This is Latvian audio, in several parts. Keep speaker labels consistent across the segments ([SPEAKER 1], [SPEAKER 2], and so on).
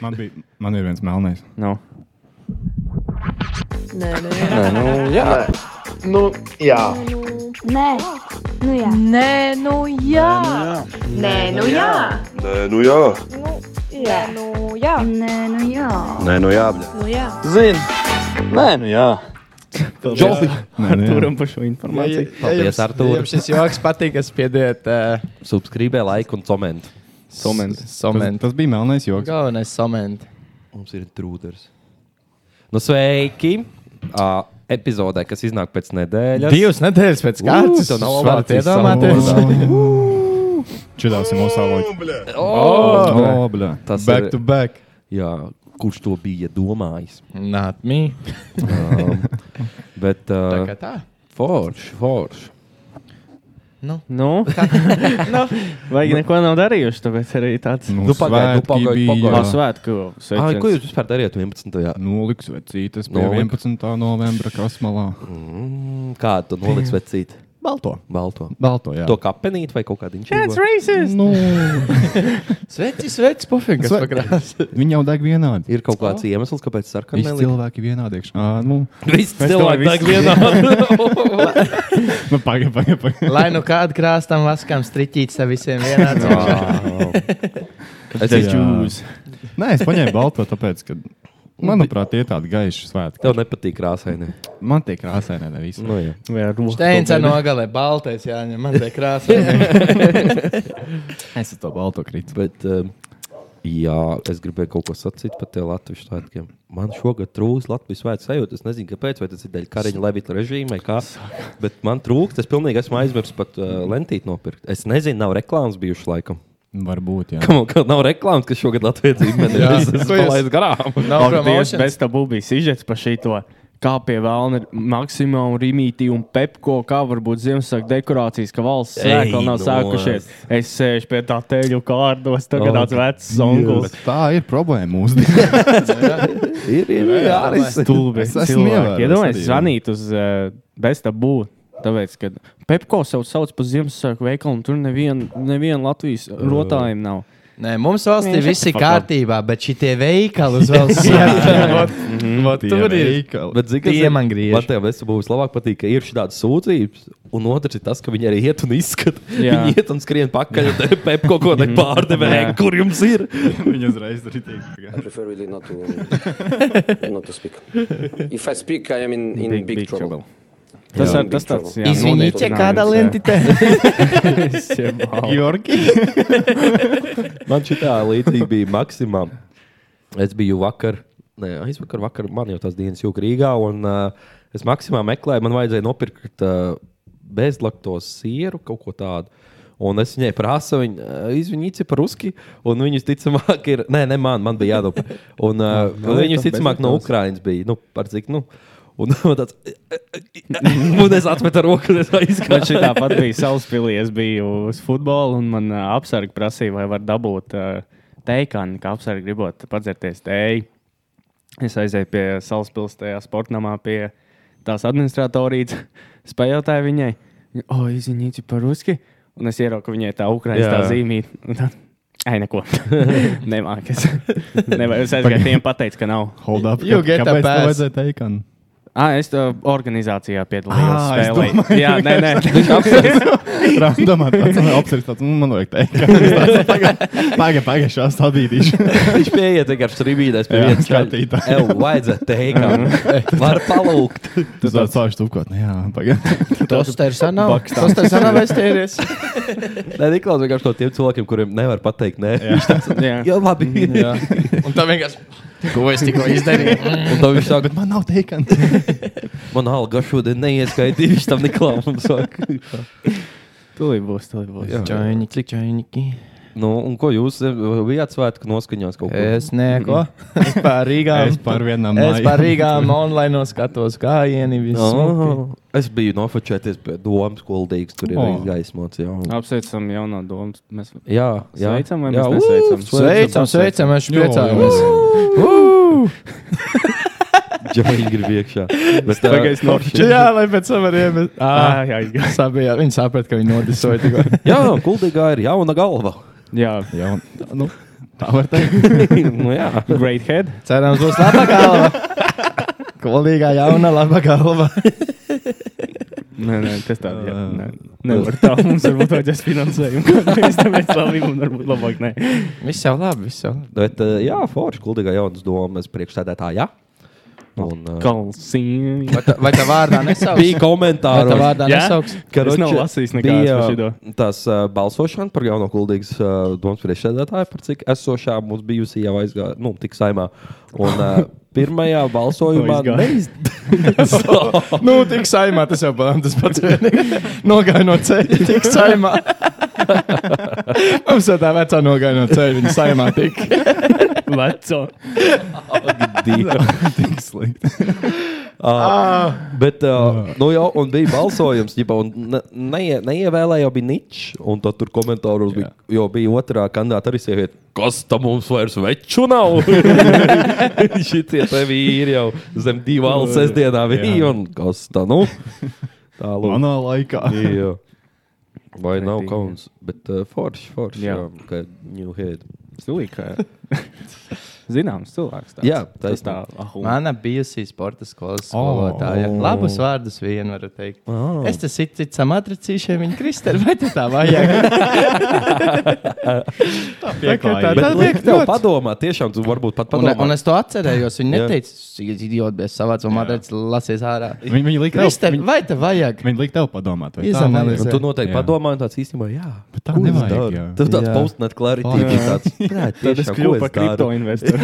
[SPEAKER 1] Man, bija, man ir viens melnais.
[SPEAKER 2] Nu.
[SPEAKER 3] Nē, nē,
[SPEAKER 2] Nē, nu, jā.
[SPEAKER 4] Nu, jā.
[SPEAKER 5] Nē, nu jā.
[SPEAKER 3] nē, nu jā.
[SPEAKER 6] Nē, nu jā.
[SPEAKER 7] Nē, nu jā.
[SPEAKER 3] Nu, jā, nu jā.
[SPEAKER 5] Nē, nu jā.
[SPEAKER 7] Nē, nu jā.
[SPEAKER 3] Nu, jā.
[SPEAKER 2] Zini. Nē, nu jā.
[SPEAKER 1] Džofi. Nē, nu jā.
[SPEAKER 2] Turim par šo informāciju.
[SPEAKER 6] Paldies,
[SPEAKER 8] jums,
[SPEAKER 6] Artūr.
[SPEAKER 8] ja jums šis joks patīk, es piediet uh,
[SPEAKER 6] Subscribē, like un koment.
[SPEAKER 2] Somenti.
[SPEAKER 1] Tas,
[SPEAKER 8] somenti.
[SPEAKER 1] tas bija melnais joks.
[SPEAKER 8] Galvenais somenti.
[SPEAKER 6] Mums ir trūders. Nu, sveiki! Uh, epizodē, kas iznāk pēc nedēļas.
[SPEAKER 8] Divas nedēļas pēc kārtas.
[SPEAKER 6] tev nav
[SPEAKER 8] jūs varat
[SPEAKER 6] ovācijas
[SPEAKER 8] iedomāties.
[SPEAKER 1] Čudāsim uzsāloģi.
[SPEAKER 6] Oh!
[SPEAKER 1] O, bļā.
[SPEAKER 6] Tas
[SPEAKER 8] Back
[SPEAKER 6] ir.
[SPEAKER 8] to back.
[SPEAKER 6] Jā, kurš to bija domājis?
[SPEAKER 8] Not me.
[SPEAKER 6] Um, bet
[SPEAKER 8] Tā
[SPEAKER 6] uh,
[SPEAKER 8] kā tā.
[SPEAKER 6] forši, forši.
[SPEAKER 2] Nu, vajag neko nav darījuši, tāpēc arī tāds
[SPEAKER 1] Nu,
[SPEAKER 6] Nu, pagaid, nu,
[SPEAKER 1] svētki
[SPEAKER 6] pagaid,
[SPEAKER 1] bija-
[SPEAKER 6] pagaid.
[SPEAKER 2] no svētku
[SPEAKER 6] Ai, ko
[SPEAKER 2] sveiciens.
[SPEAKER 6] jūs vispār darījat 11.
[SPEAKER 1] Noliks vecītes pie
[SPEAKER 6] Nolik.
[SPEAKER 1] 11. novembra krasmalā.
[SPEAKER 6] Mm, Kādu to noliks vecīt?
[SPEAKER 8] Balto.
[SPEAKER 6] Balto.
[SPEAKER 1] Balto, jā.
[SPEAKER 6] To kapenīt vai kaut kādu inčīgu?
[SPEAKER 2] racist!
[SPEAKER 1] Nu,
[SPEAKER 8] Sveiks, sveiks, pufiņš.
[SPEAKER 1] Sve- viņi jau deg vienādi.
[SPEAKER 6] Ir kaut kāds iemesls, kāpēc sarkanā
[SPEAKER 1] Visi cilvēki vienādi. iekšā. Ā, Nu,
[SPEAKER 6] Visi
[SPEAKER 2] domāju,
[SPEAKER 6] cilvēki
[SPEAKER 2] visi.
[SPEAKER 6] nāk vienā.
[SPEAKER 1] nu pagaidi, pagaidi. Paga.
[SPEAKER 8] Lai nu kādu krāstam, vaskam, striķītas visiem vienāds.
[SPEAKER 6] Es esmu
[SPEAKER 1] čūs. Nē, es paņēmu balto, tāpēc, ka, manuprāt, tie ir tādi gaiši svētki.
[SPEAKER 6] Tev nepatīk krāsaini.
[SPEAKER 1] Man tie krāsaini nevis.
[SPEAKER 6] Nu, jā.
[SPEAKER 2] Jā,
[SPEAKER 8] Steinca nogalē, baltais jāņem, man te krāsa.
[SPEAKER 1] Es to balto krītu.
[SPEAKER 6] Bet, um, jā, es gribēju kaut ko sacīt par tiem Latvijas svētkiem. Man šogad trūkst Latvijas svētku sajūta. Es nezinu, kāpēc, vai tas ir dēļ Kariņa Levita režīma vai kā. Bet man trūkst, es pilnīgi esmu aizmirsis pat uh, lentīt nopirkt. Es nezinu, nav reklāmas bijušas laikam.
[SPEAKER 1] Varbūt, jā.
[SPEAKER 6] Kam kā nav reklāmas, kas šogad Latvijas zīmēs?
[SPEAKER 8] Jā.
[SPEAKER 6] Jā, tas
[SPEAKER 8] Ko
[SPEAKER 6] ir
[SPEAKER 8] jūs-
[SPEAKER 6] palaists garām.
[SPEAKER 8] Nav
[SPEAKER 2] Paldies,
[SPEAKER 8] promotion.
[SPEAKER 2] bez tā būvīs izžets par šito. Kā pie vēlna ir Maksimā un Rīmītī un Pepko, kā varbūt Ziemassvētku dekorācijas, ka valsts
[SPEAKER 6] Ej
[SPEAKER 2] sēkla vēl nav
[SPEAKER 6] nost.
[SPEAKER 2] sākušies. Es sēžu pie tā teļu kārdos, tagad
[SPEAKER 6] Oh.
[SPEAKER 2] tāds vecs zonklis.
[SPEAKER 1] Tā ir problēma mūsdienās.
[SPEAKER 6] Ir, ir, ir arī
[SPEAKER 2] Stulbi.
[SPEAKER 1] Es esmu ievērojis
[SPEAKER 2] Iedomājieties,
[SPEAKER 1] arī, jā.
[SPEAKER 2] zvanīt uz uh, Bestabu. Tāpēc, kad Pepko sev sauc par Ziemassvētku veikalu, un tur neviena nevien Latvijas rotājumu nav.
[SPEAKER 8] Nē, mums valstī
[SPEAKER 2] Viņš-
[SPEAKER 8] viss ir
[SPEAKER 2] Fuck off.
[SPEAKER 8] kārtībā, bet šitie veikali uz vēl
[SPEAKER 1] Mhm.
[SPEAKER 8] sēž. Tur ir.
[SPEAKER 6] Bet, zini,
[SPEAKER 8] Tie man griež.
[SPEAKER 6] Man tev visu būs labāk patīk, ka ir šādas sūdzības, un otrs ir tas, ka viņi arī iet un izskata.
[SPEAKER 2] Jā.
[SPEAKER 6] Viņi iet un skrien pakaļ, un tev pep kaut ko tādu pārdevēju, kur jums ir.
[SPEAKER 1] Viņa uzreiz ir rītīga.
[SPEAKER 9] prefer really not to not to speak. If I speak, I am in, in big, trouble.
[SPEAKER 2] Tas
[SPEAKER 9] Jā.
[SPEAKER 2] ir tas tāds. jā,
[SPEAKER 8] Izvinīt, ja kāda
[SPEAKER 2] nodrošinājums,
[SPEAKER 8] lentite.
[SPEAKER 2] jā.
[SPEAKER 1] Georgi.
[SPEAKER 6] Man šī tā līdzīga bija maksimā. Es biju vakar, ne, aizvakar, vakar, man jau tās dienas jūka Rīgā, un uh, es maksimā meklēju, man vajadzēja nopirkt uh, bezlaktos sieru, kaut ko tādu. Un es viņai eh, prasu, viņa izvinīja par ruski, un viņas ticamāk ir. Nē, ne man, man bija jādod. Un uh, viņas ticamāk no Ukrainas bija. Nu, par cik, nu. Un, man tāds, un es atmetu roku, un es
[SPEAKER 2] Man šī
[SPEAKER 6] aizgāju.
[SPEAKER 2] tāpat Nu, bija Salaspīlī. Es biju uz futbolu, un man uh, apsargi prasīja, vai var dabūt uh, teikānu, kā apsargi gribot padzerties tēju. Es aizēju pie Salaspils tajā sportamā pie tās administratorijas. Es pajautāju viņai, o, izņemīci par ruski, un es ierauku viņai tā ukrainas tā
[SPEAKER 6] Jā.
[SPEAKER 2] zīmīt. Ai, neko. Nemākas. Nevajag. Es aizgāju tiem pateicu, ka nav.
[SPEAKER 1] Hold up.
[SPEAKER 8] You get a
[SPEAKER 1] kāpēc tev
[SPEAKER 8] pass.
[SPEAKER 1] vajadzēja teikanu?
[SPEAKER 2] Ah, es to organizācijā piedalījos.
[SPEAKER 1] Ā, es
[SPEAKER 2] spēlē.
[SPEAKER 1] domāju,
[SPEAKER 2] Jā, nē, nē.
[SPEAKER 1] Randomā tāds apsvērts, tāds, "Mm, man vajag teikanu. Pagaid, pagaid, šā stādītīšu.
[SPEAKER 6] Viņš pieiet vienkārši rībīdēs pie
[SPEAKER 1] Jā,
[SPEAKER 6] vienas
[SPEAKER 1] skatītāji.
[SPEAKER 6] Evo, vajadzētu teikt, var palūgt.
[SPEAKER 1] Tas tāds sāžu tupkot. Jā, pagaid.
[SPEAKER 8] Tas te ir sanāk. Tas te ir sanāk, es teiries.
[SPEAKER 6] Nē, Niklaus vienkārši to tiem cilvēkiem, kuriem nevar pateikt, nē. Viņš tāds,
[SPEAKER 2] Jā.
[SPEAKER 6] Jā, labi. Jā.
[SPEAKER 8] Un tā vienkārši. Ko es tikko izdarīju?
[SPEAKER 6] Un tad viņš saka,
[SPEAKER 1] Bet man nav teikanu.
[SPEAKER 6] man alga šodien neieskaitīja, viņš tam Niklausam saka.
[SPEAKER 2] Tūlīt būs, tūlīt būs.
[SPEAKER 6] Jā.
[SPEAKER 8] Čainiķi, čainiķi.
[SPEAKER 6] Nu, un ko jūs eh, bijāt svētku noskaņās kaut ko?
[SPEAKER 8] Es neko. Es par Rīgām.
[SPEAKER 1] Es par vienam
[SPEAKER 8] Es
[SPEAKER 1] māju.
[SPEAKER 8] par Rīgām online skatos gājieni. visu.
[SPEAKER 6] Oh, es biju nofočēties pie domas kuldīgs, tur ir
[SPEAKER 1] Oh.
[SPEAKER 6] izgaismots. Jā,
[SPEAKER 2] Apsveicam jauno domu. Mēs...
[SPEAKER 6] jā. jā.
[SPEAKER 2] Sveicam vai
[SPEAKER 6] jā.
[SPEAKER 2] mēs nesveicam?
[SPEAKER 8] Sveicam, sveicam, es
[SPEAKER 1] Jo,
[SPEAKER 8] priecājos.
[SPEAKER 6] Jā, viņi grib iekšā. Bet, eh,
[SPEAKER 2] Tagad es nofočēju.
[SPEAKER 8] Jā, lai pēc savariem.
[SPEAKER 2] Ah, jā, jā.
[SPEAKER 8] Sabijā, viņi saprata, ka viņi notisoja tikko.
[SPEAKER 6] Jā, kuldīgā ir jauna galva.
[SPEAKER 2] jā.
[SPEAKER 1] Jā, nu, Tā var teikt.
[SPEAKER 6] nu, jā,
[SPEAKER 2] Great head.
[SPEAKER 8] Cerams, būs laba galva. Kolīgā jauna laba galva.
[SPEAKER 2] Nē, nē, tas tāds jā.
[SPEAKER 6] Ah.
[SPEAKER 2] Nē, nevar tā. Mums varbūt vajadzēs finansējumu. Kādreiz tāpēc labi, un varbūt labāk nē.
[SPEAKER 6] Ah.
[SPEAKER 8] Viss jau labi, viss jau labi.
[SPEAKER 6] bet, eh, jā forši gudrīgā jaunas domas priekšstādētājā.
[SPEAKER 2] Nu,
[SPEAKER 6] Un, eh,
[SPEAKER 2] Kalsīni.
[SPEAKER 8] Vai ta- Vai tā vārdā nesauc?
[SPEAKER 6] bija
[SPEAKER 8] Vai tā
[SPEAKER 6] komentāri.
[SPEAKER 8] vārdā
[SPEAKER 2] Jā?
[SPEAKER 8] nesauks?
[SPEAKER 2] Es nav
[SPEAKER 6] Karoči,
[SPEAKER 2] lasījis nekādas
[SPEAKER 6] bija
[SPEAKER 2] par šido.
[SPEAKER 6] tās uh, balsošana par jauno kuldīgas uh, domas priekšsēdētāju, par cik esošā mums bijusi jau aizgāja, nu, tik saimā. Un uh, pirmajā balsojumā
[SPEAKER 2] Aizgāja.
[SPEAKER 8] Nu, tik saimā tas jau bija tas pats. vienīgi. Nogāja no ceļa, tik saimā. Mums jau tā vecā nogāja no ceļa, viņa saimā tik.
[SPEAKER 2] Veco.
[SPEAKER 6] neizdevās.
[SPEAKER 1] Tik slikti.
[SPEAKER 6] Bet, uh, nu jau, un bija balsojums, ja ne, neie, neievēlēja, jau bija niķis. Un tad tur komentāros bija, jo bija otrā kandidāta arī sieviete. Kas tam mums vairs veču nav? Šitie tevi ir jau zem divu alu sestdienā bija, un kas tā nu? Tā lūk.
[SPEAKER 1] Manā laikā.
[SPEAKER 6] Jā. Vai nav
[SPEAKER 2] Pretīgi.
[SPEAKER 6] kauns, bet uh, forši, forši, jā.
[SPEAKER 2] Jā.
[SPEAKER 6] jā, ka new head.
[SPEAKER 2] Stilīgā. Zināms, cilvēks. Tāds.
[SPEAKER 6] Jā,
[SPEAKER 2] tas
[SPEAKER 6] taisnība.
[SPEAKER 2] tā. ah, ahu.
[SPEAKER 8] Mana bijusī sporta skolas skolotāja. Oh. Labus vārdus vienu varu teikt. Oh. Es te citu citu samatricīšiem viņa kristēlu, vai te tā vajag?
[SPEAKER 1] Pieklājīgi.
[SPEAKER 8] Bet
[SPEAKER 6] Bet liek
[SPEAKER 8] liek
[SPEAKER 6] tev
[SPEAKER 8] ļoti.
[SPEAKER 6] padomā, tiešām tu varbūt pat
[SPEAKER 8] Un,
[SPEAKER 6] padomā.
[SPEAKER 8] un es to atcerējos. Viņa
[SPEAKER 6] Jā.
[SPEAKER 8] neteica, tas idiot, bez savāds matricas lasies ārā.
[SPEAKER 1] Viņi, viņi lika tev,
[SPEAKER 8] Kristēl,
[SPEAKER 1] viņi,
[SPEAKER 8] vai te vajag?
[SPEAKER 1] viņi lika tev padomāt. vai tā
[SPEAKER 8] Izanalizē.
[SPEAKER 1] vajag?
[SPEAKER 6] Un tu noteikti
[SPEAKER 1] Jā.
[SPEAKER 6] padomā, un tāds īstenībā, jā,
[SPEAKER 1] Bet tā
[SPEAKER 6] ko es
[SPEAKER 1] nevajag,
[SPEAKER 6] daru?
[SPEAKER 1] jā.
[SPEAKER 6] Tev tāds
[SPEAKER 8] Jā.
[SPEAKER 6] postnet klaritīvi tāds. prāt,
[SPEAKER 2] Tad es
[SPEAKER 6] tiešām, ko
[SPEAKER 2] kļuvu par
[SPEAKER 6] es daru?
[SPEAKER 2] kripto investoru.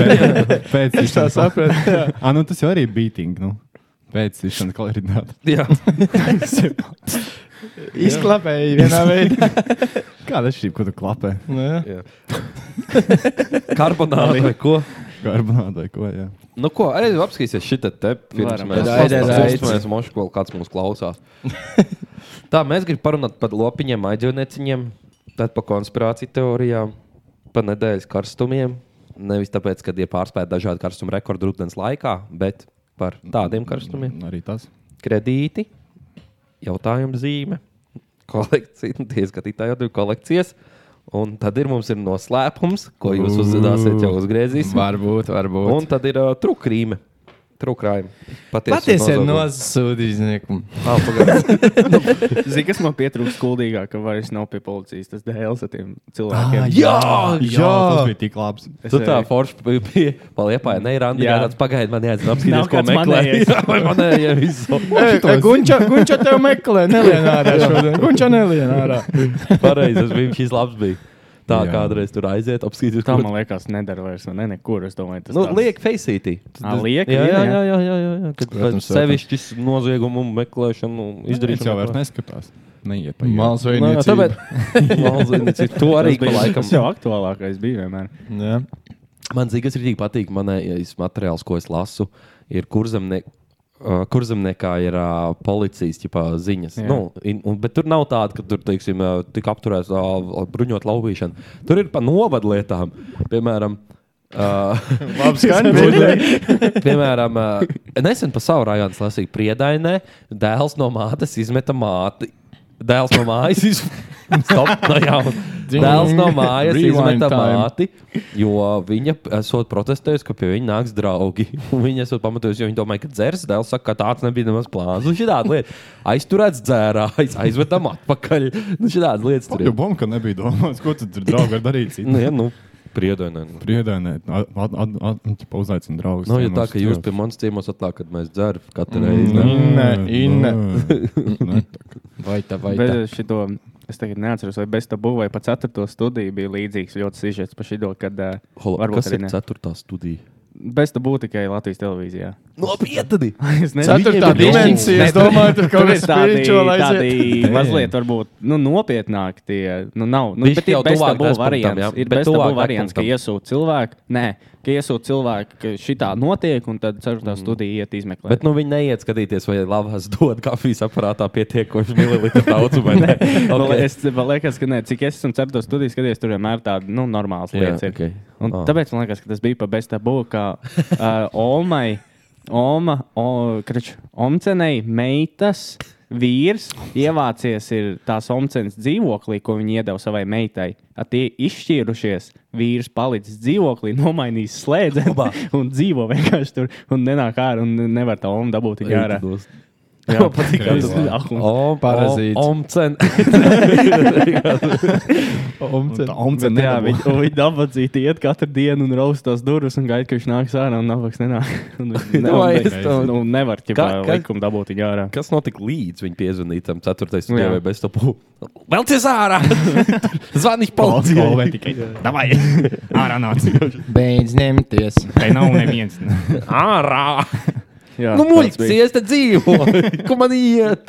[SPEAKER 1] Pēc
[SPEAKER 8] Es tā
[SPEAKER 1] izšanas-
[SPEAKER 8] sapratu. jā.
[SPEAKER 1] Ā, nu tas jau arī bija beating. Nu. Pēc tam klaritāte.
[SPEAKER 6] Jā,
[SPEAKER 8] Izklapēji vienā veidā.
[SPEAKER 1] Kāda ir šī, ko tu klapē?
[SPEAKER 8] Nu, jā.
[SPEAKER 6] karbonāli vai ko.
[SPEAKER 1] Karbonāta vai ko? Jā.
[SPEAKER 6] Nu, ko, arī apskatīsies šitā te pirms
[SPEAKER 2] Varam.
[SPEAKER 6] mēs
[SPEAKER 8] Raidi, raidi.
[SPEAKER 6] apskatīsimies, mošu vēl kāds mūs klausās. Tā, mēs gribam parunāt par lopiņiem, aģionēciņiem, tad par konspirāciju teorijām, par nedēļas karstumiem. Nevis tāpēc, ka tie pārspēja dažādu karstumu rekordu rudens laikā, bet par tādiem karstumiem.
[SPEAKER 1] Arī tas.
[SPEAKER 6] Kredīti, jautājuma zīme, kolekcija, nu, tie skatītāji jau divu kolekcijas. Un tad ir mums ir noslēpums, ko jūs uzzināsiet, jau uzgriezīsim.
[SPEAKER 8] Varbūt, varbūt.
[SPEAKER 6] Un tad ir uh, trūkrīme. Trūkrājumi.
[SPEAKER 8] Patiesi ir nozudīzniekums.
[SPEAKER 6] nozaga.
[SPEAKER 2] Zini, kas man pietrūkst skuldīgāk, ka vairs nav pie policijas. Tas dēls ar tiem cilvēkiem.
[SPEAKER 6] Ah, Jā!
[SPEAKER 1] jā, tas bija tik labs.
[SPEAKER 2] Es
[SPEAKER 6] Tu tā
[SPEAKER 2] arī-
[SPEAKER 6] forši bija- bija paliepāja. Nē, Randi, jā,
[SPEAKER 2] Jā.
[SPEAKER 6] tāds pagaidi man jāatzīst, apskatīt,
[SPEAKER 2] Nav
[SPEAKER 6] ko
[SPEAKER 2] kāds
[SPEAKER 6] meklēju.
[SPEAKER 2] manējais.
[SPEAKER 6] Jā, vai manējie visu.
[SPEAKER 8] e, Gunča, Gunča tev meklē, nelien ārā šodien. Gunča nelien ārā.
[SPEAKER 6] Pareizi, tas bija šis labs bija. Tā
[SPEAKER 1] Jā.
[SPEAKER 6] kādreiz tur aiziet, apskatīt,
[SPEAKER 2] Tā
[SPEAKER 6] ko.
[SPEAKER 2] man liekas, nedara vairs. vai Ne, nekur. Es domāju, tas
[SPEAKER 6] Nu,
[SPEAKER 2] tāds-
[SPEAKER 6] liek feisītī.
[SPEAKER 2] Ā, liek
[SPEAKER 6] jā,
[SPEAKER 2] vien,
[SPEAKER 6] jā,
[SPEAKER 2] jā.
[SPEAKER 6] jā, jā, jā, jā, jā. Kad
[SPEAKER 8] Protams,
[SPEAKER 6] sevišķis noziegumu meklēšanu
[SPEAKER 1] Viņš
[SPEAKER 6] izdarīts.
[SPEAKER 1] jau vairs neskatās. Neiet pa ielu.
[SPEAKER 8] Māls vai
[SPEAKER 6] Nu, jā, tāpēc Malzainicība, to arī
[SPEAKER 2] Tas
[SPEAKER 6] pa
[SPEAKER 2] bija
[SPEAKER 6] laikam.
[SPEAKER 2] tas jau aktuālākais. Bija, vienmēr.
[SPEAKER 8] Jā.
[SPEAKER 6] Man zināms, arī patīk manējais materiāls, ko es lasu. Ir kurzemnie, uh, kurzemniekā ir uh, policijas ķipā, ziņas.
[SPEAKER 2] Jā.
[SPEAKER 6] Nu, in, un, bet tur nav tāda, ka tur teiksim, uh, tik apturēts uh, bruņot laupīšanu. Tur ir pa novadlietām. Piemēram, uh,
[SPEAKER 1] Labs skaņas.
[SPEAKER 6] piemēram uh, nesen pa savu rajonu lasīju priedainē, dēls no mātes izmeta māti. Dēls no mājas izmeta. Stop, no jauna. Dēls no mājas
[SPEAKER 8] Rewind
[SPEAKER 6] izmeta
[SPEAKER 8] time.
[SPEAKER 6] māti, jo viņa esot protestējusi, ka pie viņa nāks draugi. Un Viņa esot pamatojusi, jo viņa domāja, ka dzers. Dēls saka, ka tāds nebija nemaz plāns. Nu, Un šī tāda lieta aizturēts dzērā, aiz, aizvedam atpakaļ. Nu, šī tāda lieta tur
[SPEAKER 1] Jo
[SPEAKER 6] ir.
[SPEAKER 1] bomba, ka nebija domāts, ko tu tur draugi var darīt.
[SPEAKER 6] Nu, ja, nu, priedainē. Nu.
[SPEAKER 1] Priedēnē, uzaicinu draugus.
[SPEAKER 6] Nav jau Nu, tā,
[SPEAKER 1] ciemos,
[SPEAKER 6] ka jūs Nu,
[SPEAKER 1] jā.
[SPEAKER 6] pie manis ciemos atklājat, kad mēs dzeram katru reizi. ne?
[SPEAKER 8] Inne, inne.
[SPEAKER 1] nu, Nē,
[SPEAKER 8] Vai tā, vai tā.
[SPEAKER 2] Bez šito, es tagad neatceros, vai bez tabu vai pa ceturto studiju bija līdzīgs ļoti sižets par šo, kad uh,
[SPEAKER 6] Holo,
[SPEAKER 2] varbūt
[SPEAKER 6] kas
[SPEAKER 2] arī
[SPEAKER 6] ir
[SPEAKER 2] ne.
[SPEAKER 6] ceturtā studija?
[SPEAKER 2] bez tabu tikai Latvijas televīzijā.
[SPEAKER 6] Nopietni!
[SPEAKER 2] es nezinu.
[SPEAKER 8] Ceturtā
[SPEAKER 6] Viņiem ir
[SPEAKER 8] dimensija, es domāju, tur kaut
[SPEAKER 2] Tur ir
[SPEAKER 8] kas
[SPEAKER 2] tādi,
[SPEAKER 8] spirituāli
[SPEAKER 2] tādi
[SPEAKER 8] aiziet.
[SPEAKER 2] mazliet varbūt, nu, nopietnāk tie nu, nav. Nu,
[SPEAKER 6] Bišķi
[SPEAKER 2] bet ir
[SPEAKER 6] jau
[SPEAKER 2] bez
[SPEAKER 6] tuvāk
[SPEAKER 2] tabu
[SPEAKER 6] tas punktam,
[SPEAKER 2] variants.
[SPEAKER 6] jā.
[SPEAKER 2] Ir
[SPEAKER 6] Bet
[SPEAKER 2] bez tabu
[SPEAKER 6] tuvāk
[SPEAKER 2] variants, ka
[SPEAKER 6] punktam.
[SPEAKER 2] iesūta cilvēku. Nē, ka iesūta cilvēku, ka šitā notiek, un tad ceturtā studija iet izmeklēt.
[SPEAKER 6] Mm. Bet nu, viņi neiet skatīties, vai lavas dod kafijas aparātā pietiekoši mililitru daudzumu. vai ne? Nu,
[SPEAKER 2] Okay. Es
[SPEAKER 6] Ok.
[SPEAKER 2] man liekas, ka ne, cik es esmu certo studiju skatījies, tur vienmēr tāda nu, normāla
[SPEAKER 6] Jā,
[SPEAKER 2] lieta. ir.
[SPEAKER 6] ok.
[SPEAKER 2] Un
[SPEAKER 6] Ah.
[SPEAKER 2] Tāpēc man liekas, ka tas bija pa bez tabu, ka eh, uh, Omai, Oma, o, krač, Omcenei meitas vīrs ievācies ir tās omcens dzīvoklī, ko viņa iedeva savai meitai. At tie izšķīrušies, vīrs palicis dzīvoklī, nomainījis slēdzenu un dzīvo vienkārši tur un nenāk ārā un nevar tā omca dabūt tik ārā.
[SPEAKER 6] Jā, patīk.
[SPEAKER 2] Tas ir ahlums.
[SPEAKER 8] Parazīts.
[SPEAKER 6] Omcen.
[SPEAKER 1] Omcena.
[SPEAKER 2] Jā, viņi viņu dabūzīja, iet katru dienu un raust tās durvis un gaida, ka viņš nāks ārā un nāks nenāk. Un viņš
[SPEAKER 6] Vai es
[SPEAKER 2] nevar,
[SPEAKER 6] to-
[SPEAKER 2] nu, nevar ķipā,
[SPEAKER 6] Kā- kā-
[SPEAKER 2] likuma dabūt viņu ārā.
[SPEAKER 6] Kas notika līdz viņa piezvanīja tam 4.
[SPEAKER 2] Nu, jā.
[SPEAKER 6] stundai vai bez topu? Vēlties ārā! Zvanīt policijai!
[SPEAKER 1] Davai! Ārā nāc!
[SPEAKER 8] Beidz ņemties.
[SPEAKER 1] Te nav neviens. nu,
[SPEAKER 6] Ārā!
[SPEAKER 2] Jā,
[SPEAKER 6] Nu,
[SPEAKER 2] tāds bija.
[SPEAKER 6] muļķis, es te dzīvoju! Kur man iet?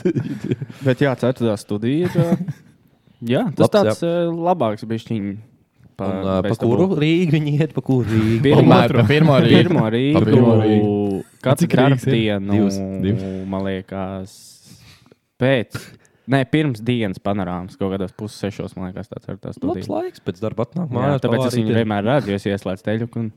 [SPEAKER 2] Bet jā, ceturtā studija ir. ā, Jā, tas
[SPEAKER 6] Labs,
[SPEAKER 2] tāds jā. labāks bišķiņ. Pa,
[SPEAKER 6] Un, uh, pa
[SPEAKER 2] bez
[SPEAKER 6] kuru
[SPEAKER 2] tabula.
[SPEAKER 6] Rīgu viņi iet, pa kuru Rīgu?
[SPEAKER 2] Pirmo,
[SPEAKER 8] Otru, pirmo arī.
[SPEAKER 2] pirmo
[SPEAKER 8] Pa pirmo
[SPEAKER 2] rītu. Katru
[SPEAKER 1] Cik Rīgas ir? Divas,
[SPEAKER 2] dienu,
[SPEAKER 1] divas.
[SPEAKER 2] man liekas, pēc. Nē, pirms dienas panorāmas kaut kādos pussešos, man liekas, tāds ir tas
[SPEAKER 6] Labs
[SPEAKER 2] studija.
[SPEAKER 6] laiks, pēc darba atnāk
[SPEAKER 2] Jā,
[SPEAKER 6] mājās.
[SPEAKER 2] tāpēc es
[SPEAKER 6] pavārīt.
[SPEAKER 2] viņu vienmēr redzu, jo es ieslēdzu teļu. Un...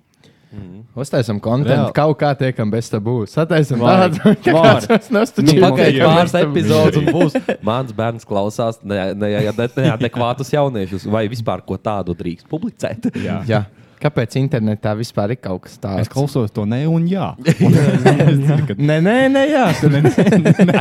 [SPEAKER 8] Uztaisam kontekstu.
[SPEAKER 1] Reāli.
[SPEAKER 8] Kaut kā tiekam bez tabū. Sataisam
[SPEAKER 2] Var.
[SPEAKER 8] tādu. ka
[SPEAKER 2] Var.
[SPEAKER 8] kāds mums
[SPEAKER 2] Mīl.
[SPEAKER 8] nostačīja.
[SPEAKER 6] Pagaidiet,
[SPEAKER 1] Jā, mēs
[SPEAKER 6] pāris
[SPEAKER 1] tam
[SPEAKER 6] epizodes un būs. Mans bērns klausās ne- ne- ja- ne- neadekvātus jauniešus, vai vispār ko tādu drīkst publicēt.
[SPEAKER 1] Jā.
[SPEAKER 8] Jā. Kāpēc internetā vispār ir kaut kas
[SPEAKER 1] Es
[SPEAKER 8] tāds?
[SPEAKER 1] klausos to ne un jā. Un es dzirdu, ka-
[SPEAKER 8] Nē, nē, nē, jā.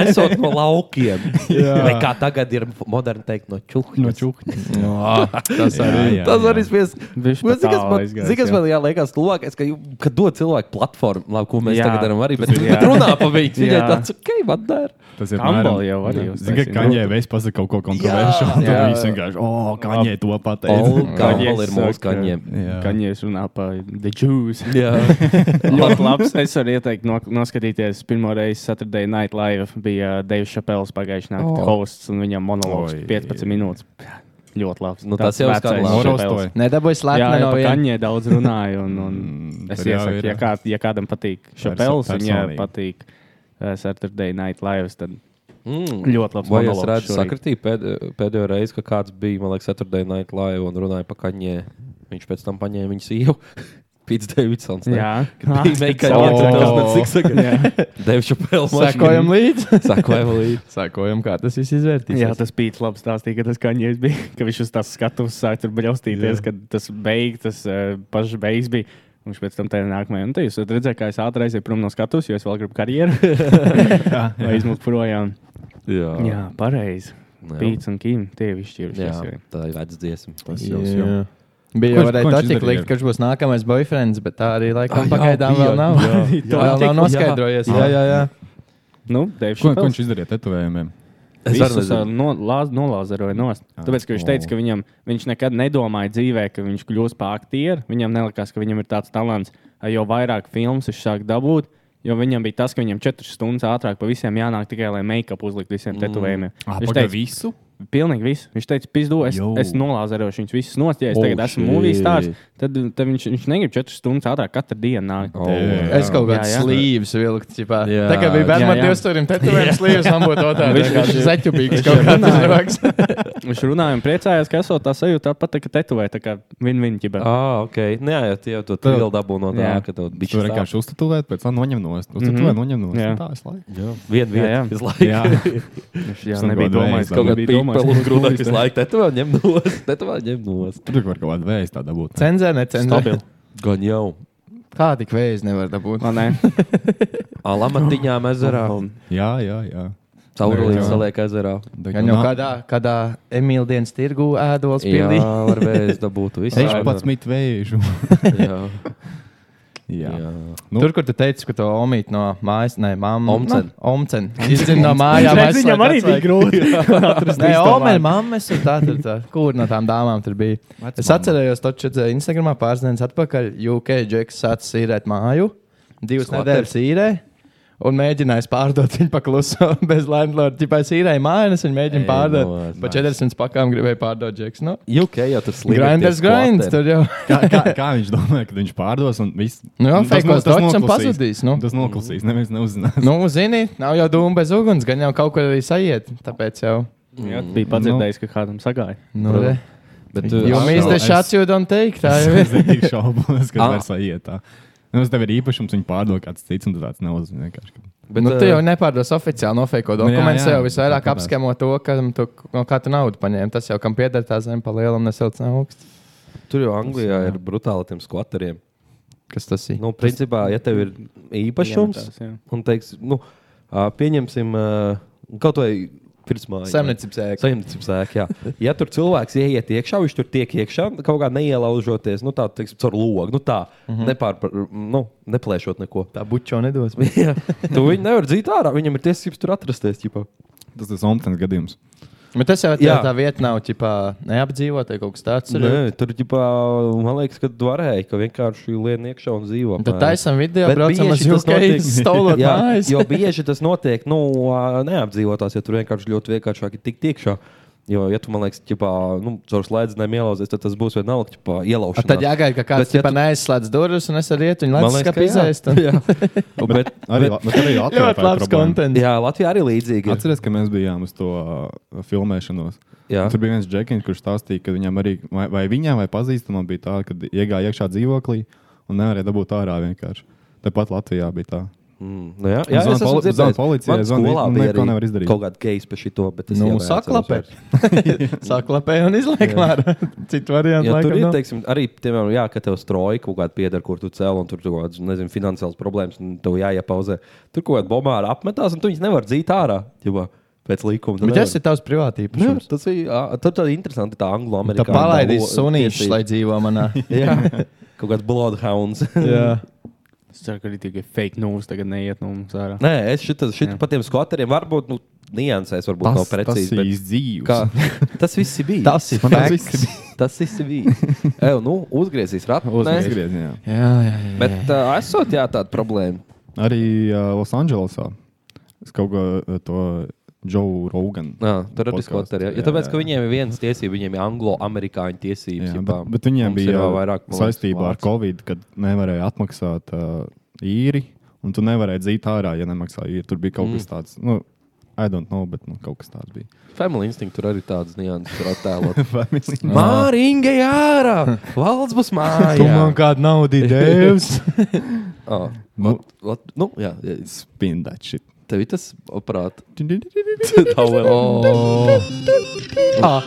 [SPEAKER 6] Esot no laukiem.
[SPEAKER 1] Jā.
[SPEAKER 6] Vai kā tagad ir moderni teikt, no čūkņa.
[SPEAKER 1] No čūkņa.
[SPEAKER 8] Tas
[SPEAKER 1] Jā, jā,
[SPEAKER 6] Tas
[SPEAKER 1] jā.
[SPEAKER 6] arī spies.
[SPEAKER 2] Viņš
[SPEAKER 6] Man zin, kas
[SPEAKER 2] tālu
[SPEAKER 6] man-
[SPEAKER 2] aizgājis,
[SPEAKER 6] zin, kas
[SPEAKER 2] jā.
[SPEAKER 6] man jāliekas tuvākais, ka, jū- kad dod cilvēku platformu, labi, ko mēs
[SPEAKER 2] Jā.
[SPEAKER 6] tagad darām arī, bet,
[SPEAKER 2] ir-
[SPEAKER 6] bet
[SPEAKER 2] jā.
[SPEAKER 6] runā pa viņu. Viņai
[SPEAKER 2] Jā.
[SPEAKER 6] tāds, ok, man dar.
[SPEAKER 1] Tas ir
[SPEAKER 2] Kambal
[SPEAKER 1] mēram-
[SPEAKER 2] jau arī
[SPEAKER 1] Jā.
[SPEAKER 2] uztaisīja.
[SPEAKER 1] Zini, ka Kanjē veids pasaka kaut ko kontroveršu. un Tad
[SPEAKER 6] Jā.
[SPEAKER 1] viss vienkārši, o, Kanjē to pateica.
[SPEAKER 6] Kaņģēl ir mūsu
[SPEAKER 2] saka,
[SPEAKER 6] kaņģiem.
[SPEAKER 1] Jā.
[SPEAKER 2] Kaņģis runā par The Jews.
[SPEAKER 6] Jā.
[SPEAKER 2] Ļoti labs. Es varu ieteikt, no, noskatīties pirmo reizi Saturday Night Live. Bija Deivs Šapels pagājušā naktī, oh. hosts, un viņam monologs
[SPEAKER 1] Oi.
[SPEAKER 2] 15 minūtes. Ļoti labs.
[SPEAKER 6] Nu, tas jau
[SPEAKER 2] vecais
[SPEAKER 6] skan labi.
[SPEAKER 2] Chappelle's.
[SPEAKER 1] Noraustoja.
[SPEAKER 8] Nedabūjis
[SPEAKER 2] Jā,
[SPEAKER 8] lēkni
[SPEAKER 2] jau
[SPEAKER 8] no
[SPEAKER 2] par
[SPEAKER 8] viena.
[SPEAKER 2] Kaņģē daudz runāju. Un, un es
[SPEAKER 1] tad Mm, jau
[SPEAKER 2] iesaku,
[SPEAKER 1] ir.
[SPEAKER 2] ja, kā, ja kādam patīk Šapels, un ja
[SPEAKER 1] personīgi.
[SPEAKER 2] patīk uh, Saturday Night Live, tad
[SPEAKER 6] Mm.
[SPEAKER 2] ļoti labs
[SPEAKER 6] Vai es
[SPEAKER 2] monologs.
[SPEAKER 6] redzu,
[SPEAKER 2] šorīt.
[SPEAKER 6] sakritīju pēd, pēdējo reizi, ka kāds bija, man liekas, Saturday Night Live un runāja par kaņē. Viņš pēc tam paņēma viņu sievu. Pits Davidsons. ne?
[SPEAKER 2] Jā,
[SPEAKER 6] Kad bija meitene,
[SPEAKER 1] Ā,
[SPEAKER 6] kas
[SPEAKER 1] tas-
[SPEAKER 6] bija cik saka. Devs Šapels.
[SPEAKER 8] Sekojam līdzi.
[SPEAKER 6] Sakojam līdzi.
[SPEAKER 8] Sekojam, kā tas viss izvērtīsies.
[SPEAKER 2] Jā, tas bija labi stāstīt, ka tas kaņģis bija. Ka viņš uz tās skatuves sāk tur bļaustīties, kad tas beigas, tas uh, pašs beigas bija. Un Viņš pēc tam tādā nākamajā. Un te jūs varat redzēt, kā es ātri aizēju prom no skatuves, jo es vēl gribu karjeru. Vai izmukt projām.
[SPEAKER 6] Jā.
[SPEAKER 2] Jā, pareizi. Pīts un Kim, tie ir
[SPEAKER 6] Jā,
[SPEAKER 2] izšķirušies. jau.
[SPEAKER 6] tā ir vecs dziesma.
[SPEAKER 8] Jā. Bija jau
[SPEAKER 1] Ko viņš-
[SPEAKER 8] arī
[SPEAKER 1] ko viņš
[SPEAKER 8] tāds
[SPEAKER 1] izdarīja?
[SPEAKER 8] līnijas, kurš būs nākamais boyfriends, bet tā arī
[SPEAKER 6] Ah,
[SPEAKER 8] laikam
[SPEAKER 6] jā,
[SPEAKER 8] pagaidām
[SPEAKER 6] bija,
[SPEAKER 8] vēl nav.
[SPEAKER 6] jā.
[SPEAKER 8] Tā vēl nav noskaidrojies. Jā, jā, jā.
[SPEAKER 2] Nu, Deivs,
[SPEAKER 1] Ko ko viņš izdarīja tetovējumiem?
[SPEAKER 6] Es arī
[SPEAKER 2] Visus
[SPEAKER 6] nezinu. Ah,
[SPEAKER 2] no, lāz- nolāzeroja nost. Tāpēc, ka viņš teica, ka viņam, viņš nekad nedomāja dzīvē, ka viņš kļūs par aktieru. Viņam nelikās, ka viņam ir tāds talants, Ai, jo vairāk filmas viņš sāk dabūt. Jo viņam bija tas, ka viņam četras stundas ātrāk par visiem jānāk tikai, lai make-up uzliktu
[SPEAKER 6] Mm.
[SPEAKER 2] visiem tetovējumiem.
[SPEAKER 1] Ah,
[SPEAKER 2] Viņš
[SPEAKER 1] pagaidi,
[SPEAKER 2] teica,
[SPEAKER 1] visu?
[SPEAKER 2] Pilnīgi viss. Viņš teica, pizdu, es,
[SPEAKER 1] Jū.
[SPEAKER 2] es nolāzerošu viņus visus nost, ja es
[SPEAKER 6] Oh,
[SPEAKER 2] oh, tagad esmu
[SPEAKER 6] shit.
[SPEAKER 2] mūvijas stāsts. Tad, tad viņš, viņš negrib četras stundas ātrāk katru dienu nākt.
[SPEAKER 6] Oh,
[SPEAKER 1] Tē.
[SPEAKER 8] Es kaut kādā
[SPEAKER 2] Jā, jā.
[SPEAKER 8] slīvas vilku.
[SPEAKER 6] Jā.
[SPEAKER 8] Tā kā bija
[SPEAKER 2] Jā,
[SPEAKER 8] bērnam
[SPEAKER 2] jā.
[SPEAKER 8] divstūrim, tad tur bija slīvas, man būtu otrādi.
[SPEAKER 2] Viņš-
[SPEAKER 8] Viņš
[SPEAKER 2] viņš-
[SPEAKER 8] ir zaķubīgs kaut kāds cilvēks.
[SPEAKER 2] Viņš runāja un priecājās, ka esot tā sajūta tāpat, tā kā tetovē, tā kā win-win ģibē.
[SPEAKER 6] Ah, ok. Nē, jā, tie jau to tādu dabū no tā,
[SPEAKER 2] Jā.
[SPEAKER 6] ka tev
[SPEAKER 1] Viņš to
[SPEAKER 6] bija
[SPEAKER 1] vienkārši uztatūvēja, pēc tam noņem no stūra. Uztatūvēja,
[SPEAKER 2] Mhm.
[SPEAKER 1] noņem no
[SPEAKER 2] Jā.
[SPEAKER 1] stūra. Tā es laiku.
[SPEAKER 6] viena vieta
[SPEAKER 2] Jā, jā.
[SPEAKER 6] visu laiku.
[SPEAKER 2] Viņš
[SPEAKER 1] Viņš
[SPEAKER 2] jā, nebija
[SPEAKER 1] kaut kādu
[SPEAKER 2] domājis,
[SPEAKER 1] veidu
[SPEAKER 2] ka
[SPEAKER 1] kaut
[SPEAKER 6] Kaut kā
[SPEAKER 2] bija
[SPEAKER 6] pīpa
[SPEAKER 2] domājis.
[SPEAKER 6] un grūtāk visu laiku. Tetovā ņem nos. Tetovā ņem nos.
[SPEAKER 1] Tur var kaut kāda vēja tā dabūt.
[SPEAKER 8] Cenzē, necenzē.
[SPEAKER 2] Stabili.
[SPEAKER 6] Gan jau.
[SPEAKER 8] Kā tik vējas nevar dabūt?
[SPEAKER 2] Man nē,
[SPEAKER 6] Alamatiņā ezerā.
[SPEAKER 1] Jā, jā, jā.
[SPEAKER 6] Caurulīdz saliek ezerā.
[SPEAKER 8] Gan
[SPEAKER 1] Nu.
[SPEAKER 8] jau nu kādā, kādā Emīļa dienas tirgu ēdols
[SPEAKER 6] Jā,
[SPEAKER 8] pildīja.
[SPEAKER 6] ar vēju dabūtu visu.
[SPEAKER 1] 16 vēju.
[SPEAKER 6] Jā,
[SPEAKER 1] Jā.
[SPEAKER 6] jā.
[SPEAKER 1] Nu.
[SPEAKER 8] Tur, kur tu teici, ka to omīt no mājas, nē, mamma.
[SPEAKER 6] Omcen.
[SPEAKER 8] Omcen. Izzina no mājām.
[SPEAKER 2] Redz, viņam arī bija grūti.
[SPEAKER 8] atrast. Nē, omēr, mammas un tā, tur tā. Kur no tām dāmām tur bija? Es atcerējos, to četri Instagramā pāris dienas atpakaļ UK džeks sācis īrēt māju. Divas
[SPEAKER 6] Squatter.
[SPEAKER 8] nedēļas īrē. Un mēģinājis pārdot viņu pakluso bez landlorda. Tipā es īrēju māju, un mēģināju
[SPEAKER 6] Ei,
[SPEAKER 8] pārdot.
[SPEAKER 6] no, nice.
[SPEAKER 8] Pa 400 pakām gribēju pārdot Nu, džeks. No?
[SPEAKER 6] UK jau tas slīd.
[SPEAKER 8] Grinders, grinds, tur jau.
[SPEAKER 1] Kā, kā, kā viņš domāja, kad viņš pārdos un viss?
[SPEAKER 8] Nu jā,
[SPEAKER 1] Nu, tas
[SPEAKER 8] fake
[SPEAKER 1] no-
[SPEAKER 8] mums
[SPEAKER 1] tas
[SPEAKER 8] taču
[SPEAKER 1] noklusīs.
[SPEAKER 8] pazudīs. Nu.
[SPEAKER 1] Tas noklusīs, neviens neuzzinās.
[SPEAKER 8] Nu, zini, nav jau dūma bez uguns, gan jau kaut kur arī sajiet. Tāpēc jau.
[SPEAKER 2] Jā,
[SPEAKER 6] Mm.
[SPEAKER 2] bija padzirdējis, ka kādam sagāja.
[SPEAKER 8] Nu,
[SPEAKER 6] Protams.
[SPEAKER 8] re.
[SPEAKER 6] Bet uh,
[SPEAKER 1] Jā,
[SPEAKER 8] Jo
[SPEAKER 1] atkal
[SPEAKER 8] mēs te
[SPEAKER 1] es-
[SPEAKER 8] šāds jūtam teikt, tā jau ir.
[SPEAKER 1] Es tik šaubos, ka
[SPEAKER 6] Ah.
[SPEAKER 1] var saiet tā. Nu, tas tev ir īpašums, viņu pārdod kāds cits, un tu tāds neuzzinās.
[SPEAKER 8] Bet, nu, tu
[SPEAKER 6] eh,
[SPEAKER 8] jau nepārdos oficiāli nofēko
[SPEAKER 6] Nu,
[SPEAKER 8] dokumentus,
[SPEAKER 1] jā,
[SPEAKER 8] jau visvairāk
[SPEAKER 1] tā kādās.
[SPEAKER 8] apskemo to, ka tu, no kā tu naudu paņēmi. Tas jau kam pieder tā zeme, pa lielam nesilts nav augsts.
[SPEAKER 6] Tur jau Anglijā ir brutāli tiem skvateriem.
[SPEAKER 8] Kas tas ir?
[SPEAKER 6] Nu, principā, ja tev ir īpašums,
[SPEAKER 2] Iemetās, jā.
[SPEAKER 6] un teiks, nu, ā, pieņemsim ā, kaut vai pirmsmāju.
[SPEAKER 8] Saimniecības ēka.
[SPEAKER 6] Saimniecības ēka, jā. Ja tur cilvēks ieiet iekšā, viņš tur tiek iekšā, kaut kā neielaužoties, nu tā, teiksim, caur logu, nu tā, mm -hmm. nepārpar, nu, neplēšot neko.
[SPEAKER 8] Tā bučo nedos.
[SPEAKER 6] Jā. tu viņu nevar dzīt ārā, viņam ir tiesības tur atrasties, ķipa.
[SPEAKER 1] Tas ir Somtens gadījums.
[SPEAKER 8] Bet tas jau tā,
[SPEAKER 6] Jā.
[SPEAKER 8] tā vieta nav ķipā, neapdzīvota vai kaut kas tāds. Tur ir-
[SPEAKER 6] Nē, tur, ģipā, man liekas, ka varēja, ka vienkārši lien iekšā un dzīvo.
[SPEAKER 8] Tad
[SPEAKER 6] apmēram.
[SPEAKER 8] taisam video,
[SPEAKER 6] Bet
[SPEAKER 8] braucam uz
[SPEAKER 6] bieži tas notiek-
[SPEAKER 8] UK, stolot
[SPEAKER 6] Jā,
[SPEAKER 8] mājas.
[SPEAKER 6] Jo bieži tas notiek nu, ā, neapdzīvotās, ja tur vienkārši ļoti vienkāršāk ir tikt iekšā. Jo, ja tu man liekas, ka nu, caur slēdzenēm ielauzies, tad tas būs vienalga, ka
[SPEAKER 8] A,
[SPEAKER 6] ielaužas.
[SPEAKER 8] Tad jāgaida, ka kāds
[SPEAKER 6] Bet, ja
[SPEAKER 8] ja neaizslēdz durvis un es arī ietu, lai tas kāpēc izaist. un-
[SPEAKER 6] Bet,
[SPEAKER 1] Arī,
[SPEAKER 6] bet,
[SPEAKER 1] Nu, bet arī Latvijā
[SPEAKER 8] Ļoti
[SPEAKER 1] tā ir
[SPEAKER 8] labs
[SPEAKER 1] problēma.
[SPEAKER 8] konteksts.
[SPEAKER 6] jā, Latvijā arī līdzīgi. ir.
[SPEAKER 1] Atcerieties, ka mēs bijām uz to uh, filmēšanos.
[SPEAKER 6] Jā.
[SPEAKER 1] Tur bija viens džekins, kurš stāstīja, ka viņam arī, vai, vai viņam, vai pazīstamam, bija tā, ka iegāja iekšā dzīvoklī un nevarēja dabūt ārā vienkārši. Tepat Latvijā bija tā.
[SPEAKER 6] Mm, nu jā,
[SPEAKER 1] Zvanu
[SPEAKER 6] es esmu
[SPEAKER 1] poli-
[SPEAKER 6] dzirdējis.
[SPEAKER 1] zvanu policijai,
[SPEAKER 6] Man
[SPEAKER 1] zvanu-
[SPEAKER 6] skolā
[SPEAKER 1] un
[SPEAKER 6] bija
[SPEAKER 1] nu, neko
[SPEAKER 6] arī
[SPEAKER 1] nevar izdarīt.
[SPEAKER 6] Kaut kāda geisa pie šī to, bet es
[SPEAKER 8] Nu,
[SPEAKER 6] jau neatceros
[SPEAKER 8] saklapē.
[SPEAKER 6] vairs.
[SPEAKER 8] Saklapē un izliek mārā. Citu
[SPEAKER 6] Ja
[SPEAKER 8] variantu
[SPEAKER 6] tur
[SPEAKER 8] laikam nu.
[SPEAKER 6] ir
[SPEAKER 8] nav.
[SPEAKER 6] teiksim, arī piemēram, jā, ka tev strauji kaut kāda pieder, kur tu cēlies, un tur tur kaut kādas finansiālas problēmas, un tev jāiepauzē. Tur kaut kāda bomba apmetās, un tu viņus nevar dzīt ārā. Ģibā, pēc likuma.
[SPEAKER 8] Bet tas ir tavs privātība.
[SPEAKER 6] Protams, tas ir ā, tur tā interesanti. Tā anglo
[SPEAKER 8] Tā
[SPEAKER 6] amerikāņu.
[SPEAKER 8] palaidīs sunīšus, lai dzīvo manā.
[SPEAKER 6] Jā, kaut kāds bloodhounds.
[SPEAKER 8] Jā.
[SPEAKER 2] Es ceru, ka arī tikai fake news tagad neiet no mums ārā.
[SPEAKER 6] Nē, es šitas, šit par tiem skvateriem varbūt, nu, niansēs varbūt nav
[SPEAKER 1] Tas, tas
[SPEAKER 6] precīzi.
[SPEAKER 1] ir
[SPEAKER 6] bet
[SPEAKER 1] izdzīvs.
[SPEAKER 6] kā- Tas viss ir bijis.
[SPEAKER 8] Tas ir
[SPEAKER 1] Man tas
[SPEAKER 8] fakts.
[SPEAKER 1] viss
[SPEAKER 6] Tas viss ir bijis. Eju, nu, uzgriezīs ratu.
[SPEAKER 1] Uzreiz
[SPEAKER 6] Uzgriezīs.
[SPEAKER 1] griezienā.
[SPEAKER 8] Jā, jā, jā.
[SPEAKER 6] Bet uh, esot, jā, tāda problēma.
[SPEAKER 1] Arī uh, Losandželosā. Es kaut ko uh, to Džou Roganu.
[SPEAKER 6] Jā, tur arī
[SPEAKER 1] podcastu.
[SPEAKER 6] skot arī. Ja tāpēc, ka viņiem ir viens tiesība, viņiem ir anglo-amerikāņu tiesības.
[SPEAKER 1] Jā,
[SPEAKER 6] jebā.
[SPEAKER 1] bet, bet viņiem
[SPEAKER 6] Mums ir
[SPEAKER 1] bija
[SPEAKER 6] vēl
[SPEAKER 1] vairāk
[SPEAKER 6] man liekas,
[SPEAKER 1] saistībā ar
[SPEAKER 6] vārds.
[SPEAKER 1] Covid, kad nevarēja atmaksāt uh, īri, un tu nevarēji dzīt ārā, ja nemaksāja īri. Tur bija kaut mm. kas tāds, nu, I don't know, bet nu, kaut kas tāds bija.
[SPEAKER 6] Family instinct tur arī tādas nianses ir attēlot. Mm.
[SPEAKER 1] Family-
[SPEAKER 6] Māriņa jārā! Valds būs
[SPEAKER 8] Tu man
[SPEAKER 6] mājā!
[SPEAKER 8] kādu naudu devs.
[SPEAKER 6] Oh,
[SPEAKER 1] Nu,
[SPEAKER 6] lat, nu, jā, jā,
[SPEAKER 1] Spindēt šit.
[SPEAKER 6] tev ir tas prāt.
[SPEAKER 8] Oh.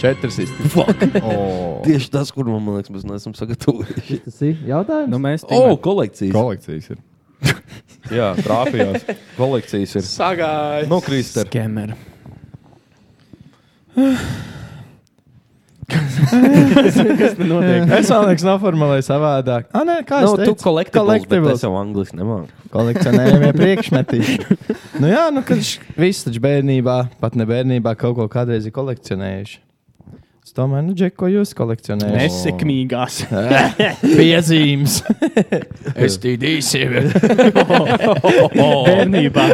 [SPEAKER 8] Četras izteiksmes.
[SPEAKER 1] Oh.
[SPEAKER 6] Tieši tas, kur man liekas, mēs neesam sagatavojuši.
[SPEAKER 2] Tas ir jautājums. Nu, mēs
[SPEAKER 6] O, oh, kolekcijas. Ko?
[SPEAKER 1] Kolekcijas ir.
[SPEAKER 6] Jā, trāpījās. kolekcijas ir.
[SPEAKER 8] Sagāj.
[SPEAKER 6] Nu, Kristē,
[SPEAKER 2] Skemeri. Kas tur notiek?
[SPEAKER 8] Es vēl liekas, noformulēju savādāk. Ah, nē, kā
[SPEAKER 6] nu,
[SPEAKER 8] es
[SPEAKER 6] tu
[SPEAKER 8] teicu,
[SPEAKER 6] kolektīvi
[SPEAKER 8] collectibles.
[SPEAKER 6] Es jau angliski nemāku.
[SPEAKER 8] kolekcionējumie priekšmeti. nu, jā, nu, kad viss taču bērnībā, pat ne bērnībā, kaut ko kādreiz ir kolekcionējuši. Es domāju, nu, Džek, ko jūs Oh. kolekcionējat?
[SPEAKER 2] Nesekmīgās.
[SPEAKER 8] Piezīmes. STD sevi.
[SPEAKER 2] Bērnībā.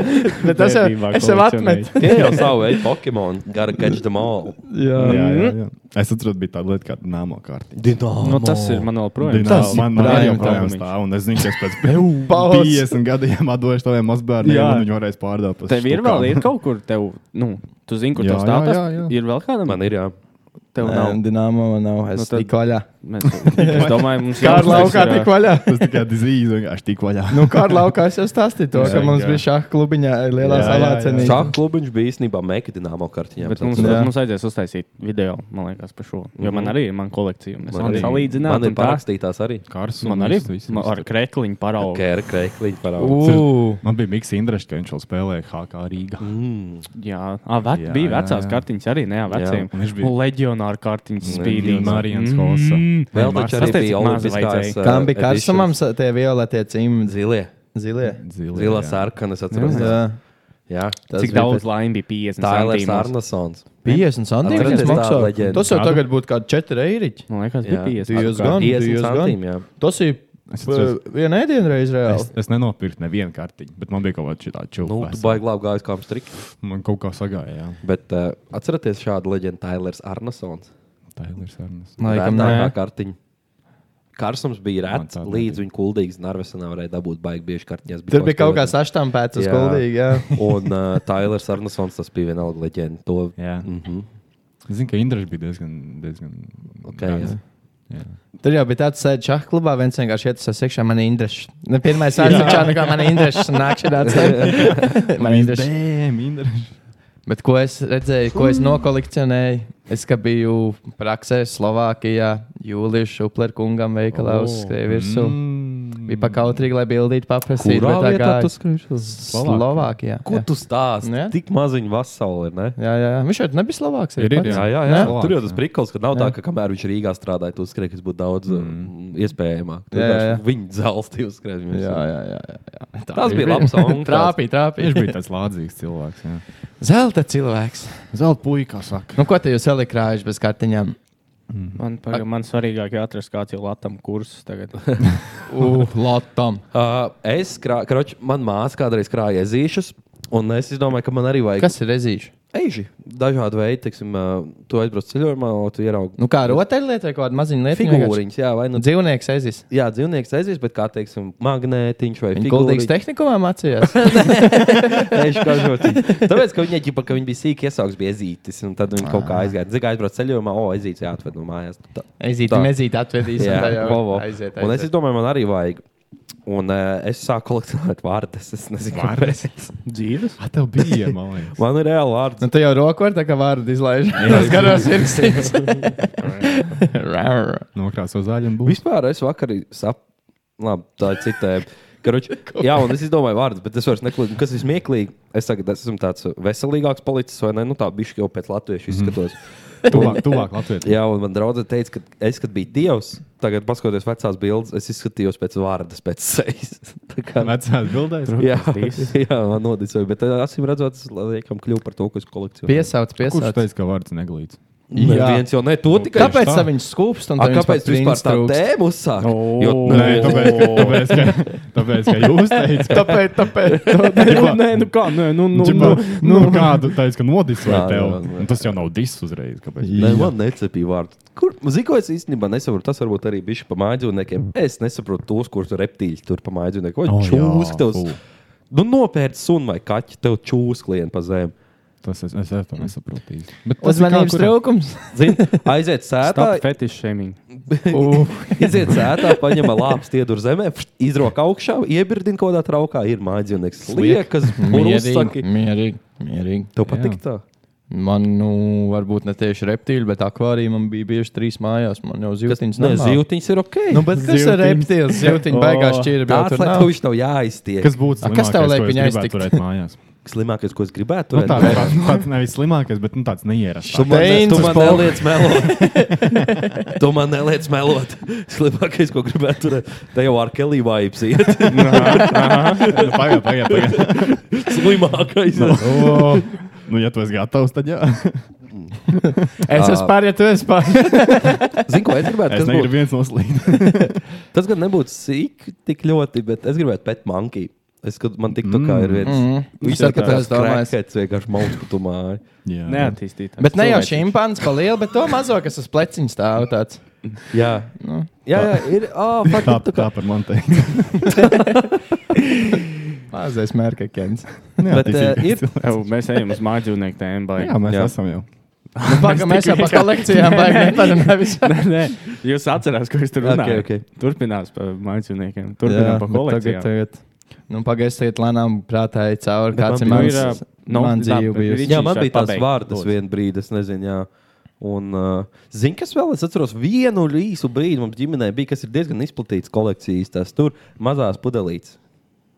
[SPEAKER 8] Bet tas jau,
[SPEAKER 2] Bērnībā
[SPEAKER 8] es jau
[SPEAKER 2] kolekcionēju.
[SPEAKER 8] atmetu.
[SPEAKER 6] Tie jau savu veidu Pokemon, gara catch them all.
[SPEAKER 1] Jā,
[SPEAKER 8] Jā.
[SPEAKER 1] jā, jā. Es saprotu, bija tāda lieta, kā nāmo kārta.
[SPEAKER 6] Dino.
[SPEAKER 2] Nu, tas ir man vēl projām.
[SPEAKER 1] Tas
[SPEAKER 8] ir
[SPEAKER 1] man arī
[SPEAKER 8] prājām
[SPEAKER 1] joprojām
[SPEAKER 2] traumiņš.
[SPEAKER 1] stāv, un es zinu, ka es pēc
[SPEAKER 8] Pauz.
[SPEAKER 1] 50 gadiem atdošu saviem mazbērniem,
[SPEAKER 2] Jā.
[SPEAKER 1] un viņi varēs pārdot. pa
[SPEAKER 2] Tev ir
[SPEAKER 1] štukām.
[SPEAKER 2] vēl ir kaut kur, tev, nu, tu zini, kur
[SPEAKER 1] Jā,
[SPEAKER 2] tas
[SPEAKER 1] jā,
[SPEAKER 2] stāv.
[SPEAKER 1] jā, jā.
[SPEAKER 2] Ir vēl kādam?
[SPEAKER 6] Man ir jā.
[SPEAKER 2] Tev nav.
[SPEAKER 8] Nē, Dināmo man nav. Es
[SPEAKER 2] Nu, tad-
[SPEAKER 8] tiku vaļā.
[SPEAKER 2] Mēs, es domāju, mums
[SPEAKER 8] Kā ar
[SPEAKER 2] jāuztais
[SPEAKER 8] laukā
[SPEAKER 2] ir,
[SPEAKER 8] tiku vaļā?
[SPEAKER 1] Tas tikai dizīs, vienkārši tik vaļā.
[SPEAKER 8] Nu, kā ar laukā es jau stāstīju to,
[SPEAKER 1] Jā,
[SPEAKER 8] ka mums
[SPEAKER 1] jā.
[SPEAKER 8] bija šāda klubiņā
[SPEAKER 1] Jā, jā,
[SPEAKER 8] lielā
[SPEAKER 1] jā.
[SPEAKER 8] savācenī.
[SPEAKER 6] Šāda klubiņš bija īstenībā Mekdināmo kartiņā.
[SPEAKER 2] Bet mums,
[SPEAKER 8] Jā.
[SPEAKER 2] mums vajadzēs uztaisīt video, man liekas, par šo. Jo man arī ir mana kolekcija. un Es
[SPEAKER 6] Man
[SPEAKER 2] varu
[SPEAKER 6] arī-
[SPEAKER 2] salīdzināt,
[SPEAKER 6] Man ir
[SPEAKER 2] un tā-
[SPEAKER 6] parakstītās arī.
[SPEAKER 1] Kārs
[SPEAKER 2] Man arī man ar krekliņu paraugu.
[SPEAKER 6] Kēra, krēkliņa parāda.
[SPEAKER 8] Ugh,
[SPEAKER 1] Man bija Mikls Indrašs, ka viņš vēl spēlēja HK Rīgā.
[SPEAKER 6] Mm.
[SPEAKER 2] Jā, ah, vec,
[SPEAKER 1] Jā,
[SPEAKER 2] jā bija
[SPEAKER 1] jā,
[SPEAKER 2] vecās
[SPEAKER 1] jā.
[SPEAKER 2] kartiņas arī, ne, veciem.
[SPEAKER 1] un viņš bija-
[SPEAKER 2] Un leģionāra kartiņas spīdīja.
[SPEAKER 1] Marijans Hosa.
[SPEAKER 6] Vēl taču arī
[SPEAKER 2] Tas teicu,
[SPEAKER 6] bija
[SPEAKER 2] maz
[SPEAKER 6] olimpiskās.
[SPEAKER 2] vajadzēja.
[SPEAKER 6] uh,
[SPEAKER 8] Kam bija
[SPEAKER 6] editions.
[SPEAKER 8] karsumam sa- tie violetie cimdi?
[SPEAKER 6] Zilie.
[SPEAKER 8] Zilie.
[SPEAKER 6] Zilā sarkana, es atceros.
[SPEAKER 8] Jā.
[SPEAKER 6] Jā.
[SPEAKER 8] Tas
[SPEAKER 2] Cik
[SPEAKER 8] bija
[SPEAKER 2] daudz laimes bija 50
[SPEAKER 6] Tailers
[SPEAKER 2] centīmos.
[SPEAKER 6] Arnesons.
[SPEAKER 8] 50 centimetri.
[SPEAKER 6] Atceries
[SPEAKER 8] Tas
[SPEAKER 6] tādu
[SPEAKER 8] maksā.
[SPEAKER 6] leģendu?
[SPEAKER 8] Tas jau tagad būtu kādi 4 eiro.
[SPEAKER 2] Man liekas, bija
[SPEAKER 6] Jā.
[SPEAKER 2] 50.
[SPEAKER 6] Diezgan
[SPEAKER 8] Diezgan,
[SPEAKER 6] centīm,
[SPEAKER 8] diezgan.
[SPEAKER 6] jā.
[SPEAKER 8] Tas ir
[SPEAKER 1] Es atceros-
[SPEAKER 8] eh, viena ēdienu
[SPEAKER 1] Es,
[SPEAKER 8] reize reāli.
[SPEAKER 1] es nenopirku nevienu kartiņu, bet man bija kaut kāda šāda
[SPEAKER 6] Nu,
[SPEAKER 1] čūpa.
[SPEAKER 6] tu baigi labi gājis kā strikts.
[SPEAKER 1] Man kaut kā sagāja, jā.
[SPEAKER 6] Bet uh, atcerieties šādu leģendu Tailers Arnesons.
[SPEAKER 1] Tā ir sarnas.
[SPEAKER 8] Nu, Laikam
[SPEAKER 6] Rētākā
[SPEAKER 8] nē.
[SPEAKER 6] kartiņa. Karsums bija
[SPEAKER 1] Man
[SPEAKER 6] rēts,
[SPEAKER 1] tā
[SPEAKER 6] līdz viņa kuldīgas narvesa nevarēja dabūt baigi bieži kartiņās.
[SPEAKER 8] Tur bija kaut kā
[SPEAKER 6] spēlētājs.
[SPEAKER 8] saštampēts uz
[SPEAKER 6] Jā.
[SPEAKER 8] kuldīgi. jā.
[SPEAKER 6] Un uh, Tailers Arnesons, tas bija vienalga leģenda. To
[SPEAKER 1] Jā.
[SPEAKER 6] Mhm.
[SPEAKER 1] Zinu, ka Indrašs bija diezgan. diezgan
[SPEAKER 6] Okay, jā.
[SPEAKER 8] Tur jau bija tāds sēde šāda klubā, viens vienkārši iet uz iekšā, man ir indreša. Ne pirmā sēde šāda kā man ir indreša, un nāk šī tāds. Man ir indreša. Bet ko es redzēju, ko es nokolekcionēju? Es kā biju praksē Slovākijā, Jūlijā Šuplerkungam veikalā
[SPEAKER 6] O,
[SPEAKER 8] oh, uzskrēju virsū. Mm. Bija pakautrīgi, lai bildītu paprasīt.
[SPEAKER 6] Kurā
[SPEAKER 8] bet tā
[SPEAKER 6] vietā
[SPEAKER 8] gāja.
[SPEAKER 6] tu skribi uz
[SPEAKER 8] Slovākijā.
[SPEAKER 6] Ko
[SPEAKER 8] jā.
[SPEAKER 6] tu stāsti?
[SPEAKER 8] Ne?
[SPEAKER 6] Tik maziņu vasauli ir. Ne?
[SPEAKER 8] Jā, jā, jā. Viņš šeit nebija Slovāks.
[SPEAKER 1] Ir, ir,
[SPEAKER 6] Jā, jā, jā.
[SPEAKER 1] Ne?
[SPEAKER 6] Tur jau tas priklis, ka nav jā. tā,
[SPEAKER 8] Jā.
[SPEAKER 6] ka kamēr viņš Rīgā strādāja, tu skribi, kas būtu daudz mm. iespējamāk. Tur
[SPEAKER 8] Jā, jā, jā.
[SPEAKER 6] vienkārši Viņi dzelzti uzskrēja.
[SPEAKER 8] Jā, jā, jā, jā, jā. Tā
[SPEAKER 6] Tas
[SPEAKER 8] ir
[SPEAKER 6] bija
[SPEAKER 8] brīva.
[SPEAKER 6] labs un tāds.
[SPEAKER 8] Trāpīja, trāpīja.
[SPEAKER 1] Viņš bija tāds lādzīgs cilvēks. Jā.
[SPEAKER 8] zelta cilvēks.
[SPEAKER 1] Zelta puika, saka.
[SPEAKER 8] Nu, ko te jūs elikrājat bez kartiņām?
[SPEAKER 2] Man, paga, man svarīgāk ir atrast kādu latviešu kursu. Tagad.
[SPEAKER 8] Uh, Latam.
[SPEAKER 6] Uh, es krāju, kroč, man māsa kādreiz krāja ezīšus, un es domāju, ka man arī vajag
[SPEAKER 8] Kas ir rezīši?
[SPEAKER 6] eži. Dažādi veidi, teiksim, uh, tu aizbrauc ceļojumā, un tu ieraugi
[SPEAKER 8] Nu, kā rotaļlietu vai kādu maziņu lietu?
[SPEAKER 6] figūriņas. Jā, vai nu
[SPEAKER 8] Nu, dzīvnieks ezis.
[SPEAKER 6] jā, dzīvnieks aizies, bet kā, teiksim, magnētiņš vai
[SPEAKER 8] Viņa gudrīgs tehnikā mācījās.
[SPEAKER 6] Viņš kaut kā tādu. Tāpēc, ka viņi ģipa, ka viņi bija sīki iesaugs, bija ezītis, un tad viņi
[SPEAKER 8] Ah.
[SPEAKER 6] kaut kā aizgāja. Zinu, aizbrauc ceļojumā, o, ezītis jāatved no mājās. Tā,
[SPEAKER 8] Aiziet,
[SPEAKER 6] Tā.
[SPEAKER 8] aiziet, atvedīs.
[SPEAKER 6] jā,
[SPEAKER 8] un tā jau
[SPEAKER 6] vovo.
[SPEAKER 8] Aiziet,
[SPEAKER 6] Un es
[SPEAKER 8] aiziet.
[SPEAKER 6] domāju, man arī vajag. Un uh, es sāku kolekcionēt vārdas. Es nezinu, kādas vārdas.
[SPEAKER 2] Dzīves?
[SPEAKER 1] Tā tev bija, man liekas.
[SPEAKER 6] Man ir reāli vārds.
[SPEAKER 8] Nu, tu jau roku ar tā kā vārdu izlaiž. Tas garos ir sirds.
[SPEAKER 1] Nokrāso zāļu un būs.
[SPEAKER 6] Vispār es vakar sap... Labi, tā ir citēm. Karuč, jā, un es izdomāju vārdus, bet es vairs neklūdzu. Kas ir smieklīgi? Es tagad esmu tāds veselīgāks palicis, vai ne? Nu, tā bišķi jau pēc latviešu izskatos.
[SPEAKER 1] Tuvāk, tuvāk Latvijai.
[SPEAKER 6] jā, un man draudzene teica, ka es, kad biju dievs, tagad paskatoties vecās bildes, es izskatījos pēc vārdas, pēc sejas. Tā kā-
[SPEAKER 1] Vecās bildēs.
[SPEAKER 6] Jā, jā, man nodisvēja, bet eh, acīm redzot, tas liekam kļūp par to, ko es kolekcionēju.
[SPEAKER 8] Piesauc,
[SPEAKER 1] Kurš
[SPEAKER 8] piesauc.
[SPEAKER 1] teica, ka vārds neglīts?
[SPEAKER 6] Jā, viens jau ne, to tikai.
[SPEAKER 8] Kāpēc
[SPEAKER 1] tā.
[SPEAKER 8] tā viņš skūpst un
[SPEAKER 6] A,
[SPEAKER 8] tā
[SPEAKER 6] kāpēc tu vispār tā tēmu uzsāk?
[SPEAKER 2] O,
[SPEAKER 1] Nē, tāpēc, ka, tāpēc, ka, tāpēc, ka jūs teicāt,
[SPEAKER 8] Tāpēc, tāpēc.
[SPEAKER 2] Nu, Nē, nu kā, nē, nu, nu,
[SPEAKER 1] Ģipa, nu, kādu teicu, ka nodisvēja
[SPEAKER 6] Jā, jā,
[SPEAKER 1] tev.
[SPEAKER 6] jā.
[SPEAKER 1] Un Tas jau nav diss uzreiz. Kāpēc?
[SPEAKER 6] Nē, man necepīja vārdu. Kur ziko es īstenībā nesaprotu, tas varbūt arī bija pa mājdzīvniekiem. Es nesaprotu tos, kurus tur reptīļi tur pa mājdzīvnieku. Vai
[SPEAKER 1] O, Oh, jā,
[SPEAKER 6] čūska tev? uz-
[SPEAKER 1] fū.
[SPEAKER 6] Nu, nopērts sunu vai kaķi, tev čūsklien pa zemi.
[SPEAKER 1] Tas es, es, es to nesaprotu. īsti. Bet tas ir kā
[SPEAKER 8] Uzmanības
[SPEAKER 1] kurā-
[SPEAKER 8] trūkums.
[SPEAKER 6] Zini, aiziet sētā,
[SPEAKER 2] Stop fetish shaming.
[SPEAKER 6] aiziet sētā, paņem lāpstu, iedur zemē, pšt, izrok augšā, iebirdina kaut kādā traukā, ir mājdzīvnieks. Liekas,
[SPEAKER 8] Mierīgi,
[SPEAKER 6] burbuļsaki.
[SPEAKER 8] mierīgi, mierīgi.
[SPEAKER 6] Tev patīk tā?
[SPEAKER 8] Man, nu, varbūt ne tieši reptīļi, bet akvārijā man bija bieži trīs mājās. Man jau
[SPEAKER 6] Kas-
[SPEAKER 8] zivtiņas
[SPEAKER 6] Nē,
[SPEAKER 8] nemā.
[SPEAKER 6] zīvtiņš ir ok.
[SPEAKER 8] Nu, bet kas ir
[SPEAKER 2] Zivtiņas.
[SPEAKER 8] reptīls? Zivtiņa beigās
[SPEAKER 2] O,
[SPEAKER 8] šķīra bija.
[SPEAKER 6] Tāds, lai tev viņš tev jāiztiek.
[SPEAKER 1] Kas būtu
[SPEAKER 8] A,
[SPEAKER 1] slimākais,
[SPEAKER 8] kas tev liek
[SPEAKER 1] ko es
[SPEAKER 8] viņai
[SPEAKER 1] gribētu
[SPEAKER 8] iztikt?
[SPEAKER 1] turēt mājās?
[SPEAKER 6] slimākais, ko es gribētu?
[SPEAKER 1] Nu,
[SPEAKER 6] turēt
[SPEAKER 1] tā,
[SPEAKER 6] mājās?
[SPEAKER 1] tāds, tāds nevis slimākais, bet nu, tāds neierasts.
[SPEAKER 6] Tu man, ne, tu
[SPEAKER 8] Steins
[SPEAKER 6] man
[SPEAKER 8] Paul.
[SPEAKER 6] neliec melot. tu man neliec melot. Slimākais, ko gribētu turēt, te jau ar Kelly vibes iet.
[SPEAKER 1] Pagaid, pagaid, pagaid.
[SPEAKER 6] Slimākais.
[SPEAKER 1] O, Nu, ja tu esi gatavs, tad jā.
[SPEAKER 8] Es esmu pārējā, tu esi pārējā.
[SPEAKER 6] Zini, ko es gribētu?
[SPEAKER 1] Es
[SPEAKER 6] Tas,
[SPEAKER 1] negribu
[SPEAKER 6] būtu,
[SPEAKER 1] viens noslīd.
[SPEAKER 6] tas gan nebūtu sīk tik ļoti, bet es gribētu pēc monkey. Es, kad man tik tā kā ir viens.
[SPEAKER 8] Mhm.
[SPEAKER 6] Mm. Viņš
[SPEAKER 8] ir
[SPEAKER 6] saka, ka tas
[SPEAKER 8] tāds domājis.
[SPEAKER 6] krākets vienkārši mauskutumā.
[SPEAKER 1] Jā.
[SPEAKER 2] Neattīstītā.
[SPEAKER 8] Bet ne jau šimpanzi pa lielu, bet to mazo, kas uz pleciņa stāv tāds. nu,
[SPEAKER 6] Jā. jā, jā, ir. Oh, fuck,
[SPEAKER 1] Tā,
[SPEAKER 6] ir tā kā,
[SPEAKER 1] tā par mani teikt.
[SPEAKER 8] Mazais mērķis.
[SPEAKER 6] bet, uh, ir,
[SPEAKER 2] Ev, mēs ejam uz mājdzīvnieku tēmu. baigi.
[SPEAKER 1] Jā, mēs
[SPEAKER 6] Jā.
[SPEAKER 1] jā. esam jau.
[SPEAKER 8] Pagaidām, Nu, mēs jau pa kolekcijām baigām.
[SPEAKER 2] Nē, nē, jūs atcerāties, ko es tur runāju.
[SPEAKER 6] Ok, ok.
[SPEAKER 2] Turpinās par mājdzīvniekiem. Turpinās par kolekcijām.
[SPEAKER 8] Nu, pagaidām, lēnām prātā ir cauri.
[SPEAKER 6] Bet
[SPEAKER 8] Kāds ir
[SPEAKER 6] man
[SPEAKER 8] mans
[SPEAKER 6] bija-
[SPEAKER 2] ir, nu,
[SPEAKER 8] man dzīve
[SPEAKER 2] labi,
[SPEAKER 8] bijusi.
[SPEAKER 2] viņš-
[SPEAKER 6] jā, man
[SPEAKER 2] Viņš
[SPEAKER 6] bija
[SPEAKER 2] var
[SPEAKER 6] tās
[SPEAKER 2] pabeigt,
[SPEAKER 6] vārdas
[SPEAKER 2] lūdzu.
[SPEAKER 6] vienā brīdī, es nezinu. Jā. Un, uh, zin, kas vēl? Es atceros, vienu īsu brīdi mums ģimenē bija, kas ir diezgan izplatīts kolekcijas, tās tur mazās pudelītes.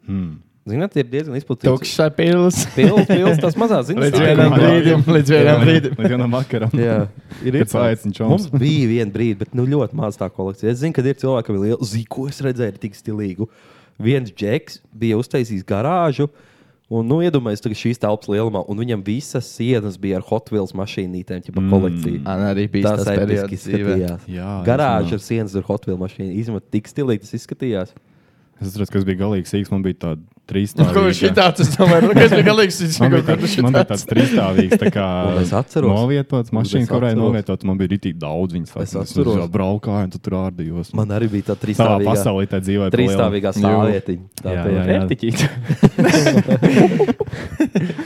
[SPEAKER 1] Hmm.
[SPEAKER 6] Zināt, ir diezgan izplatīts.
[SPEAKER 8] Tukšā pils.
[SPEAKER 6] Pils, pils, tās mazās zinas.
[SPEAKER 8] Līdz vienam brīdim, līdz vienam brīdim.
[SPEAKER 1] Līdz vienam vakaram.
[SPEAKER 6] Jā, ir
[SPEAKER 1] Kad saicina čoms.
[SPEAKER 6] Mums bija viena brīdi, bet nu, ļoti maz tā kolekcija. Es zinu, ka ir cilvēki, kas ir liela zīme, ko es redzēju, ir tik stilīgu. Viens džeks bija uztaisījis garāžu. Un, nu, iedomājieties, ka šīs telpas lielumā, un viņam visas sienas bija ar Hot Wheels mašīnītēm, jau mm. kolekcija.
[SPEAKER 8] Man arī bija
[SPEAKER 6] Tas
[SPEAKER 8] tas
[SPEAKER 6] episki
[SPEAKER 8] periods dzīvē.
[SPEAKER 6] izskatījās.
[SPEAKER 1] Jā,
[SPEAKER 6] Garāža
[SPEAKER 1] es
[SPEAKER 6] ar sienas ar Hot Wheels mašīnu. Izmet tik stilīgi tas izskatījās. Nu,
[SPEAKER 1] Es atceros, kas bija galīgi sīgs. Man bija tāda trīsstāvīga.
[SPEAKER 8] Nu, Ko viņš šitāds, es domāju, nu, kas bija galīgs, viņš
[SPEAKER 1] Man
[SPEAKER 8] kaut
[SPEAKER 1] bija
[SPEAKER 8] kādu
[SPEAKER 1] tāds- man bija tāds trīsstāvīgs, tā kā
[SPEAKER 6] Un es atceros.
[SPEAKER 1] novietots
[SPEAKER 6] Un es
[SPEAKER 1] mašīna, kurai
[SPEAKER 6] atceros.
[SPEAKER 1] novietot, man bija rītīgi daudz viņas.
[SPEAKER 6] Es
[SPEAKER 1] faktiski.
[SPEAKER 6] atceros.
[SPEAKER 1] Es jau braukāju, un tu tur ārdījos.
[SPEAKER 6] Man arī bija tā
[SPEAKER 1] savā
[SPEAKER 6] trīsstāvīga
[SPEAKER 1] pasaulē tā dzīvoja. pa lielu.
[SPEAKER 6] Trīsstāvīgā stāvvietiņa. Tā
[SPEAKER 1] Jā,
[SPEAKER 6] tur.
[SPEAKER 1] jā, jā.
[SPEAKER 2] Vērtiķīte.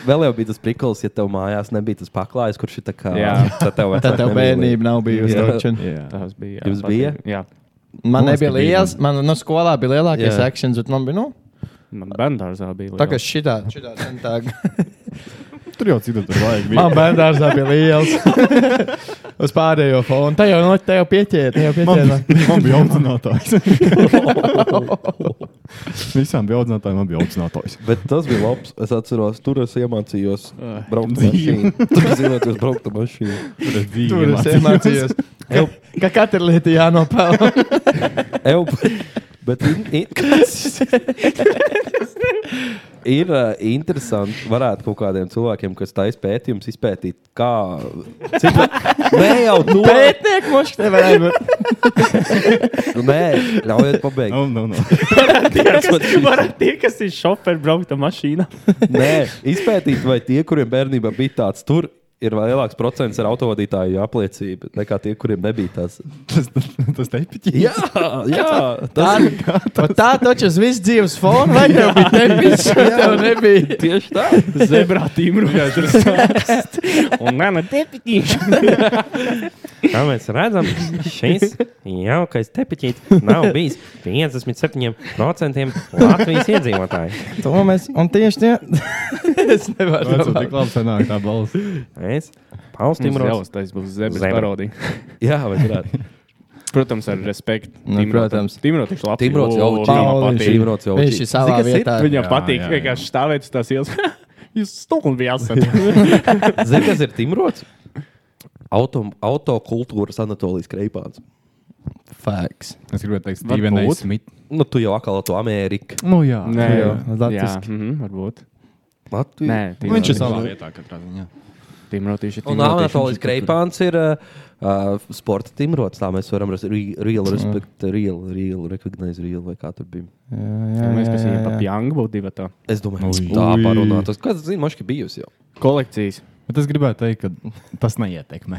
[SPEAKER 6] Vēl jau bija tas priklis, ja tev mājās nebija tas paklājs, kurš ir tā kā.
[SPEAKER 2] Jā.
[SPEAKER 6] tad tev,
[SPEAKER 8] Tā tev
[SPEAKER 6] nemīlēja.
[SPEAKER 8] bērnība nav bijusi.
[SPEAKER 6] Jā.
[SPEAKER 8] droši vien.
[SPEAKER 1] Jā.
[SPEAKER 2] Tas bija. jā,
[SPEAKER 6] Jums
[SPEAKER 2] patīk.
[SPEAKER 6] bija?
[SPEAKER 2] Jā,
[SPEAKER 8] Man
[SPEAKER 1] Mums
[SPEAKER 8] nebija
[SPEAKER 1] nebija.
[SPEAKER 8] liels, man no skolā bija lielākais
[SPEAKER 6] Jā.
[SPEAKER 8] akcents, bet man bija, nu,
[SPEAKER 2] man bērngārzā bija.
[SPEAKER 8] tā
[SPEAKER 2] liela.
[SPEAKER 8] kā šitā, šitā centā.
[SPEAKER 1] Tur jau citur tur vajag. bija.
[SPEAKER 8] Man bērnu dārzā bija liels. Uz pārējo fonu. Tā jau, no, tā jau pieķēra. Tā jau pieķēra.
[SPEAKER 1] Man, man bija audzinātājs. Visām bija audzinātājiem, man bija audzinātājs.
[SPEAKER 6] Bet tas bija labs. Es atceros, tur es iemācījos braukt ar
[SPEAKER 1] dzīve.
[SPEAKER 6] mašīnu. Tur es iemācījos braukt ar mašīnu.
[SPEAKER 1] Tur es dzīvoju.
[SPEAKER 8] Tur es iemācījos. Ka, ka katra lieta jānopelna.
[SPEAKER 6] Eju, bet in, in, ir uh, interesanti, varētu kaut kādiem cilvēkiem, kas taisa pētījumus, izpētīt, kā. Cik, nē, jau to
[SPEAKER 8] Pētnieku mošs nevarēja būt.
[SPEAKER 6] Nē, ļaujiet pabeigt.
[SPEAKER 1] No, no, no.
[SPEAKER 2] Varbūt tie, kas ir šoferi, braukta mašīna.
[SPEAKER 6] Nē, izpētīt, vai tie, kuriem bērnībā bija tāds, tur ir lielāks procents ar autovadītāju apliecību nekā tie, kuriem nebija tāds.
[SPEAKER 1] Tas, tas tepiķis.
[SPEAKER 6] Jā, jā
[SPEAKER 8] Tā,
[SPEAKER 6] tas ir
[SPEAKER 8] pat tā taču uz visu dzīves fonu, vai tev bija nepis, vai tev nebija.
[SPEAKER 6] tieši tā.
[SPEAKER 2] Zebrā tīmru. Jā, tur sākst. Un nē, nē, tepiķīši.
[SPEAKER 10] Kā mēs redzam, šis jaukais tepiķis nav bijis 57% Latvijas iedzīvotāju.
[SPEAKER 8] To mēs, un tieši tie. es nevaru.
[SPEAKER 1] Tas ir tik labi sanāk tā balss.
[SPEAKER 10] Es paustīju
[SPEAKER 2] Timros, tas būs zebras
[SPEAKER 10] Zebra.
[SPEAKER 2] parodija.
[SPEAKER 6] Jā, vai varētu.
[SPEAKER 2] Protams, ar respektu.
[SPEAKER 8] Nu, protams.
[SPEAKER 2] Timros ir labi.
[SPEAKER 6] Timrots jau
[SPEAKER 2] O, viņam
[SPEAKER 8] čīna. Pauliņš.
[SPEAKER 2] patīk.
[SPEAKER 6] Timrots jau
[SPEAKER 8] Viņš ir savā
[SPEAKER 6] Zini, kas
[SPEAKER 8] vietā.
[SPEAKER 2] Viņam
[SPEAKER 1] Jā,
[SPEAKER 2] patīk
[SPEAKER 1] jā, jā.
[SPEAKER 2] vienkārši stāvēt uz tās ielas. Jūs stulbi esat.
[SPEAKER 6] Zini, kas ir Timrots? Auto, autokultūras Anatolijas Kreipāns.
[SPEAKER 8] Facts.
[SPEAKER 1] Es gribēju teikt, Stevenai
[SPEAKER 2] Varbūt.
[SPEAKER 1] Smit.
[SPEAKER 6] Nu, tu jau atkal to Ameriku.
[SPEAKER 1] Nu, jā.
[SPEAKER 2] Nē,
[SPEAKER 8] jā,
[SPEAKER 2] jā,
[SPEAKER 8] latviski.
[SPEAKER 2] mhm, varbūt.
[SPEAKER 6] Latviju.
[SPEAKER 2] Nē,
[SPEAKER 1] Nu, viņš ir
[SPEAKER 2] Timrotīši-
[SPEAKER 1] savā vietā katrā ziņā.
[SPEAKER 2] Timrotīši ir Timrotīši,
[SPEAKER 6] Un Anatolijas
[SPEAKER 2] viņš ir tur.
[SPEAKER 6] Kreipāns ir uh, uh, sporta Timrots. Tā mēs varam res- re- real respect, real, real, recognize real vai kā tur bija.
[SPEAKER 2] Ja Mēs visi bijām pa pjangu būtu divi tā.
[SPEAKER 6] Es domāju,
[SPEAKER 1] Ui.
[SPEAKER 6] ka tā parunātos. Kāds zina, maška bijusi jau?
[SPEAKER 2] Kolekcijas.
[SPEAKER 1] Bet es gribēju teikt, ka tas neietekmē.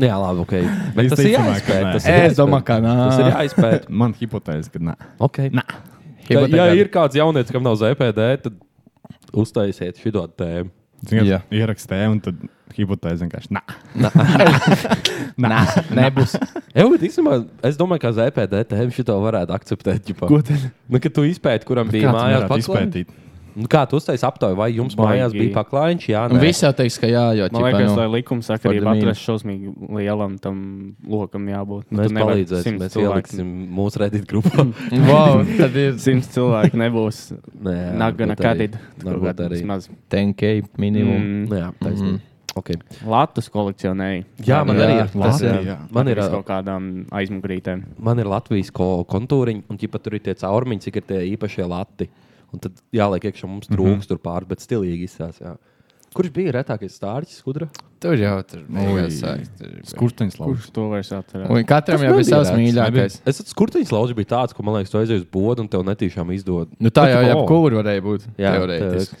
[SPEAKER 6] Jā, labi, ok. Bet tas ir
[SPEAKER 1] Visticamāk, ka
[SPEAKER 6] jāizpēta.
[SPEAKER 1] nē.
[SPEAKER 6] Tas ir
[SPEAKER 8] Es
[SPEAKER 6] jāizpēta.
[SPEAKER 8] domāju, ka nā.
[SPEAKER 6] Tas ir jāizpēta.
[SPEAKER 1] Man hipotēze, ka nē.
[SPEAKER 6] Okay.
[SPEAKER 1] Nā.
[SPEAKER 6] Ja, ja
[SPEAKER 8] Hipotēkā-
[SPEAKER 6] ir kāds jaunietis, kam nav ZPD, tad uztaisiet šo tēmu.
[SPEAKER 1] Ziniet,
[SPEAKER 8] Jā.
[SPEAKER 1] Ierakstēju, un tad hipotēze vienkārši nē.
[SPEAKER 8] Nā, nebūs.
[SPEAKER 6] Jā, bet īstenībā es domāju, ka ZPD tēmu šo varētu akceptēt. ģipā.
[SPEAKER 1] Ko tad?
[SPEAKER 6] Nu, kad tu izpēti, kuram bija mājās paklājiņš.
[SPEAKER 1] izpētīt.
[SPEAKER 6] Nu, kā tu uztaisīji aptauju, vai jums mājās
[SPEAKER 2] Baigi.
[SPEAKER 6] bija paklājiņš? Jā,
[SPEAKER 8] Un
[SPEAKER 6] nē.
[SPEAKER 8] viss jau teiks, ka jā, jo
[SPEAKER 2] Man
[SPEAKER 8] ķipa,
[SPEAKER 2] liekas,
[SPEAKER 8] nu,
[SPEAKER 2] lai likuma sakarība
[SPEAKER 8] for the
[SPEAKER 2] atrast šausmīgi lielam tam lokam jābūt. Nu,
[SPEAKER 6] Mēs
[SPEAKER 2] tu nevari
[SPEAKER 6] palīdzēsim,
[SPEAKER 2] simt
[SPEAKER 6] mēs
[SPEAKER 2] cilvēku-
[SPEAKER 6] ieliksim mūsu redīt grupā.
[SPEAKER 8] Mm. Wow, tad ir
[SPEAKER 2] Simts cilvēku nebūs.
[SPEAKER 6] Nē,
[SPEAKER 2] Nākamā
[SPEAKER 6] varbūt arī.
[SPEAKER 2] gadsimta
[SPEAKER 6] Varbūt arī.
[SPEAKER 8] 10k minimum.
[SPEAKER 6] Nu Jā, taisnība. Okay.
[SPEAKER 2] Latvijas kolekcionēja.
[SPEAKER 6] Jā, man
[SPEAKER 8] Jā,
[SPEAKER 6] arī ir. Tas,
[SPEAKER 1] Latvija,
[SPEAKER 6] jā.
[SPEAKER 1] jā.
[SPEAKER 6] Man ir,
[SPEAKER 2] kaut kādām aizmugurītēm.
[SPEAKER 6] man ir Latvijas ko kontūriņi, un ķipa, tur ir tie caurmiņi, cik ir tie īpašie lati. Un tad jāliek iekšā mums
[SPEAKER 8] Mhm.
[SPEAKER 6] trūks, tur pāri, bet stilīgi izsās. Jā. Kurš bija retākais stārķis, skudra?
[SPEAKER 8] Tur jau tur
[SPEAKER 1] Ui.
[SPEAKER 8] bija.
[SPEAKER 1] Skurteņš
[SPEAKER 2] Kurš
[SPEAKER 1] lauks.
[SPEAKER 2] to vairs atcerās?
[SPEAKER 8] Un katram jau
[SPEAKER 6] nebija
[SPEAKER 8] bija savs
[SPEAKER 6] rēts,
[SPEAKER 8] mīļākais.
[SPEAKER 6] Es saprotu, kurš tas lauks bija tāds, ko man liekas, tu aizies uz bodu un tev netīšām izdod.
[SPEAKER 8] Nu, tā jau
[SPEAKER 6] Tu,
[SPEAKER 8] jau
[SPEAKER 6] oh,
[SPEAKER 8] kur varēja būt.
[SPEAKER 6] Jā,
[SPEAKER 8] teorētiski.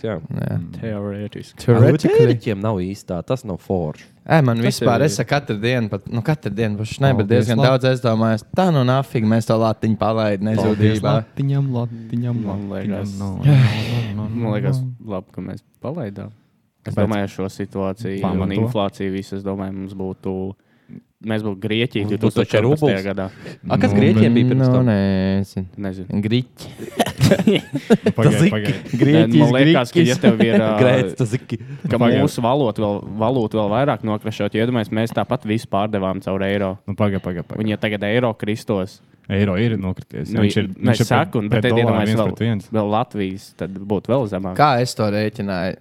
[SPEAKER 6] teorētiski, jā.
[SPEAKER 8] Jā.
[SPEAKER 2] Teorētiski.
[SPEAKER 8] Teorētiski.
[SPEAKER 6] Teorētiķiem nav īstā, tas nav forši.
[SPEAKER 8] Ē, man
[SPEAKER 2] Tas
[SPEAKER 8] vispār,
[SPEAKER 2] ir-
[SPEAKER 8] es saku, katru dienu, pat, nu, katru dienu, pašu ne, bet
[SPEAKER 1] Paldies,
[SPEAKER 8] diezgan
[SPEAKER 1] labi.
[SPEAKER 8] daudz es domāju, tā nu nafīgi mēs to latiņu palaidām nezudībā.
[SPEAKER 1] Latiņam, latiņam,
[SPEAKER 2] Man liekas-
[SPEAKER 1] latiņam, no, Mhm.
[SPEAKER 2] Man liekas, labi, ka mēs palaidām. Es
[SPEAKER 1] Kāpēc?
[SPEAKER 2] domāju, šo situāciju,
[SPEAKER 1] Pamato.
[SPEAKER 2] un inflāciju visu, es domāju, mums būtu. Mēs būtu Grieķija
[SPEAKER 6] Mums būtu taču
[SPEAKER 2] 2014. gadā.
[SPEAKER 6] A, kas
[SPEAKER 1] Nu,
[SPEAKER 6] grieķiem bija pirms
[SPEAKER 8] Nu,
[SPEAKER 6] tam?
[SPEAKER 8] nezinu.
[SPEAKER 2] Nezinu.
[SPEAKER 8] Griķi.
[SPEAKER 1] Pagaidiet, pagaidiet.
[SPEAKER 2] Grieķijas, man liekas, ka, ja tev ir ā,
[SPEAKER 6] Grēts, tas ir. ki-
[SPEAKER 2] ka
[SPEAKER 1] Pagaid.
[SPEAKER 2] mūsu valūta vēl, valūta vēl vairāk nokrašot, jo iedomājieties, mēs tāpat visu pārdevām caur eiro.
[SPEAKER 1] Nu, pagaidiet, pagaidiet.
[SPEAKER 2] Un, ja tagad eiro kristos,
[SPEAKER 1] Eiro ir nokrities.
[SPEAKER 2] nu,
[SPEAKER 1] viņš ir
[SPEAKER 2] mēs sakām, bet tad iedomājieties,
[SPEAKER 1] viens
[SPEAKER 2] vēl,
[SPEAKER 1] pret viens.
[SPEAKER 2] vēl Latvijas, tad būtu vēl zemāk.
[SPEAKER 8] Kā es to rēķināju?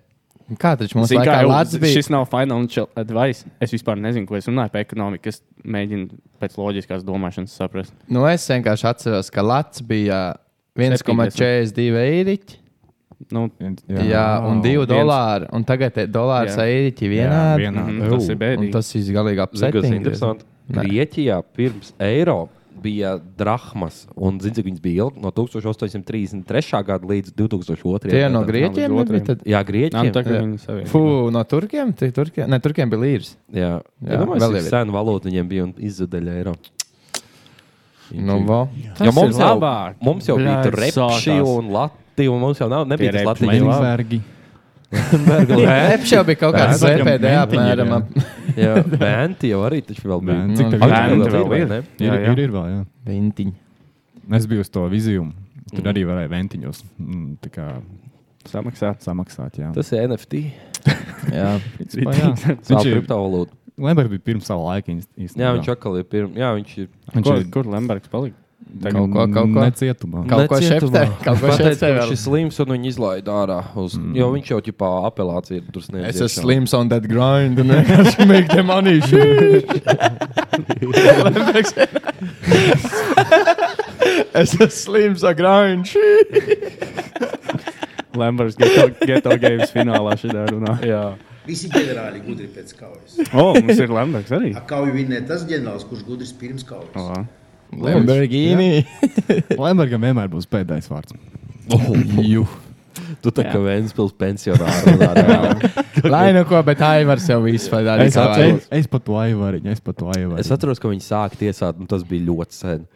[SPEAKER 8] Kā taču mums
[SPEAKER 2] Zini, kā
[SPEAKER 8] laikā
[SPEAKER 2] jau-
[SPEAKER 8] Latvijas bija?
[SPEAKER 2] šis nav financial advice. Es vispār nezinu, ko es runāju par ekonomiku. Es mēģinu pēc loģiskās domāšanas saprast.
[SPEAKER 8] Nu, es vienkārši atceros, ka Latvijas bija 1,42 eiriķi.
[SPEAKER 2] Nu,
[SPEAKER 8] Jā, jā, un 2
[SPEAKER 2] viens-
[SPEAKER 8] dolāri. Un tagad ir dolārs
[SPEAKER 2] Jā.
[SPEAKER 8] eiriķi
[SPEAKER 1] Jā,
[SPEAKER 8] vienādi.
[SPEAKER 1] vienādi.
[SPEAKER 2] mm, mhm, tas ir
[SPEAKER 8] Ah, Un
[SPEAKER 2] bēdīgi.
[SPEAKER 8] tas ir galīgi
[SPEAKER 6] Zini, kas ir
[SPEAKER 8] apziņā.
[SPEAKER 6] interesanti? Grieķijā pirms eiro bija drachmas, un zini, cik viņas bija ilgi no 1833. gada līdz 2002.
[SPEAKER 8] Tie no
[SPEAKER 6] gadam.
[SPEAKER 8] grieķiem nu
[SPEAKER 6] Līdz
[SPEAKER 8] nebija
[SPEAKER 6] otriem.
[SPEAKER 8] tad?
[SPEAKER 6] Jā,
[SPEAKER 2] nu,
[SPEAKER 6] grieķiem.
[SPEAKER 8] Jā. Fū, no turkiem? Tie Turkiem? Ne, turkiem bija līnijas.
[SPEAKER 6] Jā, jā, jā domāju, vēl ir sena valoda, viņiem bija un izzudaļa eiro.
[SPEAKER 8] Nu, va.
[SPEAKER 6] Jo
[SPEAKER 8] Tas
[SPEAKER 6] mums
[SPEAKER 8] ir
[SPEAKER 6] jau,
[SPEAKER 8] labāk.
[SPEAKER 6] mums jau bija
[SPEAKER 8] Bļāj,
[SPEAKER 6] tur repši
[SPEAKER 8] sākās.
[SPEAKER 6] un lati, un mums jau nav, nebija tas
[SPEAKER 8] Tie repši
[SPEAKER 6] latiņu.
[SPEAKER 8] Lembergi.
[SPEAKER 6] Lembergi, lē.
[SPEAKER 8] Repši jau bija kaut kāds
[SPEAKER 6] Bērni.
[SPEAKER 8] ZPD
[SPEAKER 6] Bērniņi ir,
[SPEAKER 8] apmēram.
[SPEAKER 6] Jā, bērni jau arī taču vēl bija.
[SPEAKER 1] Cik tā
[SPEAKER 6] Tagad
[SPEAKER 1] gribi
[SPEAKER 6] vēl vai
[SPEAKER 1] ir?
[SPEAKER 6] ne?
[SPEAKER 1] Ir,
[SPEAKER 6] Jā, jā.
[SPEAKER 1] ir, ir vēl, jā.
[SPEAKER 8] Ventiņi.
[SPEAKER 1] Es biju uz to viziju. Tur arī varēja ventiņos mm, tā kā
[SPEAKER 2] samaksāt.
[SPEAKER 1] samaksāt jā.
[SPEAKER 6] Tas ir NFT.
[SPEAKER 8] jā,
[SPEAKER 1] principā, jā.
[SPEAKER 6] Tā ir kriptovalūta.
[SPEAKER 1] Lembergs bija pirms sava laika. īst- īstenībā.
[SPEAKER 6] Jā, viņš atkal ir pirms. Jā, viņš ir.
[SPEAKER 1] Viņš
[SPEAKER 2] Kur,
[SPEAKER 1] ir-
[SPEAKER 2] kur Lembergs palika?
[SPEAKER 1] Kaut ko- kaut ko- Necietumā.
[SPEAKER 8] Kaut ko
[SPEAKER 6] Necietumā.
[SPEAKER 8] šeptē, kaut ko
[SPEAKER 6] Viņš
[SPEAKER 8] šeptē
[SPEAKER 6] teica, ka
[SPEAKER 8] vēl.
[SPEAKER 6] Viņš ir slims un viņu izlaiž ārā. Uz, mm. Jo viņš jau tipā apelācija ir tur sniedzis.
[SPEAKER 8] Es esmu slims on that grind, un vienkārši make the money. Lembergs. es esmu slims on grind.
[SPEAKER 2] Lamberts geto, geto games finālā šī runā. Jā.
[SPEAKER 11] Visi ģenerāļi gudri pēc kaujas.
[SPEAKER 2] O, mums ir Lamberts arī.
[SPEAKER 11] Ar Kauju vinnē tas ģenerālis, kurš gudrs pirms kaujas.
[SPEAKER 2] O.
[SPEAKER 8] Lamborghini.
[SPEAKER 1] Lembergam vienmēr būs pēdējais vārds.
[SPEAKER 6] Jū. Oh, Tu tā kā Vēnspils pensionārs.
[SPEAKER 8] Lai nu ko, bet Aivars jau visu padarīja.
[SPEAKER 1] Es, es, es pat to aivariņu, es pat to
[SPEAKER 6] Es
[SPEAKER 1] aivariņu.
[SPEAKER 6] atceros, ka viņi sāka tiesāt, un tas bija ļoti sen.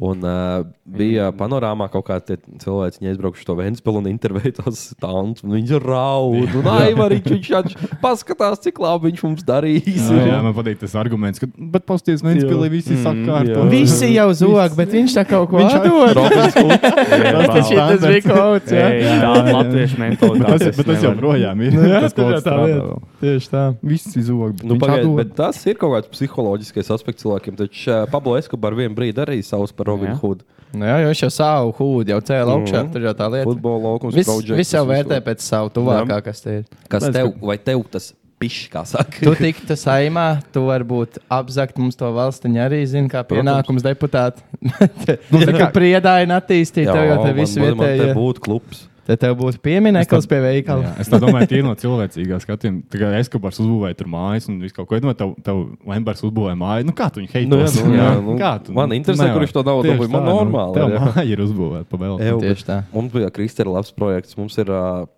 [SPEAKER 6] Un uh, bija
[SPEAKER 8] Mm.
[SPEAKER 6] panorāmā kaut kāda cilvēka, viņa aizbrauca uz to Vēnspili un intervēja tos stāvus. Viņš raud, un Aivariņš, viņš atš- paskatās, cik labi viņš mums darīs.
[SPEAKER 1] Jā, jā, man patīk tas arguments, ka, bet paskatieties, Vēnspīlī visi
[SPEAKER 6] Mm,
[SPEAKER 1] sakārto.
[SPEAKER 6] jā.
[SPEAKER 8] Visi jau zog, bet viņš tā kaut ko atdod. Tas taču tas bija kaut kas.
[SPEAKER 2] Ei, tā ir latviešu mentalitāte.
[SPEAKER 1] Bet tas- bet tas
[SPEAKER 2] nevaru.
[SPEAKER 1] joprojām ir.
[SPEAKER 8] Nu, jā,
[SPEAKER 1] Tas
[SPEAKER 8] tur
[SPEAKER 1] kaut
[SPEAKER 8] jau
[SPEAKER 1] kas
[SPEAKER 8] tā
[SPEAKER 1] strādā
[SPEAKER 8] lieta.
[SPEAKER 1] vēl.
[SPEAKER 8] Tieši tā.
[SPEAKER 1] Viss izog.
[SPEAKER 6] Nu,
[SPEAKER 1] viņš
[SPEAKER 6] pagaid,
[SPEAKER 1] atdod.
[SPEAKER 6] bet tas ir kaut kāds psiholoģiskais aspekts cilvēkiem. Taču uh, Pablo Escobar vienā brīdī arī savus par Robinu Hoodu.
[SPEAKER 8] Nu, jā, jo viņš jau savu hūdu jau cēlā augšā.
[SPEAKER 6] Mhm.
[SPEAKER 8] Tur jau tā lieta.
[SPEAKER 6] Futbola laukums,
[SPEAKER 8] Viss
[SPEAKER 6] Gauģeks,
[SPEAKER 8] vis jau
[SPEAKER 6] tas visu.
[SPEAKER 8] vērtē pēc savu tuvākā, kas te ir.
[SPEAKER 6] Kas tev, vai tev tas pišķi, kā saka?
[SPEAKER 8] Tu tiktu saimā, tu varbūt apzakt mums to valstiņu arī, zini, kā pienākums deputāti. Nu, tā kā priedaina attīstīt, tev jau te viss
[SPEAKER 6] man, man te
[SPEAKER 8] vietējais.
[SPEAKER 6] būtu klubs.
[SPEAKER 8] Te tev būtu piemineklis pie veikala.
[SPEAKER 1] Jā, es tā domāju, tie ir no cilvēcīgā skatījuma. Tā kā Eskubārs uzbūvēja tur mājas, un viss kaut ko tādu tev, tev Lembergs uzbūvēja māju. Nu, kā tu viņu
[SPEAKER 6] Nu, jā,
[SPEAKER 1] heitos?
[SPEAKER 6] nu, jā, nu,
[SPEAKER 1] kā tu?
[SPEAKER 6] man interesē,
[SPEAKER 1] nevar.
[SPEAKER 6] kurš to naudu
[SPEAKER 1] Tieši
[SPEAKER 6] dabūja. Man
[SPEAKER 1] tā, nu,
[SPEAKER 6] normāli
[SPEAKER 1] Tev
[SPEAKER 6] ir, jā.
[SPEAKER 1] māja ir uzbūvēta pa vēl.
[SPEAKER 6] Ew,
[SPEAKER 8] Tieši tā.
[SPEAKER 6] Mums bija Kristēna labs projekts. Mums ir uh,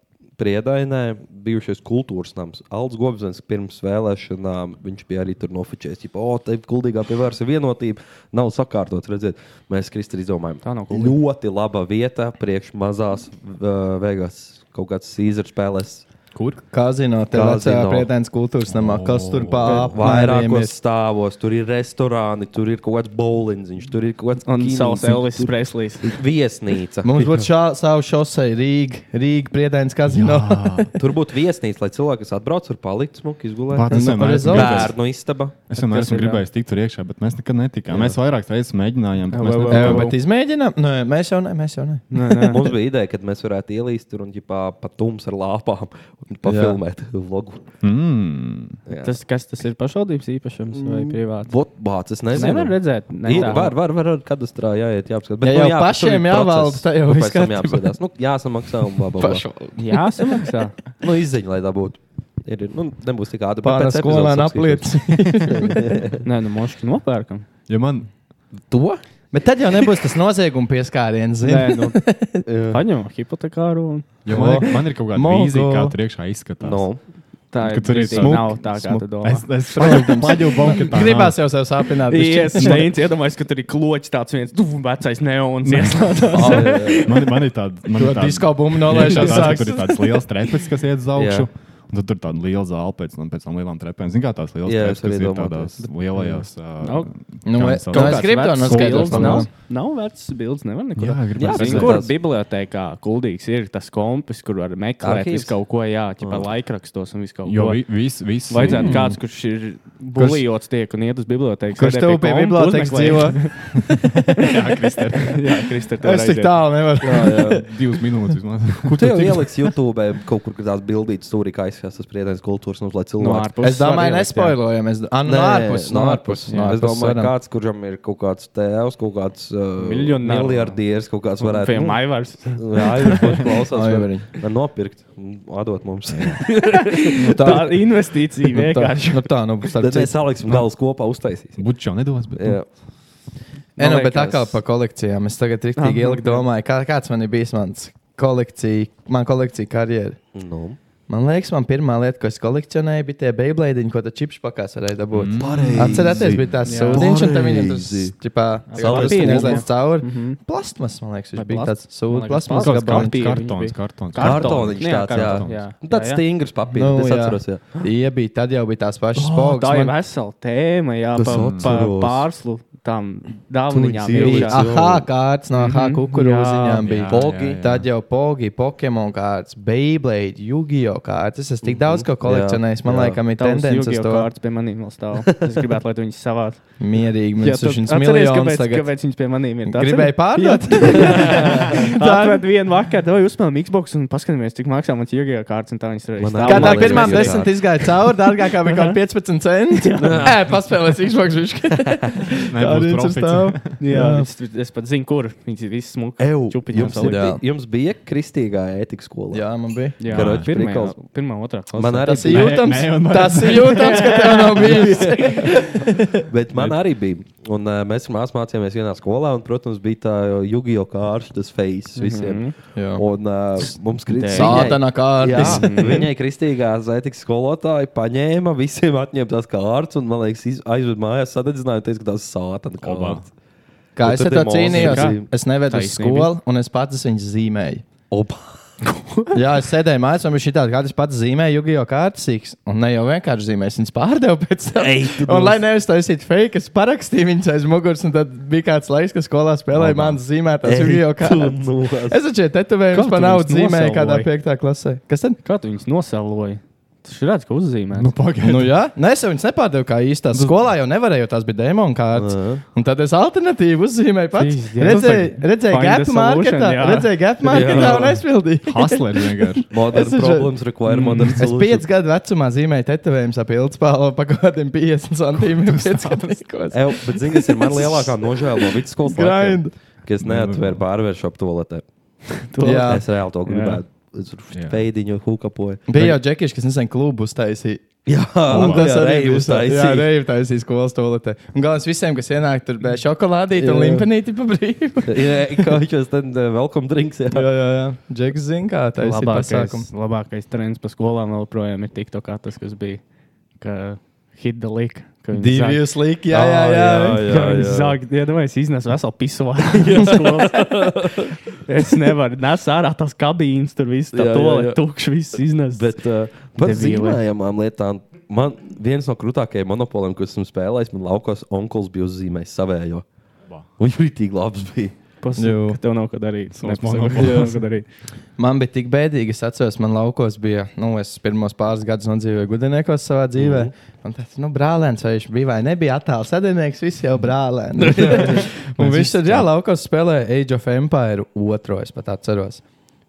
[SPEAKER 6] priedainē bijušais kultūras nams. Alds Gobsens pirms vēlēšanām viņš bija arī tur nofočējis. Jā, oh, tā ir gudrīgā pievērsta vienotība. Nav sakārtots, redziet, mēs Kristēna izdomājām.
[SPEAKER 2] Tā nav kuldīga.
[SPEAKER 6] ļoti laba vieta priekš mazās uh, Vegas kaut kāds Caesar spēlēs.
[SPEAKER 1] Kur?
[SPEAKER 8] Kazino, te vecajā
[SPEAKER 6] Kazino. Oh,
[SPEAKER 8] priedainas kultūras namā, kas tur
[SPEAKER 6] Vairākos
[SPEAKER 8] pārāpārāmies.
[SPEAKER 6] stāvos, tur ir restorāni, tur ir kaut kāds bowlings, tur ir kaut kāds
[SPEAKER 2] Un
[SPEAKER 6] kinīns,
[SPEAKER 2] savs Elvis
[SPEAKER 6] tur
[SPEAKER 2] Preslīs.
[SPEAKER 6] ir viesnīca.
[SPEAKER 8] Mums būtu šā, savu šosei Rīga, Rīga priedainas kazino.
[SPEAKER 6] Tur būtu viesnīca, lai cilvēki, kas atbrauc, var palikt smuki izgulēt.
[SPEAKER 1] Vāt, es
[SPEAKER 8] Nu,
[SPEAKER 1] vienmēr esmu
[SPEAKER 8] rezultāts.
[SPEAKER 1] gribējis-
[SPEAKER 6] Bērnu istaba.
[SPEAKER 1] es vienmēr esmu gribējis tikt tur iekšā, bet mēs nekad netikām. Mēs vairākas reizes mēģinājām, bet mēs
[SPEAKER 8] Jā,
[SPEAKER 1] netikām.
[SPEAKER 8] bet izmēģinām. Nē, mēs jau ne, mēs jau ne.
[SPEAKER 6] Mums bija ideja, ka mēs varētu ielīst tur un ģipā, pa tums ar lāpām un pafilmēt vlogu.
[SPEAKER 1] Mm.
[SPEAKER 2] Tas, kas tas ir pašvaldības īpašums vai privāts?
[SPEAKER 6] Vot bāc, es nezinu.
[SPEAKER 2] Nevar redzēt, ne
[SPEAKER 6] Ir,
[SPEAKER 2] tā.
[SPEAKER 6] var, var, var, var kadastrā jāiet, jāapskatās. nu,
[SPEAKER 8] Ja jau pašiem jāvalda, tā jau viss
[SPEAKER 6] ir
[SPEAKER 8] kārtībā.
[SPEAKER 6] Nu, jāapskatās. Nu, jāsamaksā un blablabla.
[SPEAKER 2] Jā, samaksā.
[SPEAKER 6] Nu, izziņa, lai tā būtu. Ir, ir. nu, nebūs tik ātri.
[SPEAKER 8] Pārā skolēna apliec.
[SPEAKER 2] Nē, nu moški nopērkam.
[SPEAKER 1] Ja man
[SPEAKER 6] To?
[SPEAKER 8] Bet tad jau nebūs tas nozieguma pieskāriens,
[SPEAKER 2] Nē,
[SPEAKER 8] zini.
[SPEAKER 2] nu, paņem hipotekāru. Un...
[SPEAKER 1] ja man ir, man ir kaut kāda
[SPEAKER 8] Mogo.
[SPEAKER 1] vīzija, kā tur iekšā izskatās.
[SPEAKER 6] Nu,
[SPEAKER 2] Tā
[SPEAKER 1] Ka tur ir
[SPEAKER 2] brīdī
[SPEAKER 1] smuki,
[SPEAKER 2] Nav tā, kā tu domā.
[SPEAKER 1] Es, es paņēmu, ka tā nav.
[SPEAKER 8] Gribās jau sev sāpināt.
[SPEAKER 2] Es
[SPEAKER 8] bišķiņ.
[SPEAKER 2] iedomājos, ka tur ir kloķis tāds viens, du, vecais neons. ieslēdzās.
[SPEAKER 1] Man, man ir tāda
[SPEAKER 8] To disko bumbu nolaišana
[SPEAKER 1] sākas.
[SPEAKER 8] sāks.
[SPEAKER 1] Tur ir tāds liels trepes, kas iet uz augšu.
[SPEAKER 6] Jā.
[SPEAKER 1] Un tad tur ir tāda liela zāle pēc, tam- pēc tam lielām trepēm. Zini, kā tās lielas
[SPEAKER 6] Jā,
[SPEAKER 1] trepes,
[SPEAKER 6] es
[SPEAKER 1] kas
[SPEAKER 6] arī
[SPEAKER 1] ir
[SPEAKER 6] domāju,
[SPEAKER 1] tādās lielajās.
[SPEAKER 2] Nav-
[SPEAKER 8] Nu,
[SPEAKER 1] kā
[SPEAKER 8] vai-
[SPEAKER 1] sauc?
[SPEAKER 8] nu, es gribu to
[SPEAKER 2] Vecs
[SPEAKER 8] noskaidrot.
[SPEAKER 2] bildes Nav,
[SPEAKER 8] labāk.
[SPEAKER 2] nav vecs bildes, nevar neko.
[SPEAKER 1] Jā, gribētu
[SPEAKER 6] redzēt.
[SPEAKER 2] kur
[SPEAKER 6] Tās-
[SPEAKER 2] bibliotekā kuldīgs ir tas kompis, kur var meklēt
[SPEAKER 6] Arhīvs?
[SPEAKER 2] visu kaut ko, jā, ķipa laikrakstos un visu kaut
[SPEAKER 1] Jo
[SPEAKER 2] ko.
[SPEAKER 1] vi- viss, viss.
[SPEAKER 2] Vajadzētu
[SPEAKER 8] Mm.
[SPEAKER 2] kāds, kurš ir buļļots, tiek un iet uz biblioteku.
[SPEAKER 8] Kurš tev pie bibliotekas dzīvo?
[SPEAKER 1] Jā, Kristē.
[SPEAKER 2] Jā, Kristē,
[SPEAKER 8] Es tik tālu nevaru.
[SPEAKER 1] Divas minūtes vismaz.
[SPEAKER 6] Kur tu jau ieliks YouTube kaut kur kur tās bildītas, tur ir aizskatās tas priedēns kultūras mums, lai
[SPEAKER 2] No
[SPEAKER 6] cilvēki.
[SPEAKER 2] ārpuses
[SPEAKER 8] Es domāju,
[SPEAKER 2] var ielikt, jā.
[SPEAKER 8] nespoilojam. Es nu, domāju, no ārpuses.
[SPEAKER 6] no ārpuses.
[SPEAKER 8] no
[SPEAKER 6] nu, Es
[SPEAKER 8] ārpuses
[SPEAKER 6] domāju,
[SPEAKER 8] varam.
[SPEAKER 6] ka kāds, kuram ir kaut kāds tēvs, kaut kāds uh,
[SPEAKER 2] Miljonārs.
[SPEAKER 6] miljardieris, kaut kāds varētu nu,
[SPEAKER 2] Fiem Aivars.
[SPEAKER 6] Jā, jau tādā klausās, var,
[SPEAKER 8] Aivariņ.
[SPEAKER 6] var nopirkt, un atdot mums.
[SPEAKER 8] Nu
[SPEAKER 2] Tā ir investīcija
[SPEAKER 8] nu tā-
[SPEAKER 2] vienkārši.
[SPEAKER 8] Nu tā, nu, starp
[SPEAKER 6] Tad
[SPEAKER 8] citu.
[SPEAKER 6] mēs saliksim galus kopā, uztaisīsim.
[SPEAKER 1] Bučs jau nedos, bet. nu,
[SPEAKER 6] Jā.
[SPEAKER 8] Nē,
[SPEAKER 2] Man
[SPEAKER 8] nu, bet
[SPEAKER 2] liekas-
[SPEAKER 8] atkal par kolekcijām. Es tagad
[SPEAKER 2] Ah,
[SPEAKER 6] nu,
[SPEAKER 8] rīktīgi ilgi
[SPEAKER 2] ok.
[SPEAKER 8] domāju, kā, kāds man ir bijis mans kolekcija, man kolekcija karjera.
[SPEAKER 6] Nu.
[SPEAKER 8] Man liekas, man pirmā lieta, ko es kolekcionēju, bija tie beiglaidiņi, ko tas čips pakās varēja dabūt.
[SPEAKER 6] Pareizi.
[SPEAKER 8] Atcerieties, bija tās
[SPEAKER 6] Mm. Jā.
[SPEAKER 8] sūdiņš, un tam viņam tas
[SPEAKER 6] Pareizi.
[SPEAKER 8] čipā
[SPEAKER 6] Cauri
[SPEAKER 8] papīra
[SPEAKER 6] sūdiņam.
[SPEAKER 8] izlaiž cauri.
[SPEAKER 6] Mhm.
[SPEAKER 8] Plasmas, man liekas,
[SPEAKER 6] Vai
[SPEAKER 8] viņš bija
[SPEAKER 6] plast-
[SPEAKER 8] tāds sūdiņš.
[SPEAKER 6] man liekas,
[SPEAKER 8] Plasmas
[SPEAKER 6] plast-
[SPEAKER 8] gabaliņš.
[SPEAKER 6] Kartons, kartons. Kartoniņš tāds, jā. Nu, tāds stingrs papīrs, es atceros, jā.
[SPEAKER 8] Nu, Tie bija, tad jau bija tās pašas
[SPEAKER 2] Oh,
[SPEAKER 8] spogas.
[SPEAKER 2] tā ir
[SPEAKER 8] Man-
[SPEAKER 2] vesela tēma, jā,
[SPEAKER 8] Tas
[SPEAKER 2] pa, pa
[SPEAKER 8] atceros.
[SPEAKER 2] pārslu tam dāvinām.
[SPEAKER 8] bija aha kārtas, no aha
[SPEAKER 2] Mhm.
[SPEAKER 8] kukurūziņām
[SPEAKER 2] Jā,
[SPEAKER 8] bija
[SPEAKER 2] jā,
[SPEAKER 8] pogi.
[SPEAKER 2] jā, jā.
[SPEAKER 8] Tad jau pogi, Pokemon kārtas, Beyblade, Yu-Gi-Oh kārtas. Es esmu tik
[SPEAKER 2] Mhm.
[SPEAKER 8] daudz ko kolekcionējis. Man liekas, ir tendence uz to.
[SPEAKER 2] Kārtas pie maniem vēl stāv. Es gribētu, lai tu viņus savāc.
[SPEAKER 8] Mierīgi, man
[SPEAKER 2] Jā, tu
[SPEAKER 8] tas ir
[SPEAKER 2] atceries,
[SPEAKER 8] miljonus
[SPEAKER 2] kāpēc-
[SPEAKER 8] tagad.
[SPEAKER 2] Kāpēc viņš pie maniem ir tāds?
[SPEAKER 8] Gribēji pārdot?
[SPEAKER 2] tā ir viena vakar, vai uzspēlējām Xbox un paskatījāmies, cik maksā mans jūgajā kārtas un tā viņas arī.
[SPEAKER 8] Kā tā pirmā desmit izgāja cauri, dārgākā bija kaut kāda 15 centi. Nē, paspēlēs Xbox višķi.
[SPEAKER 2] Nebūs profits. Jā, viņas- es pat zinu, kur viņas ir visas smukas.
[SPEAKER 6] Jums, ir, jums bija kristīgā ētikas skola.
[SPEAKER 8] Jā, man bija.
[SPEAKER 2] Jā,
[SPEAKER 6] Karoči,
[SPEAKER 2] pirmajā-
[SPEAKER 6] prikals.
[SPEAKER 2] pirmā, otrā klasē.
[SPEAKER 6] Man arī
[SPEAKER 2] Tas ir jūtams. Nē, nē, un man- Tas ir jūtams, ka tev nav bijis.
[SPEAKER 6] Bet man arī bija. Un, uh, mēs ar māsu mācījāmies vienā skolā, un, protams, bija tā jūgija kārtas, tas face visiem.
[SPEAKER 8] Jā.
[SPEAKER 6] Un uh, mums
[SPEAKER 8] Dēļ.
[SPEAKER 6] kristīgi.
[SPEAKER 8] Sātana kārtas.
[SPEAKER 6] Viņai kristīgā ētikas skolotāja paņēma, visiem atņēma tās kārtas, un, man liekas, iz- aizved mājās sadedzinājoties, ka tās sātana kārtas.
[SPEAKER 8] Kā
[SPEAKER 6] Un
[SPEAKER 8] es
[SPEAKER 6] tad
[SPEAKER 8] ar
[SPEAKER 6] ir
[SPEAKER 8] to
[SPEAKER 6] mozaika.
[SPEAKER 8] cīnījos, es nevedu uz
[SPEAKER 6] Taisnība.
[SPEAKER 8] skolu, un es pats viņu zīmēju.
[SPEAKER 6] Opa.
[SPEAKER 8] Jā, es sēdēju mājās, un viņš ir tāds, kāds es pats zīmēju, jau jau kārtas, un ne jau vienkārši zīmēju, es viņas pārdevu pēc tam.
[SPEAKER 6] Ei, tu
[SPEAKER 8] un,
[SPEAKER 6] mums-
[SPEAKER 8] lai nevis taisītu fake, es parakstīju viņas aiz muguras, un tad bija kāds laiks, ka skolā spēlēja manas zīmētās
[SPEAKER 2] Ei,
[SPEAKER 8] jau jau
[SPEAKER 2] tu
[SPEAKER 8] kārtas.
[SPEAKER 2] nolasi.
[SPEAKER 8] Es taču
[SPEAKER 2] Kā
[SPEAKER 8] tetovējumus
[SPEAKER 2] tu
[SPEAKER 8] par naudu
[SPEAKER 2] viņus
[SPEAKER 8] zīmēju kādā
[SPEAKER 2] nosauloji?
[SPEAKER 8] piektā klasē. Kas tad?
[SPEAKER 2] Kā tu viņus nosauloji? Tas ir redzams, ka uzzīmē.
[SPEAKER 8] Nu, nu, jā, Nē, es jau viņas nepārdevu kā īstās. Skolā jau nevarēju, jo tās bija demonu kārtas. Un tad es alternatīvu uzzīmēju pats.
[SPEAKER 1] Jeez, jā.
[SPEAKER 8] Redzēju,
[SPEAKER 1] Tas tā
[SPEAKER 8] redzēju
[SPEAKER 1] find
[SPEAKER 8] gap
[SPEAKER 1] the solution,
[SPEAKER 8] marketā,
[SPEAKER 1] jā.
[SPEAKER 8] redzēju gap
[SPEAKER 1] Jā.
[SPEAKER 8] marketā un aizpildīju.
[SPEAKER 1] Hustler vienkārši.
[SPEAKER 6] Modern
[SPEAKER 8] Es taču-
[SPEAKER 6] problems require
[SPEAKER 8] Mm.
[SPEAKER 6] modern
[SPEAKER 8] Es
[SPEAKER 6] solution.
[SPEAKER 8] piecu gadu vecumā zīmēju tetovējumus ap ilgspālu pa kaut kādiem 50 centīmetriem.
[SPEAKER 6] Ew, bet zini, kas ir man lielākā nožēla no vidusskolas
[SPEAKER 8] Grind.
[SPEAKER 6] laikiem? Ka es neatvēru pārvēršu ap toaletē.
[SPEAKER 8] Jā.
[SPEAKER 6] Es reāli to
[SPEAKER 8] Jā.
[SPEAKER 6] gribētu. Es tur
[SPEAKER 8] Jā.
[SPEAKER 6] veidiņu hukapoju.
[SPEAKER 8] Bija jau džekieši, kas nesen klubu uztaisīja.
[SPEAKER 6] Jā,
[SPEAKER 8] un tas
[SPEAKER 6] jā,
[SPEAKER 8] arī
[SPEAKER 6] reivu
[SPEAKER 8] bija uztaisīts. Jā,
[SPEAKER 6] uztaisīja.
[SPEAKER 8] reiba taisīja skolas toaletē. Un galvenais visiem, kas ienāk tur, bija
[SPEAKER 6] Jā.
[SPEAKER 8] šokolādīte un limpenīti pa brīvu.
[SPEAKER 6] Jā, kā viņš jau ten uh, welcome drinks. Jā,
[SPEAKER 8] jā, jā. jā. Džeks zina, kā taisīt pasākumu.
[SPEAKER 2] Labākais, labākais trends pa skolām vēl projām ir tik to, kā tas, kas bija. Ka hit the lick. ka viņi
[SPEAKER 8] Devious
[SPEAKER 2] zag-
[SPEAKER 8] lick, jā,
[SPEAKER 6] Ah,
[SPEAKER 8] jā, jā. Jā,
[SPEAKER 2] Ka viņi
[SPEAKER 8] jā.
[SPEAKER 2] Zag, ja domājies, iznes veselu pisuāru. es nevaru nes ārā tās kabīnes, tur viss tā tole tukšs, viss iznes.
[SPEAKER 6] Bet uh, par
[SPEAKER 2] Debili.
[SPEAKER 6] zīmējamām lietām. Man viens no krūtākajiem monopoliem, ko esmu spēlējis, man laukos onkulis bija uzzīmējis savējo. Viņš bija tik labs. Bija.
[SPEAKER 2] Pasaka, ka tev nav ko darīt.
[SPEAKER 6] Savs
[SPEAKER 2] Nepasaka, ka tev
[SPEAKER 6] monopols.
[SPEAKER 2] nav ko darīt.
[SPEAKER 8] Man bija tik bēdīgi, es atceros, man laukos bija, nu, es pirmos pāris gadus nodzīvoju gudriniekos savā dzīvē. Mm -hmm. Un tas, nu, brālēns, vai viņš bija vai nebija attāls sadarbnieks, visi jau brālēni. un viņš tad, jā, laukos spēlēja Age of Empire otro, es pat atceros.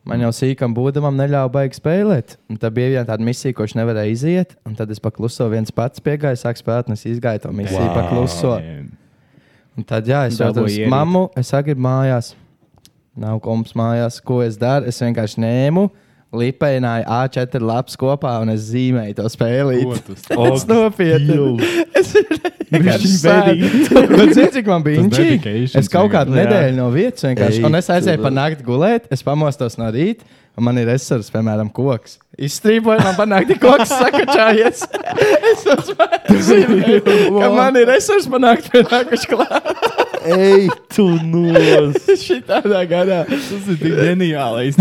[SPEAKER 8] Man jau sīkam būdamam neļāva baigi spēlēt. Un tad bija viena tāda misija, ko viņš nevarēja iziet. Un tad es pakluso viens pats piegāju, sāku spēlēt, un es izgāju to misiju wow.
[SPEAKER 6] Wow.
[SPEAKER 8] pakluso. Un tad, jā, es
[SPEAKER 6] Dabūji
[SPEAKER 8] jautāju,
[SPEAKER 6] ierīt.
[SPEAKER 8] mammu, es agri mājās. Nav kompas mājās, ko es daru. Es vienkārši ņēmu, lipēju A4 lapas kopā un es zīmēju to spēli.
[SPEAKER 1] Ko tu stāsti?
[SPEAKER 8] Tas nopietni. Es vienkārši
[SPEAKER 1] Bišķiņ
[SPEAKER 8] sēdu.
[SPEAKER 1] bēdīgi.
[SPEAKER 8] Bet zini, cik man bija
[SPEAKER 1] Tas
[SPEAKER 8] inčīgi?
[SPEAKER 1] dedication
[SPEAKER 8] Es kaut kādu
[SPEAKER 1] tagad.
[SPEAKER 8] nedēļu
[SPEAKER 1] Jā.
[SPEAKER 8] no vietas vienkārši.
[SPEAKER 1] Ei,
[SPEAKER 8] Un es aizēju
[SPEAKER 1] tu
[SPEAKER 8] pa
[SPEAKER 1] vēl.
[SPEAKER 8] nakti gulēt, es pamostos no rīta, un man ir esers, piemēram, koks. Izstrīpoju, man panākti koks sakačājies. Es uzmanīju, ka man ir esers panākti pienākuši klāt.
[SPEAKER 6] Ei, tu nu. nos!
[SPEAKER 8] Šitādā gadā. Tas ir tik ģeniālais.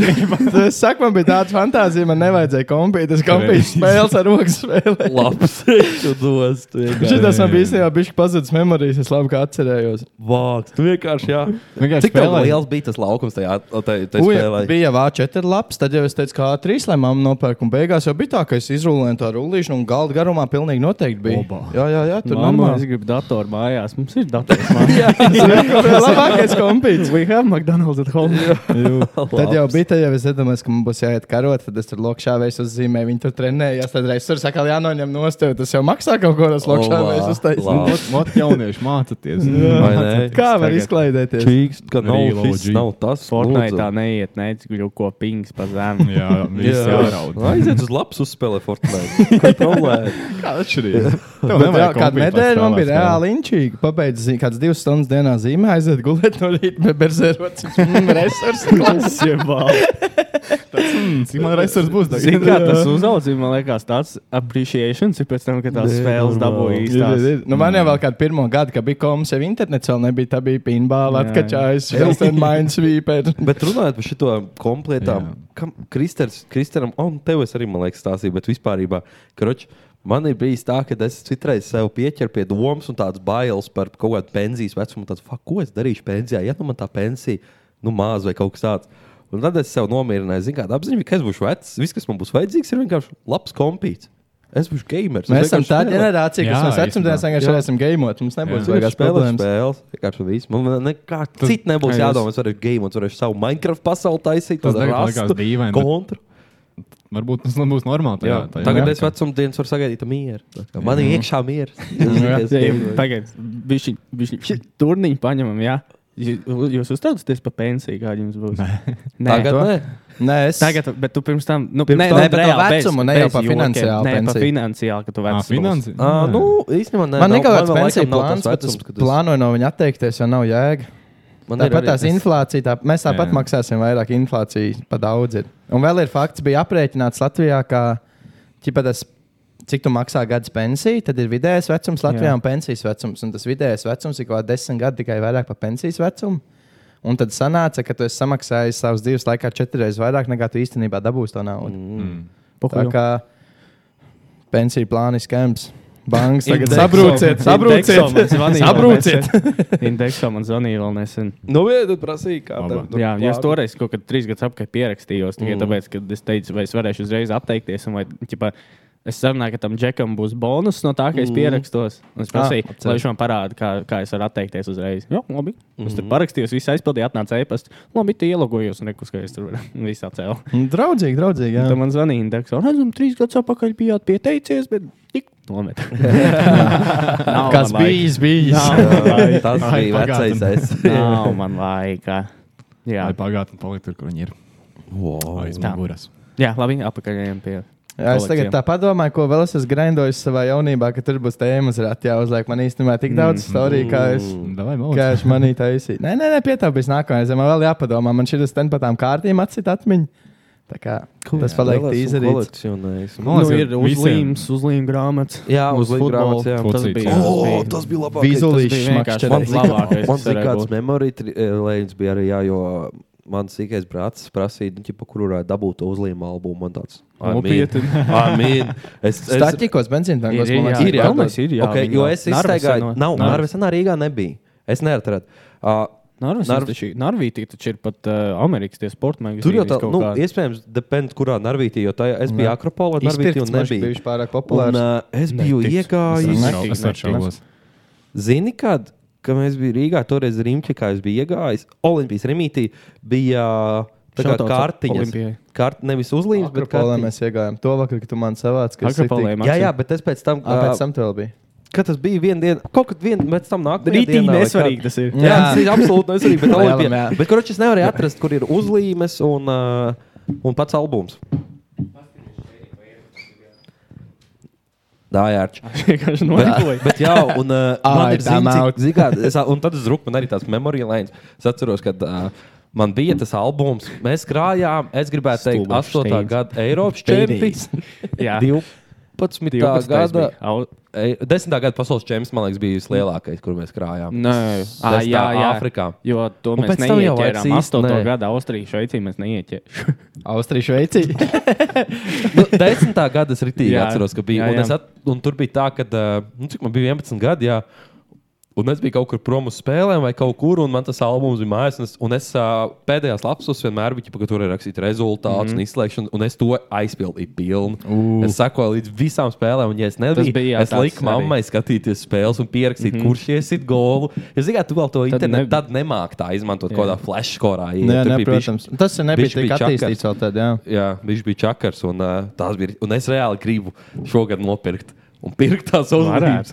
[SPEAKER 8] Es saku, man bija tāda fantāzija, man nevajadzēja kompīt. Es kompīju
[SPEAKER 6] Pareizi.
[SPEAKER 8] spēles ar rokas spēlēm.
[SPEAKER 6] Labs, tu dos.
[SPEAKER 8] Šis man bija īstenībā bijis pazudis memorijas, es labi kā atcerējos.
[SPEAKER 6] Vāks, tu vienkārši, jā.
[SPEAKER 8] Vienkārši
[SPEAKER 6] Cik tev
[SPEAKER 8] spēlēji.
[SPEAKER 6] liels bija tas laukums tajā, tajā, tajā
[SPEAKER 8] Uj,
[SPEAKER 6] spēlē?
[SPEAKER 8] bija jau A4 labs, tad jau es teicu, kā A3 lai mamma nopērk. Un beigās jau bija tā, ka es izrullēju to rullīšu, un galda garumā pilnīgi noteikti bija. Oba. Jā, jā, jā, tur
[SPEAKER 2] Mamma, es
[SPEAKER 8] normāli.
[SPEAKER 2] gribu datoru mājās. Mums ir dators mājās.
[SPEAKER 8] Labākais kompīts.
[SPEAKER 2] We have McDonald's at home.
[SPEAKER 8] Tad jau bija tā, ja es iedomājos, ka man būs jāiet karot, tad es tur lokšāvēju, uzzīmēju, viņi tur trenējās. Tad reizes tur sakā, jānoņem no stūra. Tas jau maksā kaut ko, tas lokšāvēs uztaisīt.
[SPEAKER 1] Mot jaunieši mācāties.
[SPEAKER 6] Vai ne?
[SPEAKER 8] Kā var izklaidēties?
[SPEAKER 6] Čīgs, ka nav
[SPEAKER 1] Reload
[SPEAKER 6] šis,
[SPEAKER 1] G.
[SPEAKER 6] nav tas.
[SPEAKER 2] Fortnite
[SPEAKER 6] lūdzu.
[SPEAKER 2] tā neiet, neiet, gluži ko pings pa zemu.
[SPEAKER 1] Jā,
[SPEAKER 6] Jā. Aiziet uz labs uzspēlē Fortnite. Kontrolē.
[SPEAKER 1] Kā atšķirība? Tev
[SPEAKER 8] Bet
[SPEAKER 1] nevajag
[SPEAKER 8] reāli Kādu
[SPEAKER 1] kompītā
[SPEAKER 8] nedēļu man bija
[SPEAKER 1] spēlēt spēli.
[SPEAKER 8] reāli inčīgi. Pabeidz zi- kāds divas stundas dienā zīmē, aiziet gulēt no rīta, bet berzērots. Mm, resursi klases.
[SPEAKER 1] Cik man resursi būs tagad?
[SPEAKER 2] Zini, kā tas uzaudzīja, man liekas, tāds appreciations ir pēc tam, kad tās
[SPEAKER 8] Nē,
[SPEAKER 2] spēles dabūja
[SPEAKER 8] normāli. Ir, ir,
[SPEAKER 2] īstās.
[SPEAKER 8] ir. Nu, man jau vēl kādā pirmā gada, kad bija koms, jau internets vēl nebija. Tā bija pinbāla,
[SPEAKER 6] Jā,
[SPEAKER 8] atkačājas,
[SPEAKER 6] jā.
[SPEAKER 8] filmas, mains, vīpēta.
[SPEAKER 6] Bet runājot par šo kompletu, Kristēnam, un tev es arī, man liekas, stāstīju, bet vispār, kroč, man ir bijis tā, ka es citreiz sev pieķeru pie domas un tādas bailes par kaut kādu pensijas vecumu. Tāds, fuck, ko es darīšu pensijā, ja nu man tā pensija, nu maz vai kaut kas tāds. Un tad es sev nomierināju, zinu, kāda apziņa, ka es būšu vecs. Viss, kas man būs vajadzīgs, ir vienkārši labs kompīts. Es būšu gamers.
[SPEAKER 8] Mēs esam tā ģenerācija, kas no vecumdienās vienkārši esam gejmot. Mums nebūs vajag
[SPEAKER 6] Spēlēt
[SPEAKER 8] spēlēt spēlēt.
[SPEAKER 6] spēles. vienkārši viss. Man nekā
[SPEAKER 8] Tu-
[SPEAKER 6] cita nebūs
[SPEAKER 8] Ai,
[SPEAKER 6] jādomā.
[SPEAKER 8] es-
[SPEAKER 6] Es varēšu game, un varēšu savu Minecraft pasauli taisīt.
[SPEAKER 1] Tas
[SPEAKER 6] tādu
[SPEAKER 1] tagad
[SPEAKER 6] rastu
[SPEAKER 1] liekas dīvaini, bet-
[SPEAKER 6] Kontru.
[SPEAKER 1] Varbūt tas nebūs normāli.
[SPEAKER 6] Jā,
[SPEAKER 1] tajā- tajā
[SPEAKER 6] tagad
[SPEAKER 1] laikā.
[SPEAKER 6] es vecumdienas varu sagaidīt mieru. Tā kā Man ir
[SPEAKER 2] Jā.
[SPEAKER 6] iekšā mieru.
[SPEAKER 2] Tagad bija turniņi, paņemam, jā. Jū- Jūs uztraucaties par pensiju, kāda jums būs? Nē,
[SPEAKER 6] Tagad nē.
[SPEAKER 8] Nē, es.
[SPEAKER 2] Tagad, bet tu pirms tam, nu,
[SPEAKER 6] Pirms
[SPEAKER 2] nē,
[SPEAKER 6] tam
[SPEAKER 2] nē,
[SPEAKER 6] par to
[SPEAKER 2] reāli,
[SPEAKER 6] vecumu,
[SPEAKER 2] bez-
[SPEAKER 6] ne jau
[SPEAKER 2] bez
[SPEAKER 6] par
[SPEAKER 2] jokiem.
[SPEAKER 6] finansiālu
[SPEAKER 2] Nē, par
[SPEAKER 6] pensiju.
[SPEAKER 2] finansiāli, ka tu
[SPEAKER 1] Ā,
[SPEAKER 2] vecs.
[SPEAKER 1] Ah, finansi-
[SPEAKER 6] Ā,
[SPEAKER 2] būsi.
[SPEAKER 6] Nu, īstenībā nē,
[SPEAKER 8] Man
[SPEAKER 6] nav-
[SPEAKER 8] ir kaut kāds
[SPEAKER 6] man vēl
[SPEAKER 8] pensiju
[SPEAKER 6] laikam nav
[SPEAKER 8] plāns,
[SPEAKER 6] tas
[SPEAKER 8] bet es
[SPEAKER 6] vecums, kad es-
[SPEAKER 8] plānoju no viņa atteikties, jo nav jēga.
[SPEAKER 6] Man ir
[SPEAKER 8] Tāpat
[SPEAKER 6] arī-
[SPEAKER 8] tās
[SPEAKER 6] es-
[SPEAKER 8] inflācija, tā, mēs tāpat
[SPEAKER 6] Jā.
[SPEAKER 8] maksāsim vairāk, inflācija pa daudz ir. Un vēl ir fakts, bija aprēķināts Latvijā, ka ķipa, tas, cik tu maksā gada pensiju, tad ir vidējais vecums Latvijā
[SPEAKER 2] Jā.
[SPEAKER 8] Jā. un pensijas vecums. Un tas vidējais vecums ir kaut kā desmit gadi tikai vairāk par pensijas vecumu. Un tad sanāca, ka tu esi samaksājis savas dzīves laikā četras reizes vairāk nekā tu īstenībā dabūsi to naudu. Mm. Tā
[SPEAKER 2] Pohuļu.
[SPEAKER 8] kā pensiju plānis skams. Banks tagad
[SPEAKER 2] Indexo-
[SPEAKER 8] sabrūciet,
[SPEAKER 2] Indexo man
[SPEAKER 8] sabrūciet,
[SPEAKER 2] zvanīja
[SPEAKER 8] sabrūciet.
[SPEAKER 2] vēl nesen. Indexo man zvanīja vēl nesen.
[SPEAKER 6] Nu, jā, tad prasīja, kā
[SPEAKER 2] Labā.
[SPEAKER 6] tev tur
[SPEAKER 2] Jā,
[SPEAKER 6] plāni.
[SPEAKER 2] jo es toreiz kaut kad trīs gadus apkārt pierakstījos, tikai
[SPEAKER 6] Nu, Mm.
[SPEAKER 2] mm. tāpēc, ka es teicu, vai es varēšu uzreiz apteikties. un Vai, ķipa, es sarunāju, ka tam džekam būs bonus no tā, ka es
[SPEAKER 6] Mm.
[SPEAKER 2] pierakstos. Un Es
[SPEAKER 6] Ah,
[SPEAKER 2] prasīju, ah,
[SPEAKER 6] apceru.
[SPEAKER 2] lai viņš man parāda, kā, kā es varu atteikties uzreiz. Jā, labi. Mm. Es tur
[SPEAKER 6] Mm.
[SPEAKER 2] parakstījos, viss aizpildīja, atnāca e-pasta. Labi, tie ielogojos un nekus, ka es tur visā cēlu.
[SPEAKER 8] Nu, Draudzīgi, draudzīgi. jā.
[SPEAKER 2] Tad man zvanīja indeks. Un, redzam, trīs gadus apakaļ bijāt pieteicies, bet tik nomet. Nav
[SPEAKER 8] Kas
[SPEAKER 2] man laika.
[SPEAKER 8] bijis, bijis.
[SPEAKER 2] Nav man laika.
[SPEAKER 6] Tas
[SPEAKER 1] Ai,
[SPEAKER 6] bija
[SPEAKER 1] pagātne.
[SPEAKER 6] vecais es.
[SPEAKER 2] Nav man laika. Jā,
[SPEAKER 1] Lai pagātnē palikt tur, kur viņi ir.
[SPEAKER 6] Wow.
[SPEAKER 1] Aiz muguras.
[SPEAKER 2] Jā, labi, apakaļējām pie.
[SPEAKER 8] Jā, es tagad
[SPEAKER 2] kolekcijām.
[SPEAKER 8] tā padomāju, ko vēl es esmu grindojis savā jaunībā, ka tur būs tēmas rāta jāuzliek. Man īstenībā tik
[SPEAKER 6] Mhm.
[SPEAKER 8] daudz storiju, kā es.
[SPEAKER 1] Nu, Davai, maudz.
[SPEAKER 8] Kā es manī taisīju. Nē, nē, nē pietāpīs nākamajā zemē. Man vēl jāpadomā. Man šis ten pat tām kārtīm atcīt atmiņu. Tā kā tas paliek tīzerīts.
[SPEAKER 1] Man
[SPEAKER 2] Nu,
[SPEAKER 1] liekas,
[SPEAKER 2] ir
[SPEAKER 1] ka visiem-
[SPEAKER 2] uzlīmes, uzlīmes grāmatas.
[SPEAKER 6] Jā, uz
[SPEAKER 2] futbolu.
[SPEAKER 6] līnijas grāmatas.
[SPEAKER 2] Tas
[SPEAKER 1] Fucī.
[SPEAKER 2] bija.
[SPEAKER 6] O, Oh, tas bija labākais.
[SPEAKER 8] Vizulīšs
[SPEAKER 2] tas bija vienkārši
[SPEAKER 6] Man
[SPEAKER 8] makšķerē.
[SPEAKER 2] Man
[SPEAKER 6] zina,
[SPEAKER 2] labākais,
[SPEAKER 6] man
[SPEAKER 2] kas
[SPEAKER 6] zina,
[SPEAKER 2] varēja
[SPEAKER 6] kāds
[SPEAKER 2] būt.
[SPEAKER 6] memorija tri- eh, lēns bija arī, jā, jo mans īkais brālis prasīja, nu, ķipa, kur varētu dabūt to uzlīmu albumu. Man tāds
[SPEAKER 2] Nopietni.
[SPEAKER 6] Amīn. Es, es,
[SPEAKER 8] Staķikos, benzīntankos.
[SPEAKER 2] Ir, ir,
[SPEAKER 8] man
[SPEAKER 2] jā,
[SPEAKER 8] liekas,
[SPEAKER 2] ir, jā.
[SPEAKER 8] kaut
[SPEAKER 2] Galvenais ir, jā,
[SPEAKER 6] okay,
[SPEAKER 2] viņi
[SPEAKER 6] jo
[SPEAKER 2] nav.
[SPEAKER 6] es
[SPEAKER 2] Narvas
[SPEAKER 6] iztaigāju.
[SPEAKER 2] senā-
[SPEAKER 6] Nav,
[SPEAKER 2] Narvas.
[SPEAKER 6] Narvesenā Rīgā nebija. Es neatradu. Uh,
[SPEAKER 2] Narvis,
[SPEAKER 6] Narv-
[SPEAKER 2] Narvis. Narvītī taču ir pat uh, Amerikas tie sporta magazīni.
[SPEAKER 6] Tur jau tā,
[SPEAKER 2] kaut
[SPEAKER 6] nu,
[SPEAKER 2] kādi.
[SPEAKER 6] iespējams, depend, kurā narvītī, jo tajā es biju
[SPEAKER 8] Jā.
[SPEAKER 6] Akropola narvītī un
[SPEAKER 8] Izpirkts mašs
[SPEAKER 6] nebija.
[SPEAKER 8] bijuši pārāk
[SPEAKER 6] Un,
[SPEAKER 8] populārs.
[SPEAKER 6] uh, es biju
[SPEAKER 2] Netiks.
[SPEAKER 6] iegājis.
[SPEAKER 2] Netiks,
[SPEAKER 1] Es
[SPEAKER 2] netiks.
[SPEAKER 1] atšķiros.
[SPEAKER 6] Zini, kad, kad mēs bijām Rīgā, toreiz Rīgā, kā es biju iegājis, Olimpijas remitī bija tā kā
[SPEAKER 2] Shoutouts
[SPEAKER 6] kārtiņas.
[SPEAKER 2] Olimpijai.
[SPEAKER 6] Kārt, nevis uzlīmes, bet
[SPEAKER 8] Akropolē
[SPEAKER 6] kārtiņas.
[SPEAKER 8] mēs iegājām to vakar, kad tu man savāc, ka es
[SPEAKER 2] Akropolē
[SPEAKER 8] tik...
[SPEAKER 2] mēs-
[SPEAKER 6] Jā, jā, bet es pēc tam,
[SPEAKER 8] Ā,
[SPEAKER 6] ā,
[SPEAKER 8] pēc tam tev bija.
[SPEAKER 6] kad tas bija viena diena, kaut kad viena pēc tam nākamā
[SPEAKER 2] Rītīgi
[SPEAKER 6] dienā, vai
[SPEAKER 2] nesvarīgi
[SPEAKER 6] kad-
[SPEAKER 2] tas ir.
[SPEAKER 6] Jā, tas ir absolūti nesvarīgi. Bet,
[SPEAKER 8] Lielam,
[SPEAKER 6] Olimpijā,
[SPEAKER 8] jā.
[SPEAKER 6] bet kurš es nevarēju atrast, kur ir uzlīmes un, ā, un pats albums? Tā ir ārča.
[SPEAKER 2] vienkārši
[SPEAKER 6] Bet,
[SPEAKER 2] nodekoju.
[SPEAKER 6] bet jā, un, uh, man
[SPEAKER 8] Ai,
[SPEAKER 6] ir
[SPEAKER 8] time
[SPEAKER 6] zināms,
[SPEAKER 8] out.
[SPEAKER 6] cik zini, kā- es- un tad es drukāju, man arī tās memorija lēns. Es atceros, ka uh, man bija tas albums, mēs krājām, es gribētu teikt,
[SPEAKER 2] Stulbā
[SPEAKER 6] 8.
[SPEAKER 2] steidz.
[SPEAKER 6] gada Eiropas
[SPEAKER 2] Steidz.
[SPEAKER 6] čempions.
[SPEAKER 2] Jā.
[SPEAKER 6] 12.
[SPEAKER 2] 12.
[SPEAKER 6] gada.
[SPEAKER 2] bija. Au-
[SPEAKER 6] Ei- 10. E, gada pasaules čempions, man liekas, bija vislielākais, kur mēs krājām.
[SPEAKER 2] Nē, Ā,
[SPEAKER 6] Tas tā
[SPEAKER 2] jā, jā.
[SPEAKER 6] Āfrikā.
[SPEAKER 2] Jo to
[SPEAKER 6] Un
[SPEAKER 2] mēs
[SPEAKER 6] pēc tam jau
[SPEAKER 2] neieķērām.
[SPEAKER 6] vairs īsti
[SPEAKER 2] 8.
[SPEAKER 6] nē.
[SPEAKER 2] gada Austrija, Šveicī mēs neieķērām.
[SPEAKER 8] Austrija, Šveici.
[SPEAKER 6] Nu, 10. gada es ritīgi
[SPEAKER 2] Jā.
[SPEAKER 6] atceros, ka bija.
[SPEAKER 2] Jā,
[SPEAKER 6] Un,
[SPEAKER 2] jā.
[SPEAKER 6] es at, un tur bija tā, ka uh, nu, cik man bija 11 gadi. Jā, Un es biju kaut kur prom uz spēlēm, vai kaut kur, un man tas albums bija mājās. Un es, un es uh, pēdējās lapsos vienmēr biju, ka tur ir rakstīts rezultāts
[SPEAKER 2] Mhm.
[SPEAKER 6] mm -hmm. un izslēgšana, un es to aizpildīju pilnu. Uh. Es sakoju līdz visām spēlēm, un, ja es nebiju,
[SPEAKER 2] bija, jā,
[SPEAKER 6] es
[SPEAKER 2] tāds
[SPEAKER 6] liku mammai skatīties spēles un pierakstīt, mm -hmm. kurš iesit golu. Es zinu, ka tu vēl to
[SPEAKER 2] Tad nebija.
[SPEAKER 6] internetu tad nemāk tā izmantot kaut kādā flash korā.
[SPEAKER 8] Nē, nē, protams. Tas nebija
[SPEAKER 6] bišķi
[SPEAKER 8] tik
[SPEAKER 6] bija čakars.
[SPEAKER 8] attīstīts vēl tad, jā.
[SPEAKER 6] Jā, viņš bija čakars. Un, uh, tās bija, un es reāli gribu šogad nopirkt. Un pirkt tās uzmanības.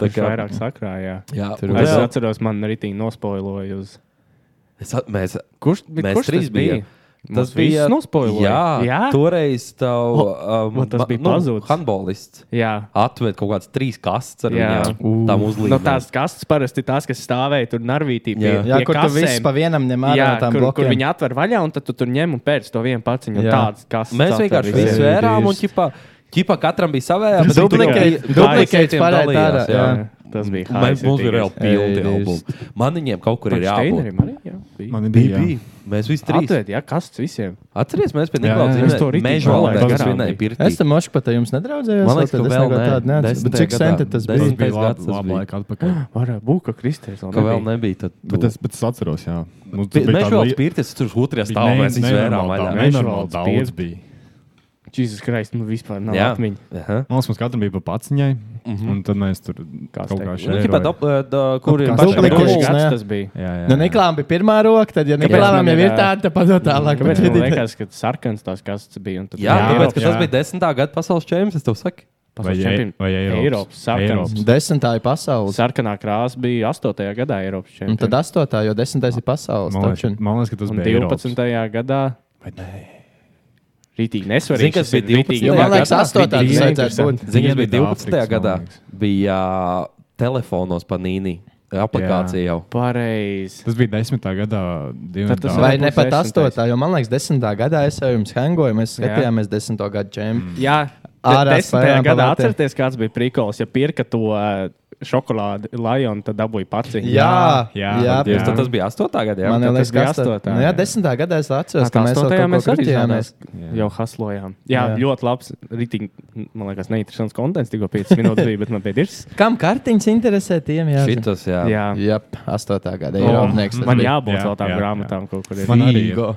[SPEAKER 6] Tā
[SPEAKER 2] Tā kā vairāk sakrājā.
[SPEAKER 6] Jā,
[SPEAKER 8] Tur
[SPEAKER 6] un
[SPEAKER 2] Es
[SPEAKER 6] reāli-
[SPEAKER 2] atceros, man ritīgi nospoiloja uz.
[SPEAKER 6] Es, at- mēs,
[SPEAKER 2] Kurš
[SPEAKER 6] mēs trīs bijām.
[SPEAKER 2] Mums viss nospoiloja.
[SPEAKER 6] Jā, jā,
[SPEAKER 2] Jā?
[SPEAKER 6] toreiz tev,
[SPEAKER 2] O,
[SPEAKER 6] um,
[SPEAKER 2] o, tas
[SPEAKER 6] ma-
[SPEAKER 2] bija
[SPEAKER 6] nu,
[SPEAKER 2] pazudis.
[SPEAKER 6] Handbolists
[SPEAKER 2] Jā.
[SPEAKER 6] atveda kaut kādas trīs kastes ar
[SPEAKER 2] Jā.
[SPEAKER 6] viņu tam uzlīmēm.
[SPEAKER 2] No tās kastes parasti ir tās, kas stāvēja tur narvītī. Pie,
[SPEAKER 6] Jā.
[SPEAKER 2] pie
[SPEAKER 6] Jā,
[SPEAKER 8] kur tu
[SPEAKER 2] kasēm.
[SPEAKER 8] visus pa vienam ņem ārā
[SPEAKER 2] Jā,
[SPEAKER 8] no tām
[SPEAKER 2] kur,
[SPEAKER 8] blokiem.
[SPEAKER 2] kur viņi atver vaļā, un tad tu tur ņem un pēc to vienu paciņu.
[SPEAKER 8] Jā.
[SPEAKER 2] Tādas kastes.
[SPEAKER 6] Mēs
[SPEAKER 2] atver
[SPEAKER 6] vienkārši
[SPEAKER 2] visiem.
[SPEAKER 6] visu vērām un ķipā. Ķipa katram bija savējā, bet
[SPEAKER 8] Duplicate-
[SPEAKER 6] viņi tur-
[SPEAKER 8] duplicate
[SPEAKER 6] Daisētiem
[SPEAKER 8] parāda
[SPEAKER 6] dalījās,
[SPEAKER 8] ārā,
[SPEAKER 6] jā.
[SPEAKER 8] jā.
[SPEAKER 2] Tas bija
[SPEAKER 6] Mēs- Mums bija reāli
[SPEAKER 2] haizītīgi.
[SPEAKER 6] pilni
[SPEAKER 2] Ei,
[SPEAKER 6] albumi. Man viņiem kaut kur ir
[SPEAKER 2] Pat
[SPEAKER 6] jābūt.
[SPEAKER 2] Steinerim arī, jā, bija.
[SPEAKER 1] Man
[SPEAKER 6] bija.
[SPEAKER 1] bija, jā.
[SPEAKER 6] bija. Mēs visi trīs.
[SPEAKER 2] Atved, jā, kastes visiem.
[SPEAKER 6] Atcerieties, mēs pie
[SPEAKER 2] Jā,
[SPEAKER 6] Niklaus
[SPEAKER 2] jā, es to
[SPEAKER 6] zinājām,
[SPEAKER 2] rītīgi
[SPEAKER 6] mežā vēl
[SPEAKER 2] palaidu
[SPEAKER 6] tādā
[SPEAKER 2] garām
[SPEAKER 6] svinēja
[SPEAKER 2] bija.
[SPEAKER 6] pirtī.
[SPEAKER 8] Es tam mošu pat jums nedraudzējos.
[SPEAKER 6] Man liekas, ka
[SPEAKER 8] es
[SPEAKER 6] vēl
[SPEAKER 8] neko
[SPEAKER 6] nē.
[SPEAKER 8] tādu neatceros. Bet
[SPEAKER 6] Desmitajā
[SPEAKER 8] Cik
[SPEAKER 6] gadā.
[SPEAKER 8] centi tas
[SPEAKER 1] Tas
[SPEAKER 8] bija?
[SPEAKER 6] Desmit-
[SPEAKER 1] bija
[SPEAKER 6] Desmitais
[SPEAKER 1] labi,
[SPEAKER 6] gads tas
[SPEAKER 1] labi
[SPEAKER 6] bija.
[SPEAKER 1] laika atpakaļ.
[SPEAKER 2] Varētu būt, ka Kristēns
[SPEAKER 6] Ka vēl nebija. tad
[SPEAKER 1] Bet
[SPEAKER 6] tu-
[SPEAKER 1] es, bet es atceros, jā. Mums
[SPEAKER 6] Pi-
[SPEAKER 1] bija tāda
[SPEAKER 6] Mežvēlas
[SPEAKER 1] lie-
[SPEAKER 6] pirtis tur otrajā
[SPEAKER 1] bija
[SPEAKER 6] stāvā
[SPEAKER 1] ne-
[SPEAKER 6] mēs izvērām
[SPEAKER 1] nenormāli
[SPEAKER 6] vaļā.
[SPEAKER 1] daudz- nenormāli
[SPEAKER 2] Mežvēlas
[SPEAKER 1] daudz
[SPEAKER 2] piec-
[SPEAKER 1] bija.
[SPEAKER 2] Jēzus Kristus, man nu vispār nav
[SPEAKER 6] Jā.
[SPEAKER 2] atmiņa.
[SPEAKER 6] Aha.
[SPEAKER 1] Man liekas, mums katram bija pa paciņai, un tad mēs tur kaut kā
[SPEAKER 6] Nu, ķipā,
[SPEAKER 1] šeit.
[SPEAKER 6] dop- da- Kur ir
[SPEAKER 1] Apkasē.
[SPEAKER 6] pašam
[SPEAKER 1] Duplikate.
[SPEAKER 6] galvā?
[SPEAKER 2] Kurš
[SPEAKER 8] Kurš
[SPEAKER 2] gads
[SPEAKER 8] ne?
[SPEAKER 2] tas bija?
[SPEAKER 8] Nu, Niklām bija pirmā roka, tad, ja Niklām
[SPEAKER 2] man
[SPEAKER 8] jau
[SPEAKER 2] ir,
[SPEAKER 8] ir
[SPEAKER 2] ā,
[SPEAKER 8] tāda, tad padod tālāk.
[SPEAKER 2] Kāpēc man liekas, ka sarkans tās kastes bija? un tad-
[SPEAKER 6] Jā, tāpēc, ka tas
[SPEAKER 1] jā.
[SPEAKER 6] bija desmitā gada pasaules čempions, es tev saku.
[SPEAKER 1] Vai
[SPEAKER 2] Pasaules
[SPEAKER 1] Ei-
[SPEAKER 2] čempion-
[SPEAKER 1] vai Eiropas?
[SPEAKER 2] Eiropas sarkans.
[SPEAKER 1] Eiropas.
[SPEAKER 8] Desmitā ir pasaules.
[SPEAKER 2] Sarkanā krāsa bija 8. gadā Eiropas
[SPEAKER 8] Un tad
[SPEAKER 2] čempionātā.
[SPEAKER 8] astotā, jo desmitais ir pasaules.
[SPEAKER 1] Man liekas,
[SPEAKER 8] tapšana.
[SPEAKER 1] man liekas, ka tas
[SPEAKER 2] Un
[SPEAKER 1] bija
[SPEAKER 2] 12.
[SPEAKER 1] Eiropas.
[SPEAKER 2] gadā. Rītīgi nesvarīgi.
[SPEAKER 6] Zini, kas
[SPEAKER 2] šis ir
[SPEAKER 6] bija 12.
[SPEAKER 2] rītīgi
[SPEAKER 8] Jo, Man
[SPEAKER 6] Jā,
[SPEAKER 2] ilgā
[SPEAKER 8] liekas,
[SPEAKER 2] gadā.
[SPEAKER 8] astotā tas
[SPEAKER 1] Bija
[SPEAKER 8] vajadzētu būt.
[SPEAKER 1] interesanti.
[SPEAKER 6] Zini, kas bija
[SPEAKER 1] Dienvidāfrikas,
[SPEAKER 6] 12. gadā?
[SPEAKER 1] man liekas.
[SPEAKER 6] Bija telefonos panīni aplikācija jau.
[SPEAKER 2] Pareizi.
[SPEAKER 1] Tas bija 10. gadā.
[SPEAKER 2] tas
[SPEAKER 1] Dienvidāfrikas.
[SPEAKER 8] Vai
[SPEAKER 2] Varbūt
[SPEAKER 8] ne pat
[SPEAKER 2] desmitais.
[SPEAKER 8] astotā, jo man liekas, desmitā gadā es jau jums hangoju, mēs skatījāmies desmito gadu čempionu.
[SPEAKER 2] Jā,
[SPEAKER 8] Ārā
[SPEAKER 2] ārā spēlē.
[SPEAKER 8] spējām
[SPEAKER 2] Gadā
[SPEAKER 8] pavēlēt.
[SPEAKER 2] atcerieties, kāds bija prikols, ja pirka to ā, šokolādi Lion, tad dabūja paciņu.
[SPEAKER 8] Jā,
[SPEAKER 1] jā,
[SPEAKER 8] jā,
[SPEAKER 1] jā.
[SPEAKER 6] Jūs tad tas bija 8. gadā, jā?
[SPEAKER 8] Man jau
[SPEAKER 2] tad tas
[SPEAKER 8] liekas,
[SPEAKER 2] bija
[SPEAKER 8] ka astotā.
[SPEAKER 2] astotā,
[SPEAKER 8] Nu Jā,
[SPEAKER 2] jā.
[SPEAKER 8] desmitā gadā es atceros, ka
[SPEAKER 2] Tā
[SPEAKER 8] mēs
[SPEAKER 2] mēs
[SPEAKER 8] jau
[SPEAKER 2] tajā
[SPEAKER 8] kaut
[SPEAKER 2] mēs
[SPEAKER 8] ko
[SPEAKER 2] arī
[SPEAKER 8] kritījāmies.
[SPEAKER 2] zinājāmies. Jau haslojām. Jā, jā,
[SPEAKER 8] Jā.
[SPEAKER 2] ļoti labs. Ritīgi, man liekas, neinteresants konteksts. Tikko 5 minūtes bija, bet man bija dirs.
[SPEAKER 8] Kam kartiņas interesē tiem? Jā,
[SPEAKER 6] Šitas, jā.
[SPEAKER 2] Jā,
[SPEAKER 8] Jā, astotā gada
[SPEAKER 2] O,
[SPEAKER 8] Eiropnieks. tas
[SPEAKER 2] Oh, man
[SPEAKER 8] bija.
[SPEAKER 2] jābūt
[SPEAKER 1] Jā,
[SPEAKER 2] vēl tādām
[SPEAKER 1] jā,
[SPEAKER 2] grāmatām, kaut kur ir.
[SPEAKER 1] Man arī ir.
[SPEAKER 8] Figo.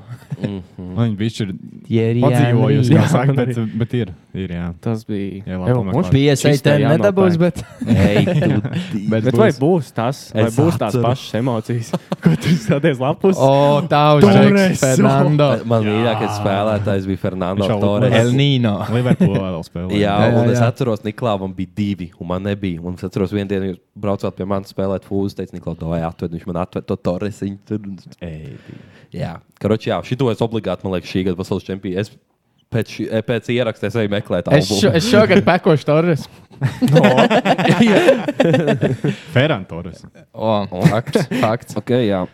[SPEAKER 1] Viņa bija
[SPEAKER 8] Thierry
[SPEAKER 1] padzīvojusi,
[SPEAKER 8] Henry.
[SPEAKER 1] kā saka, bet, bet ir. ir jā.
[SPEAKER 2] Tas bija.
[SPEAKER 1] Jā, labi,
[SPEAKER 2] Evo,
[SPEAKER 1] tomēr
[SPEAKER 2] mums
[SPEAKER 1] klāt.
[SPEAKER 8] Piesa
[SPEAKER 2] šis tā
[SPEAKER 8] itēm
[SPEAKER 2] jānopērk.
[SPEAKER 8] nedabūs, bet.
[SPEAKER 6] Ei, tu.
[SPEAKER 2] Bet, bet vai būs tas, vai
[SPEAKER 6] Es
[SPEAKER 2] būs tās
[SPEAKER 6] atceru.
[SPEAKER 2] pašas emocijas, ko tu stāties lapus?
[SPEAKER 8] O, taužēks, Fernando.
[SPEAKER 6] Man mīļākais spēlētājs bija Fernando
[SPEAKER 1] Viņš jau
[SPEAKER 6] Torres.
[SPEAKER 8] El Nino.
[SPEAKER 1] Liverpoolā vēl spēlēja.
[SPEAKER 6] Jā,
[SPEAKER 8] Jā, jā,
[SPEAKER 6] un es
[SPEAKER 8] jā.
[SPEAKER 6] atceros, Niklāvam bija divi, un man nebija. Un es atceros, vienā dienā jūs braucāt pie manis spēlēt fūzi. Es teicu, Niklā, to jāatved. Viņš man atved to torresiņu. tur, un- Jā, karoči, jā, šito es obligāti, man liekas, šī gada pasaules čempionu. Es pēc, šī- eh, pēc ieraksta es eju meklēt
[SPEAKER 8] Es, šo,
[SPEAKER 6] albumu.
[SPEAKER 8] es šogad pekošu Torres.
[SPEAKER 1] Ferran Torres.
[SPEAKER 8] O, fakts. fakts.
[SPEAKER 6] Okay, jā.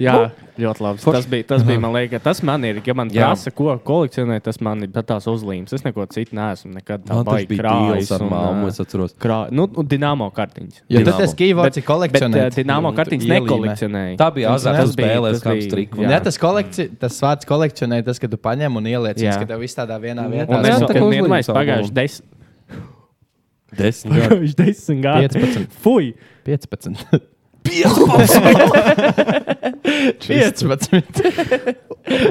[SPEAKER 2] Jā, ļoti labi. Tas bija, tas bija, man liekas, tas man ir. Ja man
[SPEAKER 6] nu, Jā.
[SPEAKER 2] prasa, ko kolekcionēt, tas man ir pat tās uzlīmes. Es neko citu neesmu nekad tā
[SPEAKER 6] Man tas
[SPEAKER 2] baigi
[SPEAKER 6] bija
[SPEAKER 2] krājis
[SPEAKER 6] krājas ar
[SPEAKER 2] un,
[SPEAKER 6] māmu,
[SPEAKER 2] ā,
[SPEAKER 6] es atceros.
[SPEAKER 2] Krā... Nu, un dināmo kartiņas.
[SPEAKER 8] Jo tu
[SPEAKER 6] Dinamo.
[SPEAKER 8] tas kīvoci
[SPEAKER 2] Bet, ā,
[SPEAKER 8] kolekcionē.
[SPEAKER 2] dināmo
[SPEAKER 6] Un
[SPEAKER 2] kartiņas
[SPEAKER 8] ielīmē.
[SPEAKER 2] nekolekcionēja.
[SPEAKER 6] Tā bija
[SPEAKER 8] Tas
[SPEAKER 6] azarta
[SPEAKER 8] tas
[SPEAKER 2] bija-
[SPEAKER 6] spēle,
[SPEAKER 2] tas
[SPEAKER 6] kā
[SPEAKER 2] bija-
[SPEAKER 6] strīkam.
[SPEAKER 2] jā.
[SPEAKER 8] Jā, tas, kolekci, tas vārds kolekcionē, tas, ka tu paņem un ieliec,
[SPEAKER 2] Jā.
[SPEAKER 8] viņas, ka tev viss tādā vienā vietā.
[SPEAKER 2] Un
[SPEAKER 6] Jā,
[SPEAKER 2] es
[SPEAKER 6] tā kā
[SPEAKER 2] jau
[SPEAKER 6] uzlīmes
[SPEAKER 2] pirmais
[SPEAKER 6] albumu.
[SPEAKER 2] pagājuši desmit.
[SPEAKER 6] Desmit gadi.
[SPEAKER 2] Pagājuši desmit gadi.
[SPEAKER 8] 15.
[SPEAKER 2] Fui!
[SPEAKER 8] 15. 15.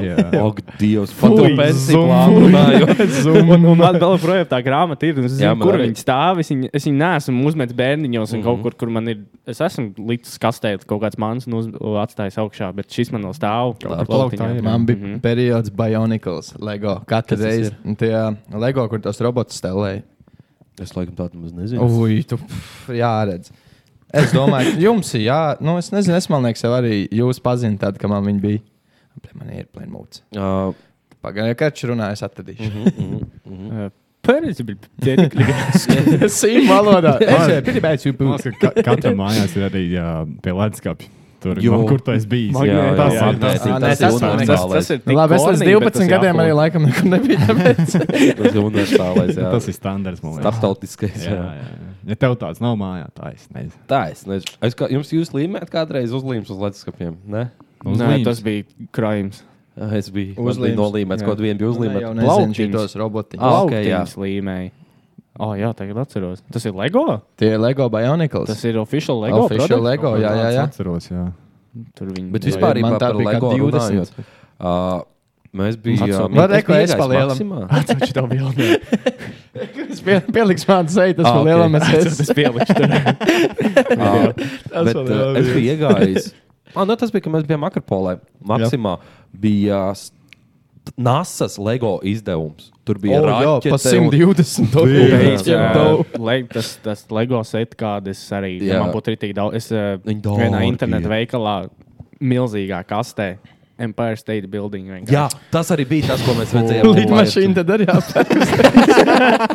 [SPEAKER 1] Jā.
[SPEAKER 6] Ak, Dievs, pat to
[SPEAKER 2] Fui,
[SPEAKER 6] pensiju
[SPEAKER 2] zum,
[SPEAKER 6] plānu
[SPEAKER 2] fui.
[SPEAKER 6] runājot.
[SPEAKER 2] Un, un man vēl projām tā grāmata ir. un Es
[SPEAKER 6] Jā,
[SPEAKER 2] zinu,
[SPEAKER 6] man
[SPEAKER 2] kur
[SPEAKER 6] arī.
[SPEAKER 2] viņi stāv. Es viņu, es viņu neesmu uzmetis bērniņos, un mm -hmm. kaut kur, kur man ir. Es esmu līdz kastē, kaut kāds mans un uz- atstājis augšā, bet šis man vēl stāv.
[SPEAKER 1] Kaut kur plauktā ir.
[SPEAKER 8] Man bija mm -hmm. periods Bionicles, LEGO. Katru
[SPEAKER 6] tas
[SPEAKER 8] reizi tie LEGO, kur tos robotus stelēja.
[SPEAKER 6] Es laikam tādu maz nezinu.
[SPEAKER 8] Ui, tu jāredz. Es domāju, ka jums ir jā, nu es nezinu, es man liekas, jau arī jūs pazīstat, tad, kad man viņi bija. Pie man ir plēn mūts.
[SPEAKER 6] Ā,
[SPEAKER 8] Pagaidām, kad viņš runāja, es atradīšu.
[SPEAKER 2] Pērnēs bija ģērbis.
[SPEAKER 8] Sīm valodā.
[SPEAKER 6] eh,
[SPEAKER 8] Es gribēju jums
[SPEAKER 1] Man liekas, ka ka- katram mājās ir arī jā, pie leduskapja. Tur
[SPEAKER 6] Jo.
[SPEAKER 1] jau kur tas bijis.
[SPEAKER 6] Jā, jā,
[SPEAKER 1] tas
[SPEAKER 6] jā,
[SPEAKER 1] ir
[SPEAKER 6] nē,
[SPEAKER 1] tas.
[SPEAKER 8] nē,
[SPEAKER 6] tas ir
[SPEAKER 8] tas man liekas,
[SPEAKER 6] universālais.
[SPEAKER 2] tas ir tik
[SPEAKER 8] Nu, Labi, es līdz
[SPEAKER 2] kornīgi, bet tas
[SPEAKER 8] 12 gadiem
[SPEAKER 2] jāpalūko.
[SPEAKER 8] arī laikam nekur nebija. tāpēc.
[SPEAKER 6] Tas ir universālais. jā.
[SPEAKER 1] Tas ir standarts. man liekas.
[SPEAKER 6] starptautiskais.
[SPEAKER 1] Jā,
[SPEAKER 6] jā.
[SPEAKER 1] jā, jā. Ja tev tāds nav mājā, tā es nezinu.
[SPEAKER 6] Tā es nezinu. Es kā, jums jūs līmējat kādreiz uzlīmes uz leduskapiem? Nē,
[SPEAKER 2] Nē, tas bija krājums.
[SPEAKER 6] es biju
[SPEAKER 8] Uzlīmes,
[SPEAKER 6] uzlīmēts.
[SPEAKER 2] jā.
[SPEAKER 6] Kaut vienu bija
[SPEAKER 8] Nē,
[SPEAKER 6] uzlīmēts.
[SPEAKER 8] Nu, jau nezinu šitos robotiņus.
[SPEAKER 2] Ah,
[SPEAKER 6] Ah, ok,
[SPEAKER 2] okay,
[SPEAKER 6] jā.
[SPEAKER 2] līmēji. Oh, jā, tagad atceros. Tas ir LEGO.
[SPEAKER 8] Tie ir LEGO Bionicles.
[SPEAKER 2] Tas ir oficiāls LEGO.
[SPEAKER 8] Official
[SPEAKER 2] produkts.
[SPEAKER 8] LEGO, jā, jā, jā. Nu,
[SPEAKER 1] Es atceros, jā.
[SPEAKER 2] Tur viņi
[SPEAKER 6] Bet
[SPEAKER 2] Jā,
[SPEAKER 6] vispār
[SPEAKER 8] man
[SPEAKER 6] bija
[SPEAKER 8] tā
[SPEAKER 6] par
[SPEAKER 8] bija kā
[SPEAKER 6] LEGO
[SPEAKER 8] 20.
[SPEAKER 6] runājot. Ā, Mēs bijām.
[SPEAKER 8] Atceros. Man liekas, es pa lielam.
[SPEAKER 2] atceros to bildi.
[SPEAKER 8] Es pie- Pieliks man seju, tas
[SPEAKER 6] Ah,
[SPEAKER 8] bija
[SPEAKER 6] ok.
[SPEAKER 8] lielākais.
[SPEAKER 2] Atceros, es pieliku tur.
[SPEAKER 8] Tas
[SPEAKER 6] Bet
[SPEAKER 8] vēl
[SPEAKER 6] ā,
[SPEAKER 8] jā,
[SPEAKER 6] es biju iegājis. Ah, nu, tas bija, kad mēs bijām Akropolē. Maksimā bija s- NASA LEGO izdevums. Tur bija
[SPEAKER 8] Oh, jā, pa
[SPEAKER 6] raķete un-
[SPEAKER 8] 120
[SPEAKER 6] Jā,
[SPEAKER 8] dolāru.
[SPEAKER 2] Jā, Le, tas, tas LEGO set, kādas arī
[SPEAKER 6] Jā.
[SPEAKER 2] jā. man būtu rītīgi daudz. Es eh,
[SPEAKER 6] Viņi
[SPEAKER 2] vienā
[SPEAKER 6] dārgi
[SPEAKER 2] interneta
[SPEAKER 6] ir.
[SPEAKER 2] veikalā milzīgā kastē Empire State Building. vienkārši.
[SPEAKER 6] Jā, tas arī bija tas, ko mēs redzējām.
[SPEAKER 8] Lidmašīna tad arī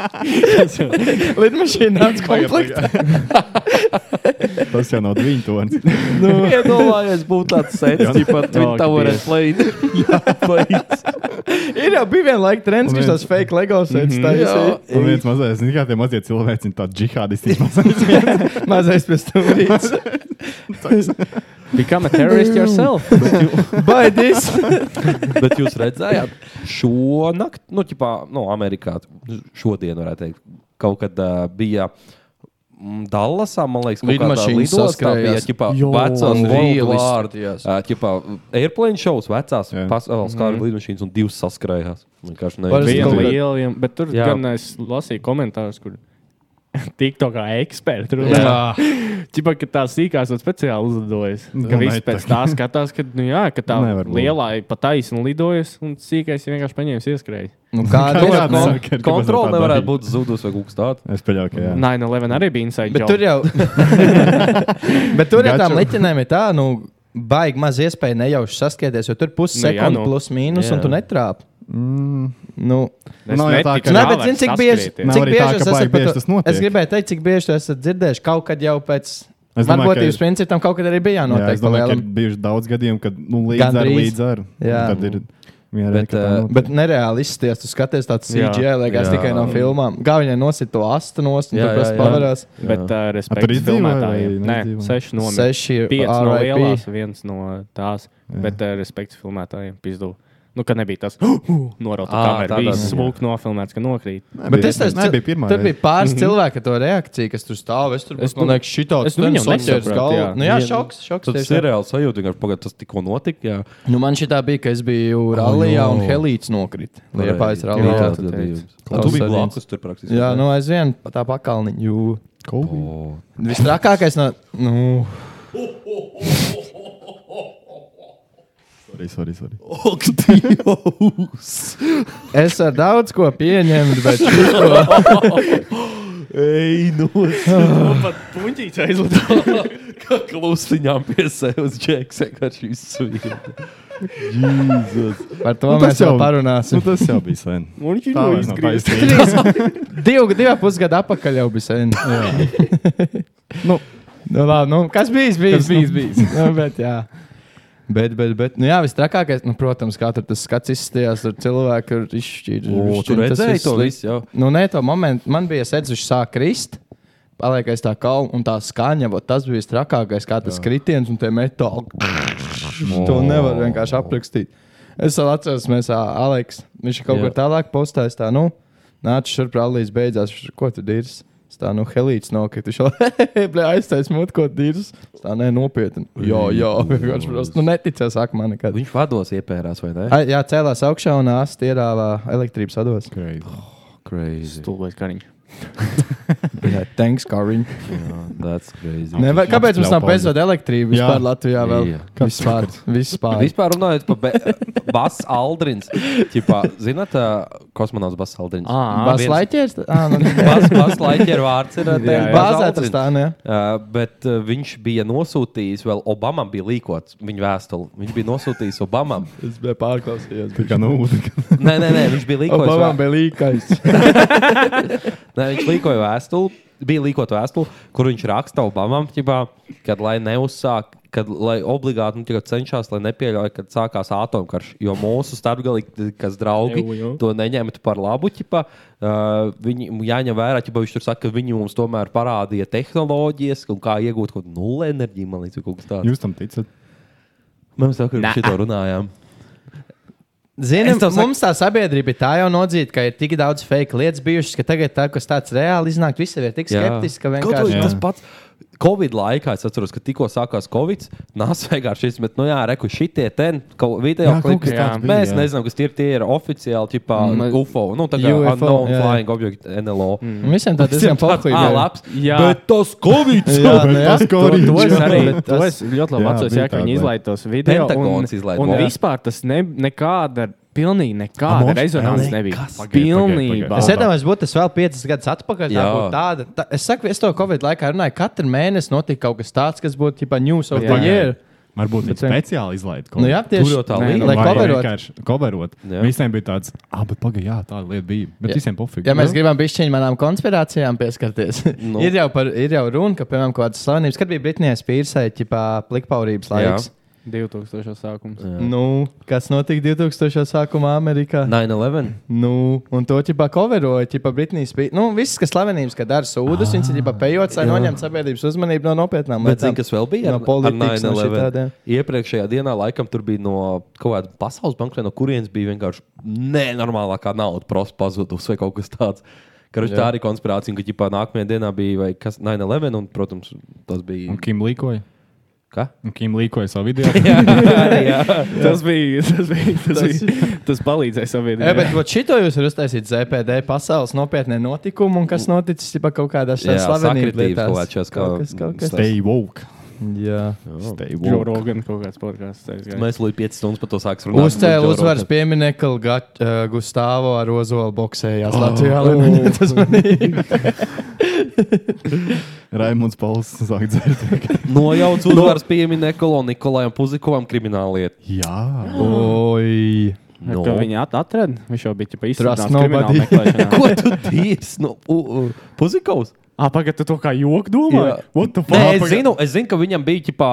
[SPEAKER 8] apgleznota. Lidmašīna nāca konfliktā.
[SPEAKER 1] Tas jau nav viņa tonis.
[SPEAKER 6] Nu, Iedomājieties, būtu tāds sēdes,
[SPEAKER 1] Jā.
[SPEAKER 6] kā Twin
[SPEAKER 1] Jā,
[SPEAKER 6] Tower
[SPEAKER 1] tieši.
[SPEAKER 6] and Plane. Jā, planes.
[SPEAKER 8] Ir jau bija viena laika trends, kas tās fake LEGO sēdes.
[SPEAKER 1] Jā,
[SPEAKER 8] taisīja.
[SPEAKER 1] un viens mazais, zini, kā tie mazie cilvēki, viņi tādi džihādisti mazais.
[SPEAKER 8] Mazais pēc tam rīts.
[SPEAKER 2] Become a terrorist yourself.
[SPEAKER 8] By this.
[SPEAKER 6] Bet jūs redzējāt, šonakt, nu, ķipā, nu, Amerikā, šodien varētu teikt, kaut kad uh, bija. mm, Dallasā, man liekas, kaut kādā
[SPEAKER 8] Lidmašīnas
[SPEAKER 6] lidostā bija
[SPEAKER 8] saskrējās.
[SPEAKER 6] ķipā,
[SPEAKER 8] Jo,
[SPEAKER 6] vecās
[SPEAKER 8] reālisti,
[SPEAKER 6] vārdas.
[SPEAKER 8] yes.
[SPEAKER 6] Airplane shows, vecās
[SPEAKER 1] Jā.
[SPEAKER 6] pasaules kara lidmašīnas un divas saskrējās. Vienkārši
[SPEAKER 8] Parasti
[SPEAKER 6] neviens
[SPEAKER 2] Vienu
[SPEAKER 8] Mhm. kaut
[SPEAKER 6] neviens.
[SPEAKER 8] kā-
[SPEAKER 2] lieliem, bet tur
[SPEAKER 6] Jā.
[SPEAKER 2] jā. gan es lasīju komentārus, kur tikto kā eksperti runā.
[SPEAKER 8] Jā.
[SPEAKER 2] Čipa, ka tā sīkās un speciāli uzlidojas. Ka
[SPEAKER 1] Domāju,
[SPEAKER 2] viss pēc tā skatās, ka, nu jā, ka tā
[SPEAKER 1] Nu, Nevar būt.
[SPEAKER 2] lielā ir pa taisnu lidojas un sīkais ir vienkārši paņēmis ieskrēju.
[SPEAKER 8] Nu,
[SPEAKER 1] Kādā ziņā?
[SPEAKER 8] kāda ir?
[SPEAKER 1] Saka, ka
[SPEAKER 6] Kontrole
[SPEAKER 1] kāpēc tā
[SPEAKER 6] nevarētu
[SPEAKER 1] darīja?
[SPEAKER 6] būt zudusi vai kaut kas tāds.
[SPEAKER 1] Es pieļauju, ka jā.
[SPEAKER 2] 9-11 arī bija inside.
[SPEAKER 8] Bet
[SPEAKER 2] job.
[SPEAKER 8] tur jau, bet tur jau tām
[SPEAKER 1] Gaču.
[SPEAKER 8] liķenēm ir tā, nu, baigi maz iespēja nejauši saskieties, jo tur
[SPEAKER 2] Nu,
[SPEAKER 8] pusi
[SPEAKER 2] jā,
[SPEAKER 8] sekundi
[SPEAKER 2] nu.
[SPEAKER 8] plus mīnus,
[SPEAKER 6] Jā.
[SPEAKER 8] un tu netrāp.
[SPEAKER 1] Mm,
[SPEAKER 8] Nu,
[SPEAKER 2] Es
[SPEAKER 1] Nav jau tā,
[SPEAKER 2] neticu,
[SPEAKER 1] ka-
[SPEAKER 8] Nē,
[SPEAKER 2] kā
[SPEAKER 8] bet
[SPEAKER 2] var
[SPEAKER 8] zini, cik bieži,
[SPEAKER 2] saskrieties.
[SPEAKER 1] Nav
[SPEAKER 8] cik
[SPEAKER 1] Nu, arī tā,
[SPEAKER 8] bieži
[SPEAKER 1] ka
[SPEAKER 8] es
[SPEAKER 1] baigi
[SPEAKER 8] esmu par
[SPEAKER 1] bieži
[SPEAKER 8] to-
[SPEAKER 1] tas notiek.
[SPEAKER 8] Es gribēju teikt, cik bieži jūs esat dzirdējuši kaut kad jau pēc
[SPEAKER 1] Es domāju, ka
[SPEAKER 8] varbūtības
[SPEAKER 1] ir-
[SPEAKER 8] principam, kaut kad arī bija
[SPEAKER 1] jā,
[SPEAKER 8] jānotiek.
[SPEAKER 1] es domāju, ka ir
[SPEAKER 8] palielam.
[SPEAKER 1] bijuši daudz gadījumu, kad nu, līdz ar
[SPEAKER 8] Gandrīz.
[SPEAKER 1] līdz ar.
[SPEAKER 8] Jā.
[SPEAKER 1] Un Tad ir vienreiz,
[SPEAKER 6] Bet,
[SPEAKER 1] ka tā
[SPEAKER 6] eh,
[SPEAKER 1] notiek.
[SPEAKER 8] Bet nereāli izsties, tu skaties tādu
[SPEAKER 2] Jā.
[SPEAKER 8] CGI, liekas,
[SPEAKER 6] Jā.
[SPEAKER 8] tikai no filmām. Gāviņai nosit to astu nost, un
[SPEAKER 6] Jā, jā,
[SPEAKER 8] tur prasa
[SPEAKER 6] jā.
[SPEAKER 8] pavarās.
[SPEAKER 2] Bet uh,
[SPEAKER 1] A, tur
[SPEAKER 2] respektīvi
[SPEAKER 1] izdzīvoja
[SPEAKER 2] filmētājiem.
[SPEAKER 1] vai
[SPEAKER 2] Nē,
[SPEAKER 1] neizdzīvoja?
[SPEAKER 2] 6 no 5.
[SPEAKER 8] Seši ir
[SPEAKER 2] 5 no lielās,
[SPEAKER 8] RIP.
[SPEAKER 2] 1 no tās. Bet uh, respektīvi filmētājiem pizdu. Nu, ka nebija tas, norauta
[SPEAKER 6] Ā,
[SPEAKER 2] kamerā, bija
[SPEAKER 6] tādā ziņā.
[SPEAKER 2] smūgi nofilmēts, ka nokrīt.
[SPEAKER 8] Bet
[SPEAKER 1] Nebija-
[SPEAKER 8] es teicu,
[SPEAKER 1] nebija pirmā.
[SPEAKER 8] Tur bija
[SPEAKER 1] reize.
[SPEAKER 8] pāris cilvēki ar to reakciju, kas tur stāv. Es tur
[SPEAKER 2] Mhm. Es
[SPEAKER 8] domāju, ka šī tāds
[SPEAKER 2] es nu viņam nesapratu, jā.
[SPEAKER 8] galvu. Nu, jā,
[SPEAKER 6] Jā,
[SPEAKER 8] šoks, šoks.
[SPEAKER 6] Tas
[SPEAKER 8] tieši tā.
[SPEAKER 6] ir reāls sajūta, vienkārši pagaidi, tas tikko notika. Jā.
[SPEAKER 8] Nu, man šī tā bija, ka es biju
[SPEAKER 2] Oh,
[SPEAKER 8] rallijā un Helīts nokrita. Liepājas
[SPEAKER 6] Jā,
[SPEAKER 8] rallijā.
[SPEAKER 6] tas bija.
[SPEAKER 8] Klaus
[SPEAKER 6] Tu biji
[SPEAKER 8] arī.
[SPEAKER 6] blakus tur praktiski.
[SPEAKER 8] Jā, nu aizvien pa tā pakalniņu.
[SPEAKER 1] Kobe.
[SPEAKER 6] O,
[SPEAKER 8] Visstrakākais no. Nu,
[SPEAKER 1] Sorry, sorry, sorry.
[SPEAKER 6] Ak, Dievs!
[SPEAKER 8] es ar daudz ko pieņemu, bet šis
[SPEAKER 6] Ej, nu!
[SPEAKER 2] Pat puņķīts aizlidoja.
[SPEAKER 6] Kā klusiņām pie sevis džeks, vienkārši izsvīta.
[SPEAKER 8] par to
[SPEAKER 1] Nu, tas
[SPEAKER 8] mēs jau
[SPEAKER 1] jau- Nu,
[SPEAKER 8] parunāsim.
[SPEAKER 1] tas jau bija sen.
[SPEAKER 2] Muļķi
[SPEAKER 1] Tā
[SPEAKER 2] no
[SPEAKER 1] vairs nav
[SPEAKER 2] izgriezt.
[SPEAKER 1] taisnība.
[SPEAKER 8] Divu, divu pusgadu atpakaļ jau bija sen.
[SPEAKER 1] Nu.
[SPEAKER 8] nu, labi, nu, kas bijis? bijis
[SPEAKER 1] Kas bijis,
[SPEAKER 8] nu,
[SPEAKER 1] bijis.
[SPEAKER 8] nu, bet, jā. Bet, bet, bet, nu jā, visstrakākais, nu, protams, kā tur tas skats izstījās, tur cilvēki ir izšķīri.
[SPEAKER 6] O, tu redzēji to visu jau?
[SPEAKER 8] Nu, nē, to momentu man bija sēdzis, viņš sāk krist. Paliekais tā kā un tā skaņa, vot tas bija trakākais, kā tas kritiens un tie metāli. to nevar vienkārši aprakstīt. Es vēl atceros, mēs, ā, Aleks, viņš
[SPEAKER 6] Jā.
[SPEAKER 8] kaut kur tālāk postājis, tā, nu, nāc šurp rallijas beigās, viņš, ko tu dīris? Es Tā, nu, helīts nokrita. Viņš jau aiztaisīja smūti, ko dīris. Es Tā, nē, nopietni. Jā, jā, vienkārši prosti. Nu, neticēs, ak, man nekad.
[SPEAKER 6] Viņš vados iepērās, vai ne?
[SPEAKER 8] Ai, Jā, cēlās augšā un asti ierāvā elektrības ados.
[SPEAKER 6] Crazy.
[SPEAKER 2] Stulbais kariņš.
[SPEAKER 8] Jā, thanks, Kariņ.
[SPEAKER 6] That's crazy.
[SPEAKER 8] Nevar, kāpēc mums
[SPEAKER 1] Atļauj
[SPEAKER 8] nav bezvadu elektrība vispār
[SPEAKER 1] Jā.
[SPEAKER 8] Latvijā? Vēl?
[SPEAKER 6] Jā.
[SPEAKER 8] Vispār. Vispār.
[SPEAKER 6] Vispār runājot par Basu Aldrins. Ķipā, zināt, ā, kosmonauts Basu Aldrins.
[SPEAKER 2] Ā,
[SPEAKER 8] Bāzes laikieris?
[SPEAKER 6] Basu Laķera vārds ir ā,
[SPEAKER 2] jā.
[SPEAKER 6] tev Bas
[SPEAKER 8] Bāzē tas
[SPEAKER 6] Aldrins.
[SPEAKER 8] tā, nē.
[SPEAKER 6] Uh, bet uh, viņš bija nosūtījis, vēl Obamam bija līkots viņa vēstuli. Viņš bija nosūtījis Obamam.
[SPEAKER 8] Es biju pārklausījies.
[SPEAKER 1] Tā kā nu, tā kā-
[SPEAKER 6] nē, nē, nē, viņš bija līkojis.
[SPEAKER 8] Obama
[SPEAKER 6] vē-
[SPEAKER 8] bija līkais.
[SPEAKER 6] Nē, viņš līkoja vēstuli, bija līkot vēstuli, kur viņš raksta Obamam, ķibā, kad lai neuzsāk, kad lai obligāti nu, ķipā, cenšas, lai nepieļauj, kad sākās atomkarš. Jo mūsu starpgalīgas draugi
[SPEAKER 2] Jū, jū.
[SPEAKER 6] to neņemt par labu. Ķipā, uh, viņi jāņem vērā, ķipā, viņš tur saka, ka viņi mums tomēr parādīja tehnoloģijas un kā iegūt kaut kādu nulli enerģiju, man liekas, vai kaut kas tāds.
[SPEAKER 1] Jūs tam ticat?
[SPEAKER 6] Mēs jau par šo runājām.
[SPEAKER 8] Zinām,
[SPEAKER 6] Es tev saku-
[SPEAKER 8] mums tā sabiedrība ir tā jau nodzīta, ka ir tik daudz fake lietas bijušas, ka tagad tā, kas tāds reāli iznāk, visi ir tik skeptiski, ka
[SPEAKER 6] Kaut vai
[SPEAKER 8] vienkārši.
[SPEAKER 6] tas pats. Covid laikā es atceros, ka tikko sākās Covid. Nāsveigā šis, bet, nu jā, reku šitie ten, kaut video
[SPEAKER 1] Jā, kaut
[SPEAKER 6] klipi.
[SPEAKER 1] kas tāds bija,
[SPEAKER 6] Mēs
[SPEAKER 1] jā.
[SPEAKER 6] nezinām, kas tie ir. Tie ir oficiāli, tipā
[SPEAKER 8] Mm,
[SPEAKER 6] UFO, nu tā kā
[SPEAKER 8] UFO,
[SPEAKER 6] unknown
[SPEAKER 8] jā, Mm. jā.
[SPEAKER 6] flying object, NLO.
[SPEAKER 8] Un Visiem tā diezgan
[SPEAKER 6] Jā,
[SPEAKER 8] poklīgi.
[SPEAKER 6] labs.
[SPEAKER 2] Jā.
[SPEAKER 6] Bet tas Covid!
[SPEAKER 8] Jā, nu jā.
[SPEAKER 1] tas
[SPEAKER 2] To, to es
[SPEAKER 1] korīgs.
[SPEAKER 2] arī
[SPEAKER 8] bet
[SPEAKER 2] to
[SPEAKER 8] tas-
[SPEAKER 2] es ļoti labi
[SPEAKER 1] Jā,
[SPEAKER 2] atceros,
[SPEAKER 1] bija
[SPEAKER 2] jā, ka
[SPEAKER 1] tāda
[SPEAKER 2] viņi
[SPEAKER 1] lieta.
[SPEAKER 2] izlaiž tos video.
[SPEAKER 6] Pentagons izlaida
[SPEAKER 2] un
[SPEAKER 6] vēl.
[SPEAKER 2] vispār tas ne, nekāda, pilnīgi
[SPEAKER 1] A,
[SPEAKER 2] nekāda
[SPEAKER 1] mums-
[SPEAKER 2] rezonanses
[SPEAKER 1] Nē,
[SPEAKER 2] nebija.
[SPEAKER 1] kas? Pagaid, pagaid,
[SPEAKER 2] Pilnībā.
[SPEAKER 1] pagaid.
[SPEAKER 8] Es iedomājos, būtu tas vēl piecas gadus atpakaļ. Tā
[SPEAKER 6] Jā.
[SPEAKER 8] būtu tāda, tā, es saku, es to Covid laikā runāju, katru mēnesi notika kaut kas tāds, kas būtu jau news of
[SPEAKER 2] Jā.
[SPEAKER 8] the year.
[SPEAKER 1] Varbūt viņi
[SPEAKER 8] Bet vien-
[SPEAKER 1] speciāli izlaiž kaut
[SPEAKER 8] Nu jā, tieši- Nē, nu, lai coverot.
[SPEAKER 1] Koverot. Visiem bija tāds, ah, bet pagaidi, jā, tā lieta bija. Bet
[SPEAKER 8] Ja-
[SPEAKER 1] visiem pofīgi.
[SPEAKER 8] Ja mēs
[SPEAKER 6] Nu.
[SPEAKER 8] gribam pišķiņu manām konspirācijām pieskarties,
[SPEAKER 1] Nu.
[SPEAKER 8] nu. ir, jau par, ir jau runa, ka, piemēram, kaut kādas slavenības, kad bija Britānijā spīrsē, ķipā plikpaurības laiks.
[SPEAKER 2] 2000. sākums.
[SPEAKER 8] Nu, kas notika 2000. sākumā Amerikā?
[SPEAKER 6] 9-11.
[SPEAKER 8] Nu, un to ķipā coveroja, ķipā Britānijas spīrsē. Nu, viss, kas slavenības, kad dara sūdas, ah, viņas ir ķipā pejots, lai
[SPEAKER 6] jā.
[SPEAKER 8] noņemtu sabiedrības uzmanību no nopietnām
[SPEAKER 6] Bet zini, kas vēl bija?
[SPEAKER 8] No
[SPEAKER 6] Ar-
[SPEAKER 8] politikas,
[SPEAKER 6] ar
[SPEAKER 8] no
[SPEAKER 6] 9/11?
[SPEAKER 8] šitādiem.
[SPEAKER 6] Iepriekšējā dienā laikam tur bija no kaut kāda pasaules banka, vai no kurienes bija vienkārši nenormālākā nauda prosta pazudusi vai kaut kas tāds. Karuši,
[SPEAKER 1] Jā.
[SPEAKER 6] tā arī konspirācija, un, ka ģipā, nākamajā dienā bija vai kas 9-11, un, protams, tas bija. Un
[SPEAKER 1] Kim līkoja?
[SPEAKER 6] Kā?
[SPEAKER 1] Un Kim līkoja savu video.
[SPEAKER 6] jā, jā.
[SPEAKER 2] Tas bija. Tas, bija, tas, bija, tas palīdzēja sabiedrībai.
[SPEAKER 8] Jā, E, bet vot šito jūs varat uztaisīt ZPD pasaules nopietnē notikumu, un kas noticis ķipā kaut kādās
[SPEAKER 6] Jā,
[SPEAKER 8] šādās slavenības
[SPEAKER 6] sakritības
[SPEAKER 8] lietās.
[SPEAKER 6] kaut kāds šās kā-
[SPEAKER 8] kaut kas.
[SPEAKER 6] Stay
[SPEAKER 1] woke.
[SPEAKER 8] Jā.
[SPEAKER 1] Stay
[SPEAKER 2] Joe Rogan kaut kāds podkāsts.
[SPEAKER 6] Mēs līdz 5 stundas par to sāksim runāt.
[SPEAKER 8] Uzcēla
[SPEAKER 6] Joe
[SPEAKER 8] uzvaras
[SPEAKER 6] Rogan.
[SPEAKER 8] pieminiektu Gat- uh, Gustavo ar Ozolu boxējās
[SPEAKER 6] Oh.
[SPEAKER 8] Latvijā.
[SPEAKER 6] Oh.
[SPEAKER 8] Tas manī.
[SPEAKER 1] Raimunds Pauls sāk dzert.
[SPEAKER 6] Nojauts uzvaras pieminiektu kolonijam Nikolajam Puzikovam kriminālliet.
[SPEAKER 1] Jā.
[SPEAKER 8] Oi.
[SPEAKER 2] No. Kā viņi at atrada? Viņš jau bija ķipa
[SPEAKER 6] Nu. Trust
[SPEAKER 2] izstrādājis kriminālu
[SPEAKER 6] nobody.
[SPEAKER 2] meklēšanā.
[SPEAKER 6] Ko tu dievs? No, u, u, Puzikovs?
[SPEAKER 2] Ah, pagaidi, tu to kā joku domā?
[SPEAKER 6] Jā. Nē, es, zinu, es zinu, ka viņam bija ģipā,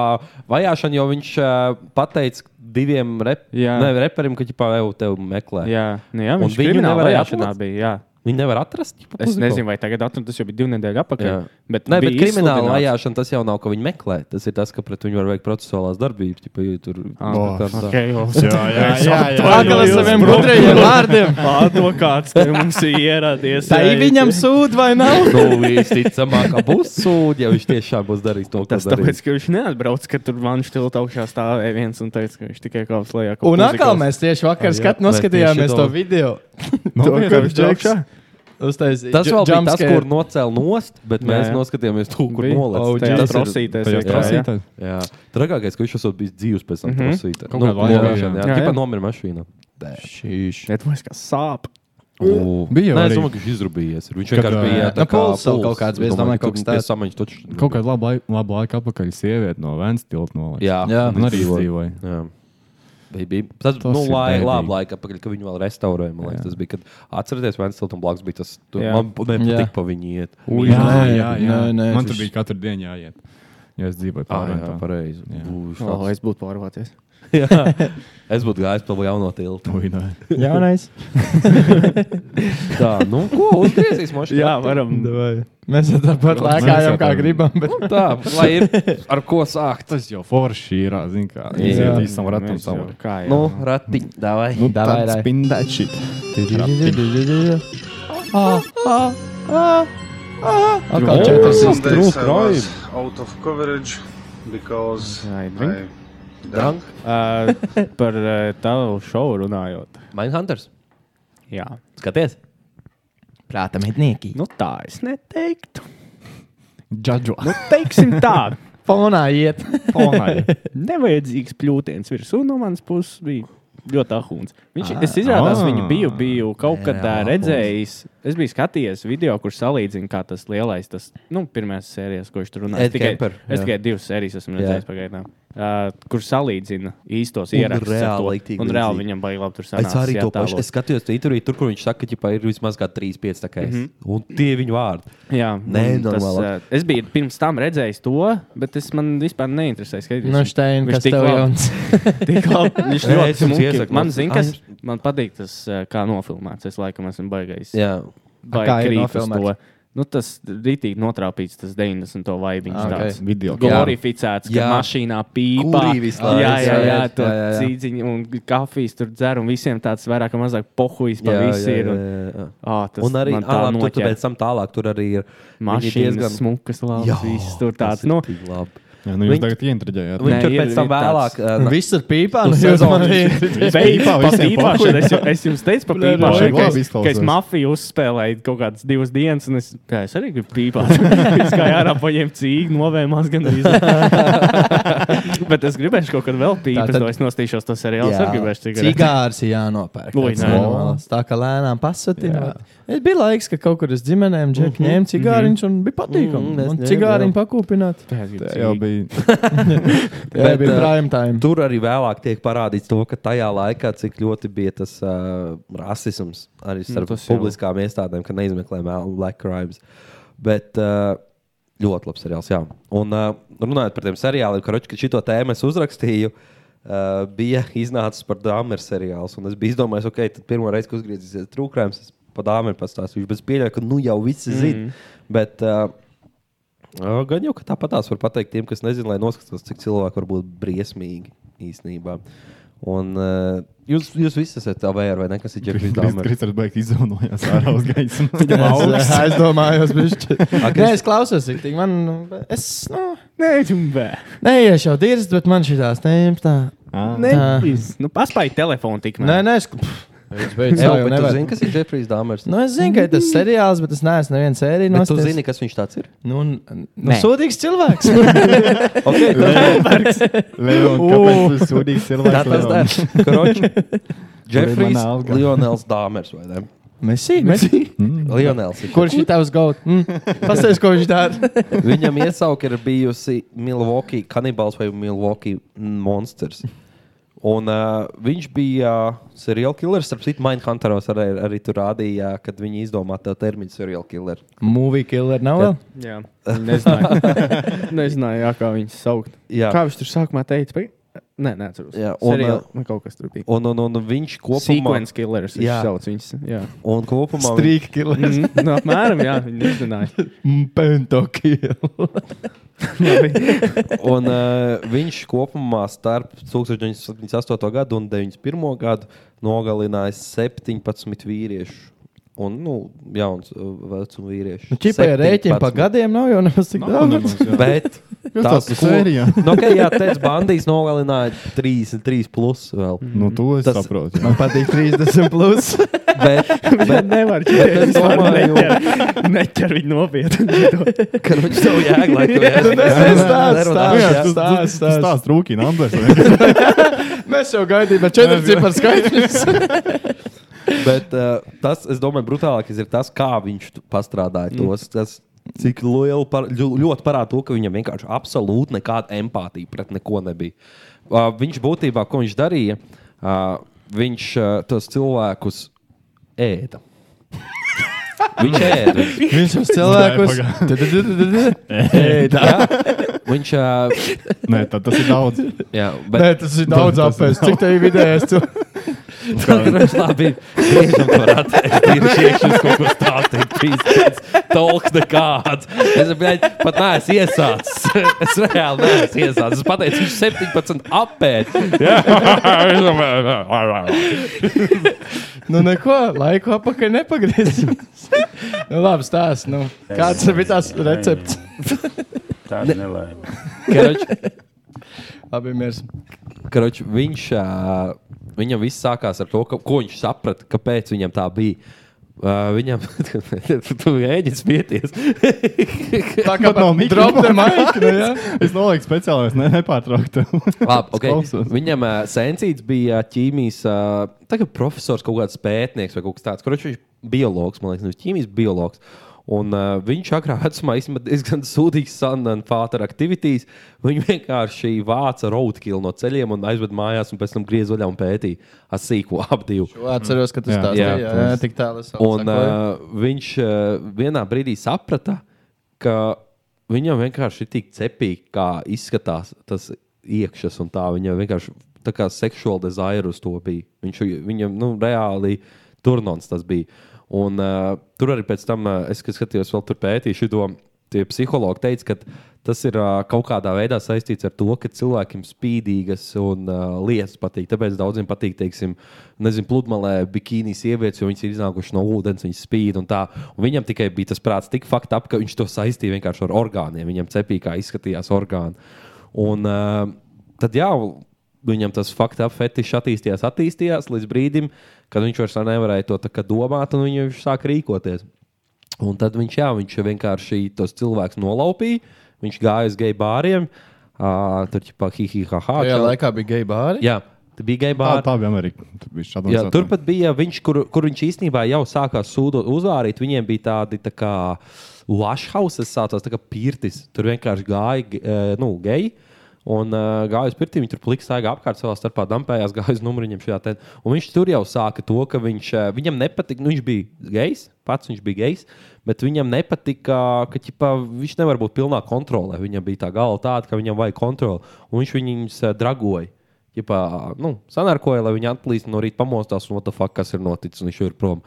[SPEAKER 6] vajāšana, jo viņš uh, pateica diviem rep,
[SPEAKER 2] Jā.
[SPEAKER 6] ne, reperiem, ka ģipā, jau tevi meklē.
[SPEAKER 2] Jā, nu, jā
[SPEAKER 6] Un
[SPEAKER 2] viņš
[SPEAKER 6] viņu
[SPEAKER 2] bija
[SPEAKER 6] nevarēja
[SPEAKER 2] vajāšanā.
[SPEAKER 6] atrast?
[SPEAKER 2] Bija, jā.
[SPEAKER 6] Viņi nevar atrast. Ģipā,
[SPEAKER 2] Es
[SPEAKER 6] Puzikovu?
[SPEAKER 2] nezinu, vai tagad atrast, tas jau bija divu nedēļu atpakaļ.
[SPEAKER 6] Jā.
[SPEAKER 2] Bet,
[SPEAKER 6] Nē, bet
[SPEAKER 2] bija
[SPEAKER 6] krimināla
[SPEAKER 2] izsludināts.
[SPEAKER 6] vajāšana tas jau nav, ko viņi meklē. Tas ir tas, ka pret viņu var veikt procesuālās darbības. Ķipa, ja tur,
[SPEAKER 2] Ah,
[SPEAKER 6] kaut kā tā.
[SPEAKER 2] okay, jau.
[SPEAKER 6] Es
[SPEAKER 8] Atkal ar saviem gudrajiem vārdiem.
[SPEAKER 2] Advokāts te mums ir ieradies.
[SPEAKER 8] Tā ir viņam sūd vai nav?
[SPEAKER 6] Nu, visticamāk, ka būs sūdi, ja viņš tiešām būs darījis to, ko
[SPEAKER 2] Tas
[SPEAKER 6] darīja.
[SPEAKER 2] tāpēc, ka viņš neatbrauc, ka tur man šķiet, augšā stāvēja viens un teica, ka viņš tikai kāps lejā. kā
[SPEAKER 8] Un atkal
[SPEAKER 2] puzikos.
[SPEAKER 8] mēs tieši vakar
[SPEAKER 2] Jā,
[SPEAKER 8] skat,
[SPEAKER 2] mēs
[SPEAKER 8] noskatījāmies
[SPEAKER 2] tieši
[SPEAKER 8] to
[SPEAKER 2] to-
[SPEAKER 8] video.
[SPEAKER 2] Nu,
[SPEAKER 8] To,
[SPEAKER 2] jā,
[SPEAKER 8] kur
[SPEAKER 2] viņš
[SPEAKER 8] Džeks
[SPEAKER 2] augšā.
[SPEAKER 8] uztaisīja
[SPEAKER 6] Tas
[SPEAKER 8] ju-
[SPEAKER 6] vēl bija
[SPEAKER 8] jump
[SPEAKER 6] tas,
[SPEAKER 8] scare.
[SPEAKER 6] kur nocēla nost, bet
[SPEAKER 8] Jā,
[SPEAKER 6] jā, mēs
[SPEAKER 8] jā.
[SPEAKER 6] noskatījāmies to, kur
[SPEAKER 8] Bija. Oh,
[SPEAKER 6] nolaists.
[SPEAKER 8] Tajā
[SPEAKER 6] Tas ir-
[SPEAKER 2] trosītēs
[SPEAKER 6] tajā
[SPEAKER 2] vai kā, jā?
[SPEAKER 6] trosītē. Jā, trakākais, ka viņš esot bijis dzīvs pēc tam
[SPEAKER 2] Mhm.
[SPEAKER 6] trosītē.
[SPEAKER 2] Kaut
[SPEAKER 6] Nu,
[SPEAKER 2] kādā laikā,
[SPEAKER 6] novēršana,
[SPEAKER 2] jā.
[SPEAKER 6] jā.
[SPEAKER 2] Jā, jā.
[SPEAKER 6] Tipā nomira mašīna.
[SPEAKER 8] Šīš.
[SPEAKER 2] Net vairs kā sāp.
[SPEAKER 6] O,
[SPEAKER 1] Bija jau
[SPEAKER 6] Nē, es
[SPEAKER 1] arī-
[SPEAKER 6] domāju, ka viņš izrūpējies. Viņš
[SPEAKER 1] Kad,
[SPEAKER 6] vienkārši bija.
[SPEAKER 1] ā,
[SPEAKER 6] jā, tā
[SPEAKER 1] nu,
[SPEAKER 6] kā
[SPEAKER 1] pulss vēl kaut kāds bija, es domāju, kaut kas tāds.
[SPEAKER 6] Samaņš taču.
[SPEAKER 1] Kaut kādu labu laiku, labu laiku atpakaļ sieviete no Vēnes tilta nolaista.
[SPEAKER 6] Jā,
[SPEAKER 1] un arī
[SPEAKER 6] izdzīvoja.
[SPEAKER 1] izdzīvoja.
[SPEAKER 6] Jā. Bija, bija. Tas,
[SPEAKER 1] Tas
[SPEAKER 6] tas nu,
[SPEAKER 1] ir
[SPEAKER 6] lai,
[SPEAKER 1] bēdīgi.
[SPEAKER 6] labi, laika, apakaļ, ka viņi vēl restaurēja. man liekas, Tas bija, kad atcerieties, Vēnstiltam blakus bija tas, tur,
[SPEAKER 1] Jā.
[SPEAKER 6] man
[SPEAKER 1] Jā.
[SPEAKER 6] nepatīk pa viņi iet.
[SPEAKER 1] Ui, jā, jā, jā. Man tur bija katru dienu jāiet. Jo es dzīvoju
[SPEAKER 6] Ah, jā,
[SPEAKER 1] pārvietā.
[SPEAKER 6] pareizi.
[SPEAKER 1] Jā.
[SPEAKER 6] Būs
[SPEAKER 2] O,
[SPEAKER 6] šāds.
[SPEAKER 2] es būtu pārvācies.
[SPEAKER 6] Jā. Es būtu gājis pa jauno tiltu.
[SPEAKER 1] Ui, nē.
[SPEAKER 8] Jaunais.
[SPEAKER 6] tā, nu, ko uzgriezīsim?
[SPEAKER 2] Jā, varam.
[SPEAKER 8] Mēs jau tāpat
[SPEAKER 6] Mēs
[SPEAKER 8] lēkājam,
[SPEAKER 6] jau
[SPEAKER 8] kā
[SPEAKER 6] tā-
[SPEAKER 8] gribam. Bet...
[SPEAKER 6] Tā, lai ir ar ko sākt.
[SPEAKER 1] Tas jau forši ir, zin kā.
[SPEAKER 6] Jā.
[SPEAKER 1] Iziet īstam ratam
[SPEAKER 2] Mēs
[SPEAKER 1] savu.
[SPEAKER 2] jau- Kā
[SPEAKER 6] Nu,
[SPEAKER 2] jau?
[SPEAKER 6] rati, davai.
[SPEAKER 1] Nu,
[SPEAKER 8] Davai,
[SPEAKER 1] tāds
[SPEAKER 8] davai.
[SPEAKER 1] spindēt šit.
[SPEAKER 8] Atkal
[SPEAKER 1] Oh,
[SPEAKER 8] četras
[SPEAKER 1] some
[SPEAKER 8] iztrūkst.
[SPEAKER 1] days I
[SPEAKER 8] Trojumi.
[SPEAKER 1] was-
[SPEAKER 12] out of coverage because
[SPEAKER 2] I
[SPEAKER 12] I
[SPEAKER 2] drink. Ā, Par ā, tavu šovu runājot.
[SPEAKER 6] Mindhunters.
[SPEAKER 2] Jā.
[SPEAKER 6] Skaties.
[SPEAKER 8] Prāta mednieki.
[SPEAKER 2] Nu tā es neteiktu.
[SPEAKER 1] Džadžo.
[SPEAKER 2] Nu, teiksim tā.
[SPEAKER 8] Fonā iet.
[SPEAKER 1] Fonā iet.
[SPEAKER 2] Nevajadzīgs pļūtiens virsū no manas puses bija. Ļoti ahūns. Viņš
[SPEAKER 1] Ah.
[SPEAKER 2] ah, izrādās,
[SPEAKER 1] Ah.
[SPEAKER 2] viņu biju, biju kaut kad
[SPEAKER 1] Jā,
[SPEAKER 2] jā,
[SPEAKER 1] ahūns.
[SPEAKER 2] redzējis. Es biju skatījies video, kur salīdzinu, kā tas lielais, tas nu, pirmās sērijas, ko viņš tur runā.
[SPEAKER 6] Ed
[SPEAKER 2] Es tikai,
[SPEAKER 6] Kemper,
[SPEAKER 2] es
[SPEAKER 6] jā.
[SPEAKER 2] tikai divas sērijas esmu
[SPEAKER 6] Jā.
[SPEAKER 2] redzējis pagaidām. Uh, kur salīdzina īstos
[SPEAKER 6] Un
[SPEAKER 2] ierakstus. ar to.
[SPEAKER 6] reāli tik
[SPEAKER 2] un reāli
[SPEAKER 6] līdzīgi.
[SPEAKER 2] viņam baigi labi tur sanāca.
[SPEAKER 6] Es arī to pašu es skatījos. Tur bija tur, kur viņš saka, ka ģipā, ir vismaz kā 3-5 takai. Mm
[SPEAKER 2] Mhm.
[SPEAKER 6] -hmm. Un tie ir viņa vārdi.
[SPEAKER 2] Jā,
[SPEAKER 6] Nē,
[SPEAKER 2] un tas,
[SPEAKER 6] normāli.
[SPEAKER 2] ā, es biju pirms tam redzējis to, bet es man vispār neinteresēju. skatīties.
[SPEAKER 8] Nu, Štein,
[SPEAKER 2] Viņš
[SPEAKER 8] kas
[SPEAKER 2] tik
[SPEAKER 8] tev
[SPEAKER 2] labi-
[SPEAKER 8] jauns?
[SPEAKER 2] tik labi- Viņš
[SPEAKER 6] Nē,
[SPEAKER 2] ļoti
[SPEAKER 6] es jums
[SPEAKER 2] smuki.
[SPEAKER 6] iesaku,
[SPEAKER 2] Man
[SPEAKER 6] labs.
[SPEAKER 2] zina,
[SPEAKER 6] Ah,
[SPEAKER 2] kas
[SPEAKER 6] jums-
[SPEAKER 2] man patīk, tas ā, kā nofilmēts. Es laikam esmu baigājis.
[SPEAKER 6] Jā.
[SPEAKER 2] Baigi
[SPEAKER 8] Kā ir
[SPEAKER 2] krīt uz
[SPEAKER 8] nofilmēts?
[SPEAKER 2] to. Nu, tas rītīgi notrāpīts, tas 90. vibes.
[SPEAKER 8] Ah,
[SPEAKER 2] Okay.
[SPEAKER 8] ok. Video.
[SPEAKER 2] glorificēts, ka
[SPEAKER 8] Jā.
[SPEAKER 2] mašīnā pīpā.
[SPEAKER 8] Kurī visu laiku.
[SPEAKER 2] Jā, jā, jā,
[SPEAKER 8] Jā,
[SPEAKER 2] tā
[SPEAKER 8] jā, jā.
[SPEAKER 2] dzīdziņa un kafijas tur dzer, un visiem tāds vairāk vai mazāk pohujas pa
[SPEAKER 6] Jā, jā,
[SPEAKER 2] visu ir. Un,
[SPEAKER 6] jā, jā.
[SPEAKER 2] Ā, tas
[SPEAKER 6] un arī
[SPEAKER 2] man tā
[SPEAKER 6] ārā, tur, tur
[SPEAKER 2] noķēra.
[SPEAKER 6] pēc tam tālāk tur arī ir viņi ir
[SPEAKER 2] Mašīnas smukas, labas, visas tur
[SPEAKER 6] tas
[SPEAKER 2] tāds,
[SPEAKER 6] ir
[SPEAKER 2] nu.
[SPEAKER 6] tik labi.
[SPEAKER 1] Jā, nu jūs
[SPEAKER 6] Viņi-
[SPEAKER 1] tagad ientriģējāt.
[SPEAKER 6] Viņi
[SPEAKER 2] Nē,
[SPEAKER 6] tur
[SPEAKER 2] ir-
[SPEAKER 6] pēc tam
[SPEAKER 2] ir tāds-
[SPEAKER 6] vēlāk. ā,
[SPEAKER 8] Viss ir pīpā.
[SPEAKER 6] uz
[SPEAKER 8] nu, jūs
[SPEAKER 6] sezonu.
[SPEAKER 8] man arī-
[SPEAKER 2] Beigās
[SPEAKER 1] Pīpā visiem
[SPEAKER 2] pāri
[SPEAKER 1] pašiem.
[SPEAKER 2] visam. Es jums teicu, par
[SPEAKER 1] Nē,
[SPEAKER 2] pīpāšanu,
[SPEAKER 1] labi
[SPEAKER 2] ka es-
[SPEAKER 1] izklausās.
[SPEAKER 2] ka es mafiju uzspēlēju kaut kādas divas dienas, un es, jā, es arī gribu pīpāt. Es kā ārā paņēmu cīņu, novējumās gan arī. Bet es gribēju kaut kad vēl pīpēt, tad... es nostīšos to seriālu. Es arī gribēju tikai
[SPEAKER 8] Cigārs ir jānopērk.
[SPEAKER 2] Ui,
[SPEAKER 8] tāds
[SPEAKER 2] nē.
[SPEAKER 8] normāls. Tā kā lēnām pasūtījām. Bija laiks, ka kaut kur uz ģimenēm džekļi mm -hmm. ņēma cigāriņus un bija patīkami. Mm
[SPEAKER 6] Mhm, es
[SPEAKER 8] -hmm.
[SPEAKER 6] nevaru.
[SPEAKER 8] Cigāriņu pakūpināt.
[SPEAKER 6] Tā
[SPEAKER 1] jau bija.
[SPEAKER 8] Jā, bija prime time.
[SPEAKER 6] Tur arī vēlāk tiek parādīts to, ka tajā laikā cik ļoti bija tas uh, rasisms arī starp
[SPEAKER 2] Nu,
[SPEAKER 6] nu,
[SPEAKER 2] tas jau.
[SPEAKER 6] publiskām iestādēm, ka neizmeklē mel- black crimes. Bet uh, ļoti labs seriāls. Jā. Un uh, runājot par tiem seriāliem, karoči, ka šo tēmu es uzrakstīju. Uh, bija iznācis par dāmas seriāls. un Es biju izdomājis, ok, tad pirmo reizi, kad uzgriezīsies trūkums, es par dāmas pastāstīšu. Bet es pieļauju, ka nu jau visi zina.
[SPEAKER 10] Mhm.
[SPEAKER 2] Mm.
[SPEAKER 6] Bet uh, Ā, Gan jau, ka tāpatās var pateikt tiem, kas nezina, lai noskatās, cik cilvēki var būt briesmīgi īstenībā. Un, uh, jūs, jūs visi esat tā vērā, vai ne? Kas ir ģērbis dāmas?
[SPEAKER 1] Kristers beigās izzaunojās ārā uz gaismu.
[SPEAKER 8] Viņam augsts. Es domāju, es bišķi.
[SPEAKER 6] Ak,
[SPEAKER 8] Nē,
[SPEAKER 6] es-
[SPEAKER 8] es klausos, ik tik man, nu, es, nu,
[SPEAKER 2] Nē,
[SPEAKER 8] neiešu jau dirzt, bet man šitās neņemt tā.
[SPEAKER 2] Nē,
[SPEAKER 8] tā.
[SPEAKER 2] nu, paspēj telefonu tik
[SPEAKER 8] Nē, nu- nē, es.
[SPEAKER 6] Ei,
[SPEAKER 8] savu
[SPEAKER 6] bet tu
[SPEAKER 8] nevar.
[SPEAKER 6] zini, kas ir Jeffrey Dāmas?
[SPEAKER 8] Nu, es zinu, ka ir tas seriāls, bet es neesmu nevienu sēriju
[SPEAKER 6] Bet tu
[SPEAKER 8] noskatījies.
[SPEAKER 6] zini, kas viņš tāds ir?
[SPEAKER 8] Nu, nu,
[SPEAKER 6] Nē.
[SPEAKER 8] sūdīgs cilvēks.
[SPEAKER 6] Okay,
[SPEAKER 1] Leon, kāpēc tu esi sūdīgs cilvēks,
[SPEAKER 6] Tā tas
[SPEAKER 1] Leon?
[SPEAKER 6] dara. Kroči. Jeffrey
[SPEAKER 1] Mana alga.
[SPEAKER 6] Lionels Dāmas, vai ne?
[SPEAKER 8] Messi, Messi.
[SPEAKER 1] Mm.
[SPEAKER 6] Lionels. ir.
[SPEAKER 8] Kurš ir tavs gauts? Mm. Pastāstiet, ko viņš dara.
[SPEAKER 6] Viņam iesauka ir bijusi Milwaukee kanibāls vai Milwaukee monsters. Un uh, viņš bija uh, seriāla killer. Starp citu, Mindhunteros arī, arī tur rādīja, kad viņi izdomā tā terminu seriāla killer.
[SPEAKER 8] Movie killer nav vēl?
[SPEAKER 6] Kad-
[SPEAKER 2] Jā, nezināju. nezināju, jā, kā viņus saukt.
[SPEAKER 6] Jā.
[SPEAKER 2] Kā viņš tur sākumā teica? Pag... Nē, nē, atceros.
[SPEAKER 6] Jā, un,
[SPEAKER 2] un Serial,
[SPEAKER 6] uh,
[SPEAKER 2] nu, kaut kas tur bija.
[SPEAKER 6] Un, un, un viņš kopumā
[SPEAKER 2] Sequence killers, viņš
[SPEAKER 6] Jā.
[SPEAKER 2] sauc viņus. Jā.
[SPEAKER 6] Un kopumā
[SPEAKER 8] Streak killer.
[SPEAKER 2] Mm, nu, apmēram, jā, viņi nezināja.
[SPEAKER 1] Mm,
[SPEAKER 8] Pento kill.
[SPEAKER 2] Nu,
[SPEAKER 6] un, uh, viņš kopumā starp 1978. gadu un 91. gadu nogalināja 17 vīriešu. Un, nu, jauns uh, vecuma vīriešu.
[SPEAKER 8] Nu, Čipa ir rēķina pa
[SPEAKER 6] 17.
[SPEAKER 8] gadiem, nav jau nemaz tik daudz.
[SPEAKER 6] Bet
[SPEAKER 8] Jūs tās
[SPEAKER 6] ko-
[SPEAKER 8] sērijā.
[SPEAKER 6] Nu, okay, jā, tas bandīs nogalināja 33 plus. Vēl.
[SPEAKER 1] Nu, to es saprotu, jā.
[SPEAKER 8] Man patīk 30 plus.
[SPEAKER 6] bet, bet
[SPEAKER 2] nevar
[SPEAKER 6] bet es domāju,
[SPEAKER 2] Neķer, neķer viņu nopietni. nu,
[SPEAKER 6] ka viņš tev jēga, lai tu esi.
[SPEAKER 1] Tas tās trūkīja numbers.
[SPEAKER 8] Mēs jau gaidījām, bet 4 cipars skaidrs.
[SPEAKER 6] Bet uh, tas, es domāju, brutālākais ir tas, kā viņš tu-
[SPEAKER 2] Mm.
[SPEAKER 6] pastrādāja tos. Tas, Cik lielu par, ļu- ļoti parāda to, ka viņam vienkārši absolūti nekāda empātija pret neko nebija. Uh, viņš būtībā, ko viņš darīja, uh, viņš uh, tos cilvēkus ēda. viņš ēda. viņus.
[SPEAKER 8] Viņš uz cilvēkus. Tu, tu, tu, tu, tu, tu. Ei, tā.
[SPEAKER 6] Jā, Viņš. Uh,
[SPEAKER 1] Nē, tad tas ir daudz.
[SPEAKER 6] jā, bet
[SPEAKER 8] Nē, tas ir daudz apēst. Cik tev ir vidējais? Tu?
[SPEAKER 6] tā ir ļoti labi. Viņš to var atrast. Viņš iekšā kaut ko stāstīt. Pīspēc, tolks nekāds. Es bļaļ, pat neesmu iesācis. Es reāli neesmu iesācis. Es pateicu, viņš 17 apēd.
[SPEAKER 8] Nu, neko, laiku apakaļ nepagriezīsies. nu, labi, stāsti. Nu, kāds bija tās recepts?
[SPEAKER 12] Tāda nelaime.
[SPEAKER 6] Karoč,
[SPEAKER 8] Labi, mēs.
[SPEAKER 6] Karoč, viņš, ā, viņam viss sākās ar to, ka, ko viņš saprata, kāpēc viņam tā bija. Uh, viņam tu ēģi spieties.
[SPEAKER 8] Tā kā
[SPEAKER 1] nav
[SPEAKER 8] pat drop the mic, nu, jā.
[SPEAKER 1] Es nolieku speciāli, es ne, nepārtrauktu.
[SPEAKER 6] Labi, okay.
[SPEAKER 1] klausos.
[SPEAKER 6] Viņam uh, sensīts bija ā, ķīmijas uh, tagad profesors, kaut kāds pētnieks vai kaut kas tāds. Kurš viņš bija biologs, man liekas, nevis ķīmijas biologs. Un, uh, viņš agrā vecumā īstenībā diezgan sūdīgs sanāca aktivitātes. Viņš vienkārši vāca roadkill no ceļiem un aizveda mājās, un pēc tam griezās vaļā un pētīja ar sīko apdivu.
[SPEAKER 8] Atceros, ka tas
[SPEAKER 6] Jā,
[SPEAKER 8] tāds
[SPEAKER 6] jā,
[SPEAKER 8] bija. Jā,
[SPEAKER 6] tas-
[SPEAKER 8] tik tālu es vēl
[SPEAKER 6] Un,
[SPEAKER 8] sekoju.
[SPEAKER 6] uh, viņš uh, vienā brīdī saprata, ka viņam vienkārši ir tik cepīgi, kā izskatās tas iekšas, un tā viņam vienkārši tā kā seksuāla desire uz to bija. Viņš, viņam nu, reāli turnons tas bija. Un, uh, tur arī pēc tam, uh, es, kad skatījos, vēl tur pētīju šo. Tie psihologi teica, ka tas ir uh, kaut kādā veidā saistīts ar to, ka cilvēkiem spīdīgas un uh, lietas patīk. Tāpēc daudziem patīk, teiksim, nezinu, pludmalē bikīnijas sievietes, jo viņas ir iznākušas no ūdens, viņas spīd un tā. Un viņam tikai bija tas prāts tik fakt ap, ka viņš to saistīja vienkārši ar orgāniem. Viņam cepīgā izskatījās orgāni. Un uh, tad jā. Viņam tas fakta fetišs attīstījās, attīstījās līdz brīdim, kad viņš vairs nevarēja to tā kā domāt, un viņš sāk rīkoties. Un tad viņš, jā, viņš vienkārši tos cilvēkus nolaupīja. Viņš gāja uz geju bāriem, ā, Uh, tur ķipā, hi, hi, ha, ha,
[SPEAKER 8] Tajā
[SPEAKER 6] čau.
[SPEAKER 8] laikā bija geju bāri?
[SPEAKER 6] Jā, tur bija geju bāri.
[SPEAKER 1] Tā, tā bija Amerika. Tur bija šāda
[SPEAKER 6] Jā, turpat bija viņš, kur, kur viņš īstenībā jau sākās sūdu uzvārīt. Viņiem bija tādi tā kā lašhauses, sācās tā kā pirtis. Tur vienkārši gāja ge- eh, nu, geji. Un uh, gāja uz pirti, viņi tur plakāta, staigā apkārt savā starpā, dampējās, gāja uz numuriņiem šajā te. Un viņš tur jau sāka to, ka viņš, uh, viņam nepatika, nu viņš bija gejs, pats viņš bija gejs, bet viņam nepatika, ka ķipa, viņš nevar būt pilnā kontrolē. Viņam bija tā gala tāda, ka viņam vajag kontroli, un viņš viņus uh, dragoja. Ķipā, nu, sanarkoja, lai viņi atklājas no rīta pamostās, un what the fuck, kas ir noticis, un viņš jau ir prom.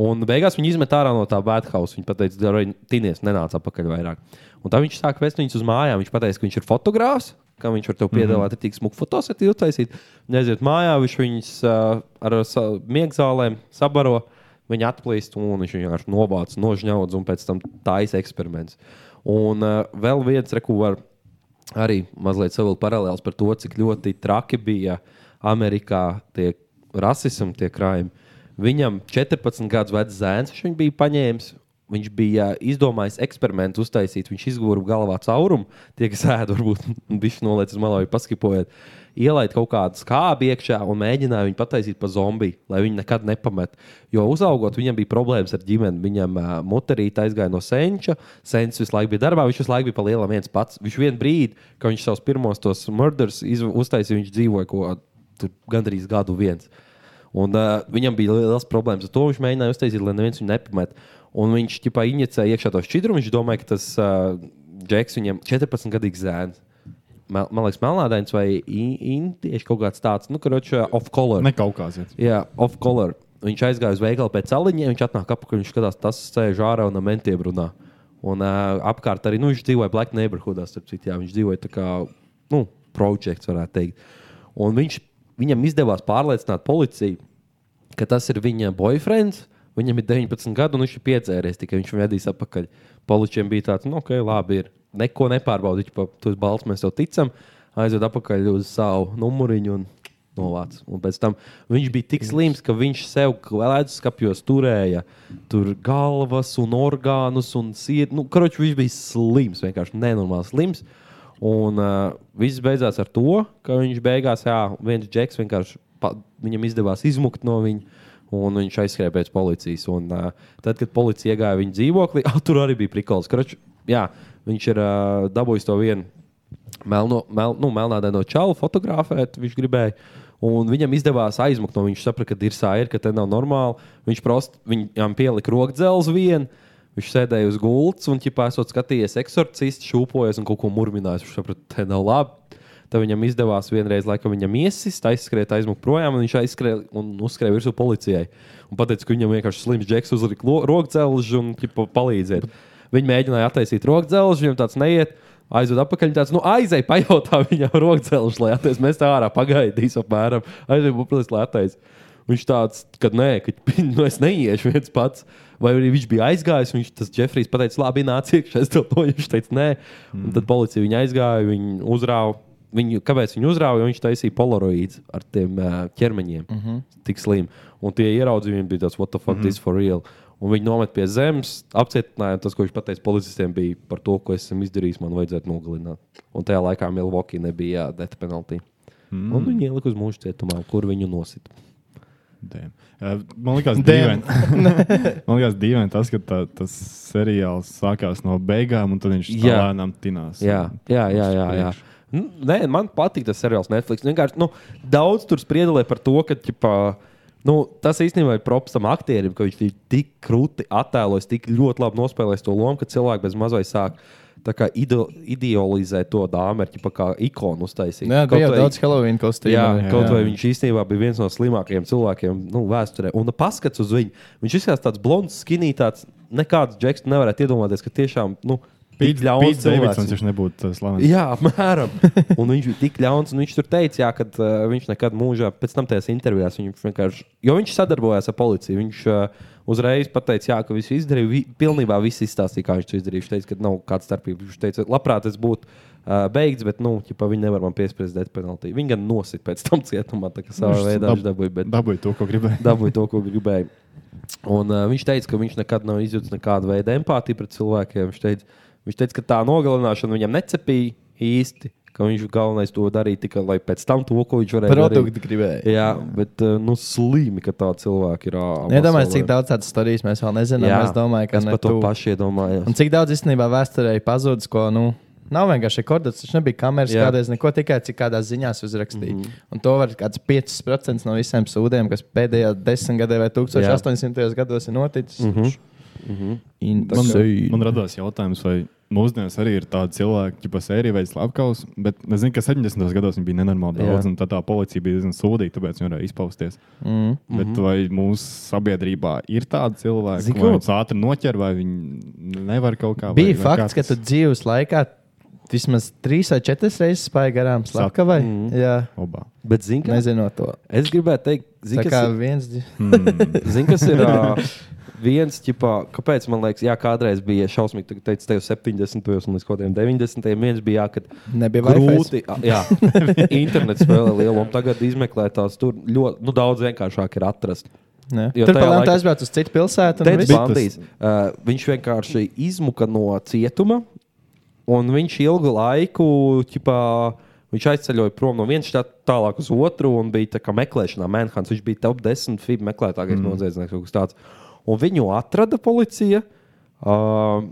[SPEAKER 6] Un beigās viņi izmet ārā no tā bēdhausa. Viņa teica, ka Tīnies nenāca atpakaļ vairāk. Un tā viņš sāk vest viņus uz mājām. Viņš teica, ka viņš ir fotogrāfs, ka viņš var tev piedāvāt mm -hmm. tik smuku fotosēdi uztaisīt. Viņa aiziet mājā, viņš viņus uh, ar sa- miegzālēm sabaro. Viņa atplīst, un viņš vienkārši novāc, nožņauts, un pēc tam taisa eksperiments. Un uh, vēl viens rekurs arī mazliet savilkt paralēlus par to, cik ļoti traki bija Amerikā tie rasismu tie krājumi. Viņam 14 gadus vecs zēns viņš viņu bija paņēmis. Viņš bija izdomājis eksperimentu uztaisīt. Viņš izgūra galvā caurumu, tie, kas ēda, varbūt viņš nolaicis uz malā, paskipojot, ielaid kaut kādu skābi iekšā un mēģināja viņu pataisīt par zombiju, lai viņi nekad nepamet. Jo uzaugot, viņam bija problēmas ar ģimeni. Viņam uh, mutārīte aizgāja no senča, sens visu laiku bija darbā, viņš visu laiku bija pa lielam viens pats. Viņš vien brīdi, kad viņš savus pirmos tos murders iz- uztaisīja, viņš dzīvoja kaut kā gandrīz gadu viens. Un, uh, viņam bija liels problēmas ar to. Viņš mēģināja uztaisīt, lai neviens viņu nepamet. Un viņš tipā inicēja iekšā to šķidrumu. Viņš domāja, ka tas uh, Džeks viņam 14 gadīgs zēns. Mel- Man liekas, melnādains vai in- indieši kaut kāds tāds, nu, kurš ir off-color.
[SPEAKER 1] Ne kaukāzietis.
[SPEAKER 6] Jā, off-color. Viņš aizgāja uz veikalu pēc aliņiem, viņš atnāk apakaļ, viņš skatās, tas sēž ārā un ar mentiem runā. Un uh, apkārt arī nu, viņš dzīvoja Black Neighborhoodā, starp citu, jā, viņš dzīvoja tā kā nu, projekts, varētu teikt. Un viņš, viņam izdevās pārliecināt policiju, ka tas ir viņa boyfriends. Viņam ir 19 gadi, un viņš ir piedzēries, tikai viņš vedīs atpakaļ. Poličiem bija tāds, nu, ok, labi, ir. Neko nepārbaudīt, pa tos balsts mēs jau ticam. Aizved atpakaļ uz savu numuriņu un novāc. Un pēc tam viņš bija tik slims, ka viņš sev lēdz skapjos turēja tur galvas un orgānus un sirdi. Nu, karoči, viņš bija slims, vienkārši nenormāli slims. Un uh, viss beidzās ar to, ka viņš beigās, jā, viens džeks vienkārši pa, viņam izdevās izmukt no viņa. Un viņš aizskrēja pēc policijas. Un, uh, tad, kad policija iegāja viņa dzīvoklī, ah, tur arī bija prikals. Krač, jā, viņš ir uh, dabūjis to vienu melno, mel, nu, melnādaino čalu fotografēt, viņš gribēja. Un viņam izdevās aizmukt no viņa. Viņš saprata, ka ir sāra, ka te nav normāli. Viņš prost, viņam pielika rokdzelzi vienu. Viņš sēdēja uz gultas un, ja pēcot skatījies, eksorcists šūpojas un kaut ko murminājis. Viņš saprata, te nav labi. Tad viņam izdevās vienreiz, laikam, viņam iesist, aizskriet, aizmukt projām, un viņš aizskrēja un uzskrēja virsū policijai. Un pateica, ka viņam vienkārši slims džeks uzlika lo- rokdzelžu un ķipa, palīdzēt. Viņi mēģināja attaisīt rokdzelžu, viņam tāds neiet. Aizved atpakaļ, tāds, nu, aizej, pajautā viņam rokdzelžu, lai attaisītu. Mēs tā ārā pagaidīsim, apmēram. Aizej, protams, lai attaisītu. Viņš tāds, ka nē, ka nu, es neiešu viens pats. Vai arī viņš bija aizgājis, viņš tas Jeffrijs pateica, labi, nāc iekšā. Es to noju, viņš teica, nē. Mm. Tad policija viņu aizgāja, viņu uzrāva. Viņu, kāpēc viņi uzrāva? Jo viņš taisīja polaroīdu ar tiem uh, ķermeņiem. Mm
[SPEAKER 13] Mhm.
[SPEAKER 6] -hmm. Tik slim. Un tie ieraudzījumi bija tāds, what the fuck, mm -hmm. this for real. Un viņi nomet pie zemes, apcietinājumi. Tas, ko viņš pateica policistiem, bija par to, ko esmu izdarījis, man vajadzētu nogalināt. Un tajā laikā Milvokī nebija death penalty. Mm.
[SPEAKER 1] Mm.
[SPEAKER 6] Un viņi ielika uz mūža cietumā, kur viņu nosita.
[SPEAKER 1] Damn. Eh, Man liekas, dīvaini.
[SPEAKER 6] Damn.
[SPEAKER 1] Man liekas, dīvaini tas, ka tā, tas seriāls sākās no beigām, un tad viņš tā
[SPEAKER 6] Jā.
[SPEAKER 1] lēnām tinās.
[SPEAKER 6] Jā, jā, jā. jā, jā. Nu, Nē, man patīk tas seriāls Netflix. Vienkārši, nu, daudz tur spriedelē par to, ka ķipā, nu, tas īstenībā ir props tam aktierim, ka viņš ir tik krūti attēlojis, tik ļoti labi nospēlējis to lomu, ka cilvēki bez mazliet sāk. Tā kā ide- idealizē to dāmu, ir ķipa, kā ikonu uztaisīt.
[SPEAKER 8] Jā,
[SPEAKER 6] Kaut
[SPEAKER 8] bija jau
[SPEAKER 6] vai-
[SPEAKER 8] daudz Halloween kostīmu.
[SPEAKER 6] Jā,
[SPEAKER 8] Jā.
[SPEAKER 6] kaut vai viņš īstenībā bija viens no slimākajiem cilvēkiem nu, vēsturē. Un paskats uz viņu. Viņš izskatās tāds blonds, skinīgs. Nekāds džeks nevarētu iedomāties, ka tiešām nu,
[SPEAKER 1] Pits
[SPEAKER 6] tik ļauns
[SPEAKER 1] Pits
[SPEAKER 6] cilvēks
[SPEAKER 1] Davidsons, viņš nebūtu tas slavens.
[SPEAKER 6] Jā, apmēram. Un viņš bija tik ļauns, un viņš tur teica, jā, ka uh, viņš nekad mūžā, pēc tam tajās intervijās, viņš vienkārši, jo viņš sadarbojās ar policiju, viņš uh, uzreiz pateica, jā, ka viss izdarīja, vi, pilnībā viss izstāstīja, kā viņš to izdarīja. Viņš teica, ka nav kāda starpība. Viņš teica, labprāt, es būtu uh, beigts, bet, nu, ķipa, viņi nevar man piespriezt death penalty. Viņi gan nosit pēc tam cietumā, tā kā savā
[SPEAKER 1] Viņš
[SPEAKER 6] veidā
[SPEAKER 1] dab-
[SPEAKER 6] viņš dabūja. bet-
[SPEAKER 1] dabūja to, ko gribēja.
[SPEAKER 6] Dabūja to, ko gribēja. Un, uh, viņš teica, ka viņš nekad nav izjutis nekādu veidu empātiju pret cilvēkiem. Viņš teica, viņš teica ka tā nogalināšana viņam necepīja īsti. ka ka viņš galvenais to darīja tikai lai pēc tam to, ko viņš varēja
[SPEAKER 8] Produktu
[SPEAKER 6] darīt.
[SPEAKER 8] gribēja.
[SPEAKER 6] Jā, bet uh, nu slīmi, ka tā cilvēki ir. ā,
[SPEAKER 8] Iedomājieties,
[SPEAKER 6] pasaulē.
[SPEAKER 8] cik daudz tādas stāstu mēs vēl nezinām.
[SPEAKER 6] Jā,
[SPEAKER 8] es domāju, ka
[SPEAKER 6] es
[SPEAKER 8] ne
[SPEAKER 6] par to
[SPEAKER 8] tu.
[SPEAKER 6] pašu iedomājos.
[SPEAKER 8] Un cik daudz īstenībā vēsturē ir pazudis, ko nu, nav vienkārši rekords. Tas nebija kameras,
[SPEAKER 6] Jā. Mhm.
[SPEAKER 8] kādreiz neko tikai cik kādās ziņās uzrakstīja. Mm -hmm. Un to var kāds 5% no visiem sūdiem, kas pēdējā desmitgadē vai 1800. gados ir noticis.
[SPEAKER 1] Mhm.
[SPEAKER 8] -hmm.
[SPEAKER 1] Man, man radās jautājums, vai mūsdienās arī ir tādi cilvēki, kas sērija veids slepkavas, bet es zinu, ka 70. gados viņi bija nenormāli
[SPEAKER 8] Jā.
[SPEAKER 1] daudz, un tad tā policija bija diezgan sūdīga, tāpēc viņi varēja izpausties.
[SPEAKER 8] Mm.
[SPEAKER 1] Bet
[SPEAKER 8] Mhm.
[SPEAKER 1] vai mūsu sabiedrībā ir tādi cilvēki,
[SPEAKER 8] Zini,
[SPEAKER 1] kas
[SPEAKER 8] ko?
[SPEAKER 1] viņus ātri noķer, vai viņi nevar kaut kā?
[SPEAKER 8] Bija
[SPEAKER 1] vai,
[SPEAKER 8] fakts, ka tu dzīves laikā vismaz trīs vai četras reizes spēja garām slepkavai.
[SPEAKER 6] Mhm.
[SPEAKER 8] Mm. Jā,
[SPEAKER 1] Obā.
[SPEAKER 6] Bet zini, ka
[SPEAKER 8] nezinot to.
[SPEAKER 6] Es gribēju teikt, zini,
[SPEAKER 8] Tā
[SPEAKER 6] kas
[SPEAKER 8] kā
[SPEAKER 6] ir-
[SPEAKER 8] viens dzi-
[SPEAKER 6] Zini, kas ir ā, viens, ķipā, kāpēc man liekas, jā, kādreiz bija šausmīgi, tu teici, tev 70. un līdz kaut kādiem 90. viens bija, jā, kad
[SPEAKER 8] Nebija
[SPEAKER 6] grūti,
[SPEAKER 8] Wi-Fi.
[SPEAKER 6] ā, jā, internets spēlē lielu, un tagad izmeklētās tur ļoti, nu, daudz vienkāršāk ir atrast.
[SPEAKER 8] Jā. Tur palēnām tu aizbrauc uz citu pilsētu. un
[SPEAKER 6] Teds
[SPEAKER 8] viss.
[SPEAKER 6] Bandīs, uh, viņš vienkārši izmuka no cietuma, un viņš ilgu laiku, ķipā, viņš aizceļoja prom no vienas štata tālāk uz otru, un bija tā kā meklēšanā Manhans. Viņš bija top 10 FIB meklētākais mm. noziedznieks, kaut kas tāds. Un viņu atrada policija. Uh,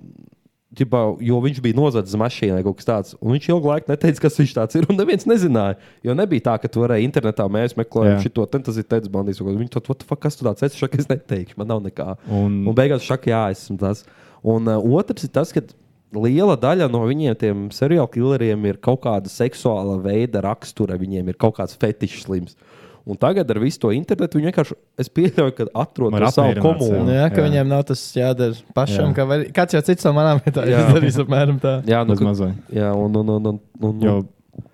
[SPEAKER 6] Ģibā, jo viņš bija nozadzis mašīnā, kaut kas tāds. Un viņš ilgu laiku neteica, kas viņš tāds ir. Un neviens nezināja. Jo nebija tā, ka tu varēji internetā mēs
[SPEAKER 1] Jā.
[SPEAKER 6] meklējām šo te tas ir teicis bandīs. kaut ko. Viņš to tādu, kas tu tāds esi, šak, es neteikšu, man nav nekā.
[SPEAKER 1] Un-
[SPEAKER 6] Un, un beigās šak, jā, es esmu tas. Un uh, otrs ir tas, ka liela daļa no viņiem, tiem seriāla killeriem, ir kaut kāda seksuāla veida rakstura, viņiem ir kaut kāds fetišs slims. Un tagad ar visu to internetu viņi vienkārši, es pieļauju, ka atrod to savu komunu.
[SPEAKER 8] Jā, Nu, ka jā. viņiem nav tas jādara
[SPEAKER 6] Jā.
[SPEAKER 8] pašam. Ka var, kāds jau cits no manām vietām
[SPEAKER 6] Jā.
[SPEAKER 8] izdarīs apmēram tā.
[SPEAKER 6] Jā, nu,
[SPEAKER 1] Bez
[SPEAKER 6] ka-
[SPEAKER 1] mazā.
[SPEAKER 6] Jā, un, un, un, un, un,
[SPEAKER 1] Jo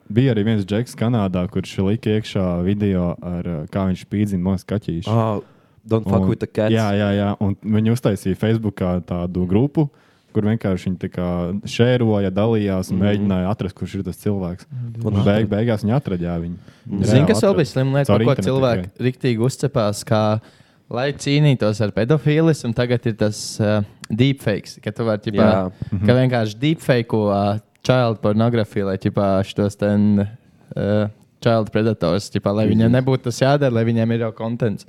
[SPEAKER 1] bija arī viens džeks Kanādā, kurš lika iekšā video ar ā, kā viņš spīdzina mazu kaķīšu.
[SPEAKER 6] Ah, don't fuck
[SPEAKER 1] Un-
[SPEAKER 6] with the cats.
[SPEAKER 1] Jā, jā, jā. Un viņi uztaisīja Facebookā tādu grupu. Kur vienkārši viņi tā kā šēroja, dalījās
[SPEAKER 6] Mhm.
[SPEAKER 1] un mm -hmm. mēģināja atrast, kurš ir tas cilvēks. Un
[SPEAKER 8] Dievs.
[SPEAKER 1] beig, beigās viņi atradīja viņu.
[SPEAKER 8] Zini, kas vēl bija slims lietas, par ko cilvēki rīktīgi uzcepās, kā lai cīnītos ar pedofīlis, un tagad ir tas uh, deepfakes, ka tu vari ģipā,
[SPEAKER 6] Jā. Mhm.
[SPEAKER 8] ka vienkārši deepfake uh, child pornogrāfiju, lai ģipā, šos ten, uh, child predators, ģipā, lai viņiem nebūtu tas jādara, lai viņiem ir jau kontents.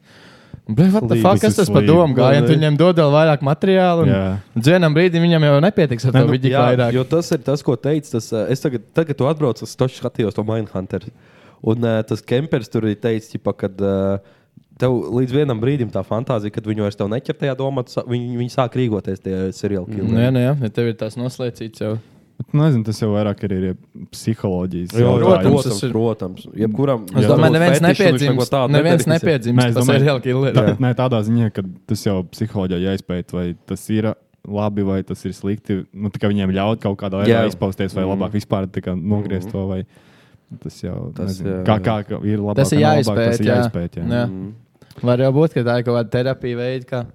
[SPEAKER 8] Blē, what the
[SPEAKER 6] Slīgi,
[SPEAKER 8] fuck, kas
[SPEAKER 6] tas ir
[SPEAKER 8] tas par
[SPEAKER 6] slīgi.
[SPEAKER 8] domu gājienu?
[SPEAKER 6] Vai
[SPEAKER 8] Tu
[SPEAKER 6] ne?
[SPEAKER 8] Viņiem dod vēl vairāk materiālu,
[SPEAKER 6] Jā.
[SPEAKER 8] un dzinam brīdim viņam jau nepietiks ar to vidiku
[SPEAKER 6] jā,
[SPEAKER 8] vairāk.
[SPEAKER 6] Jo tas ir tas, ko teica. Tas, eh, es tagad, tagad tu atbrauc, es toši skatījos to Mindhunter. Un eh, tas kempers tur ir teicis, ka tev līdz vienam brīdim tā fantāzija, kad viņu vairs tev neķer tajā domā, tu sā- viņi, viņi sāk rīkoties tie seriāli kilni.
[SPEAKER 8] Nē, nē, nu, ja tev ir tas noslēdzīts jau.
[SPEAKER 1] Nu, Nezinu, tas jau vairāk arī ir psiholoģijas.
[SPEAKER 6] Jā,
[SPEAKER 1] jautājums.
[SPEAKER 6] protams, tas ir- protams.
[SPEAKER 10] Mhm.
[SPEAKER 6] Jebkuram-
[SPEAKER 8] Es
[SPEAKER 1] Jā.
[SPEAKER 8] domāju, neviens nepiedzimst- neviens nepiedzimst
[SPEAKER 1] Nē, es
[SPEAKER 8] par
[SPEAKER 1] domāju,
[SPEAKER 8] serial killeri.
[SPEAKER 1] tā-
[SPEAKER 8] Jā.
[SPEAKER 1] Nē, tādā ziņā, ka tas jau psiholoģijā jāizpēta, vai tas ir labi, vai tas ir slikti. Nu, tā kā viņiem ļaut kaut kādā veidā
[SPEAKER 6] Jā.
[SPEAKER 1] izpausties, vai
[SPEAKER 6] Mhm.
[SPEAKER 1] labāk vispār tā kā nogriezt to. Vai... Tas jau
[SPEAKER 6] Tas,
[SPEAKER 1] nezinu,
[SPEAKER 6] jā,
[SPEAKER 1] kā, kā
[SPEAKER 6] jā.
[SPEAKER 1] ka ir labāk.
[SPEAKER 8] Tas ir
[SPEAKER 1] vai nav labāk,
[SPEAKER 8] jāizpēta.
[SPEAKER 1] Tas ir jāizpēta. Jā.
[SPEAKER 8] jā.
[SPEAKER 1] Mhm.
[SPEAKER 8] Var jau būt, ka tā ir kaut kāda terapija veida. Kā...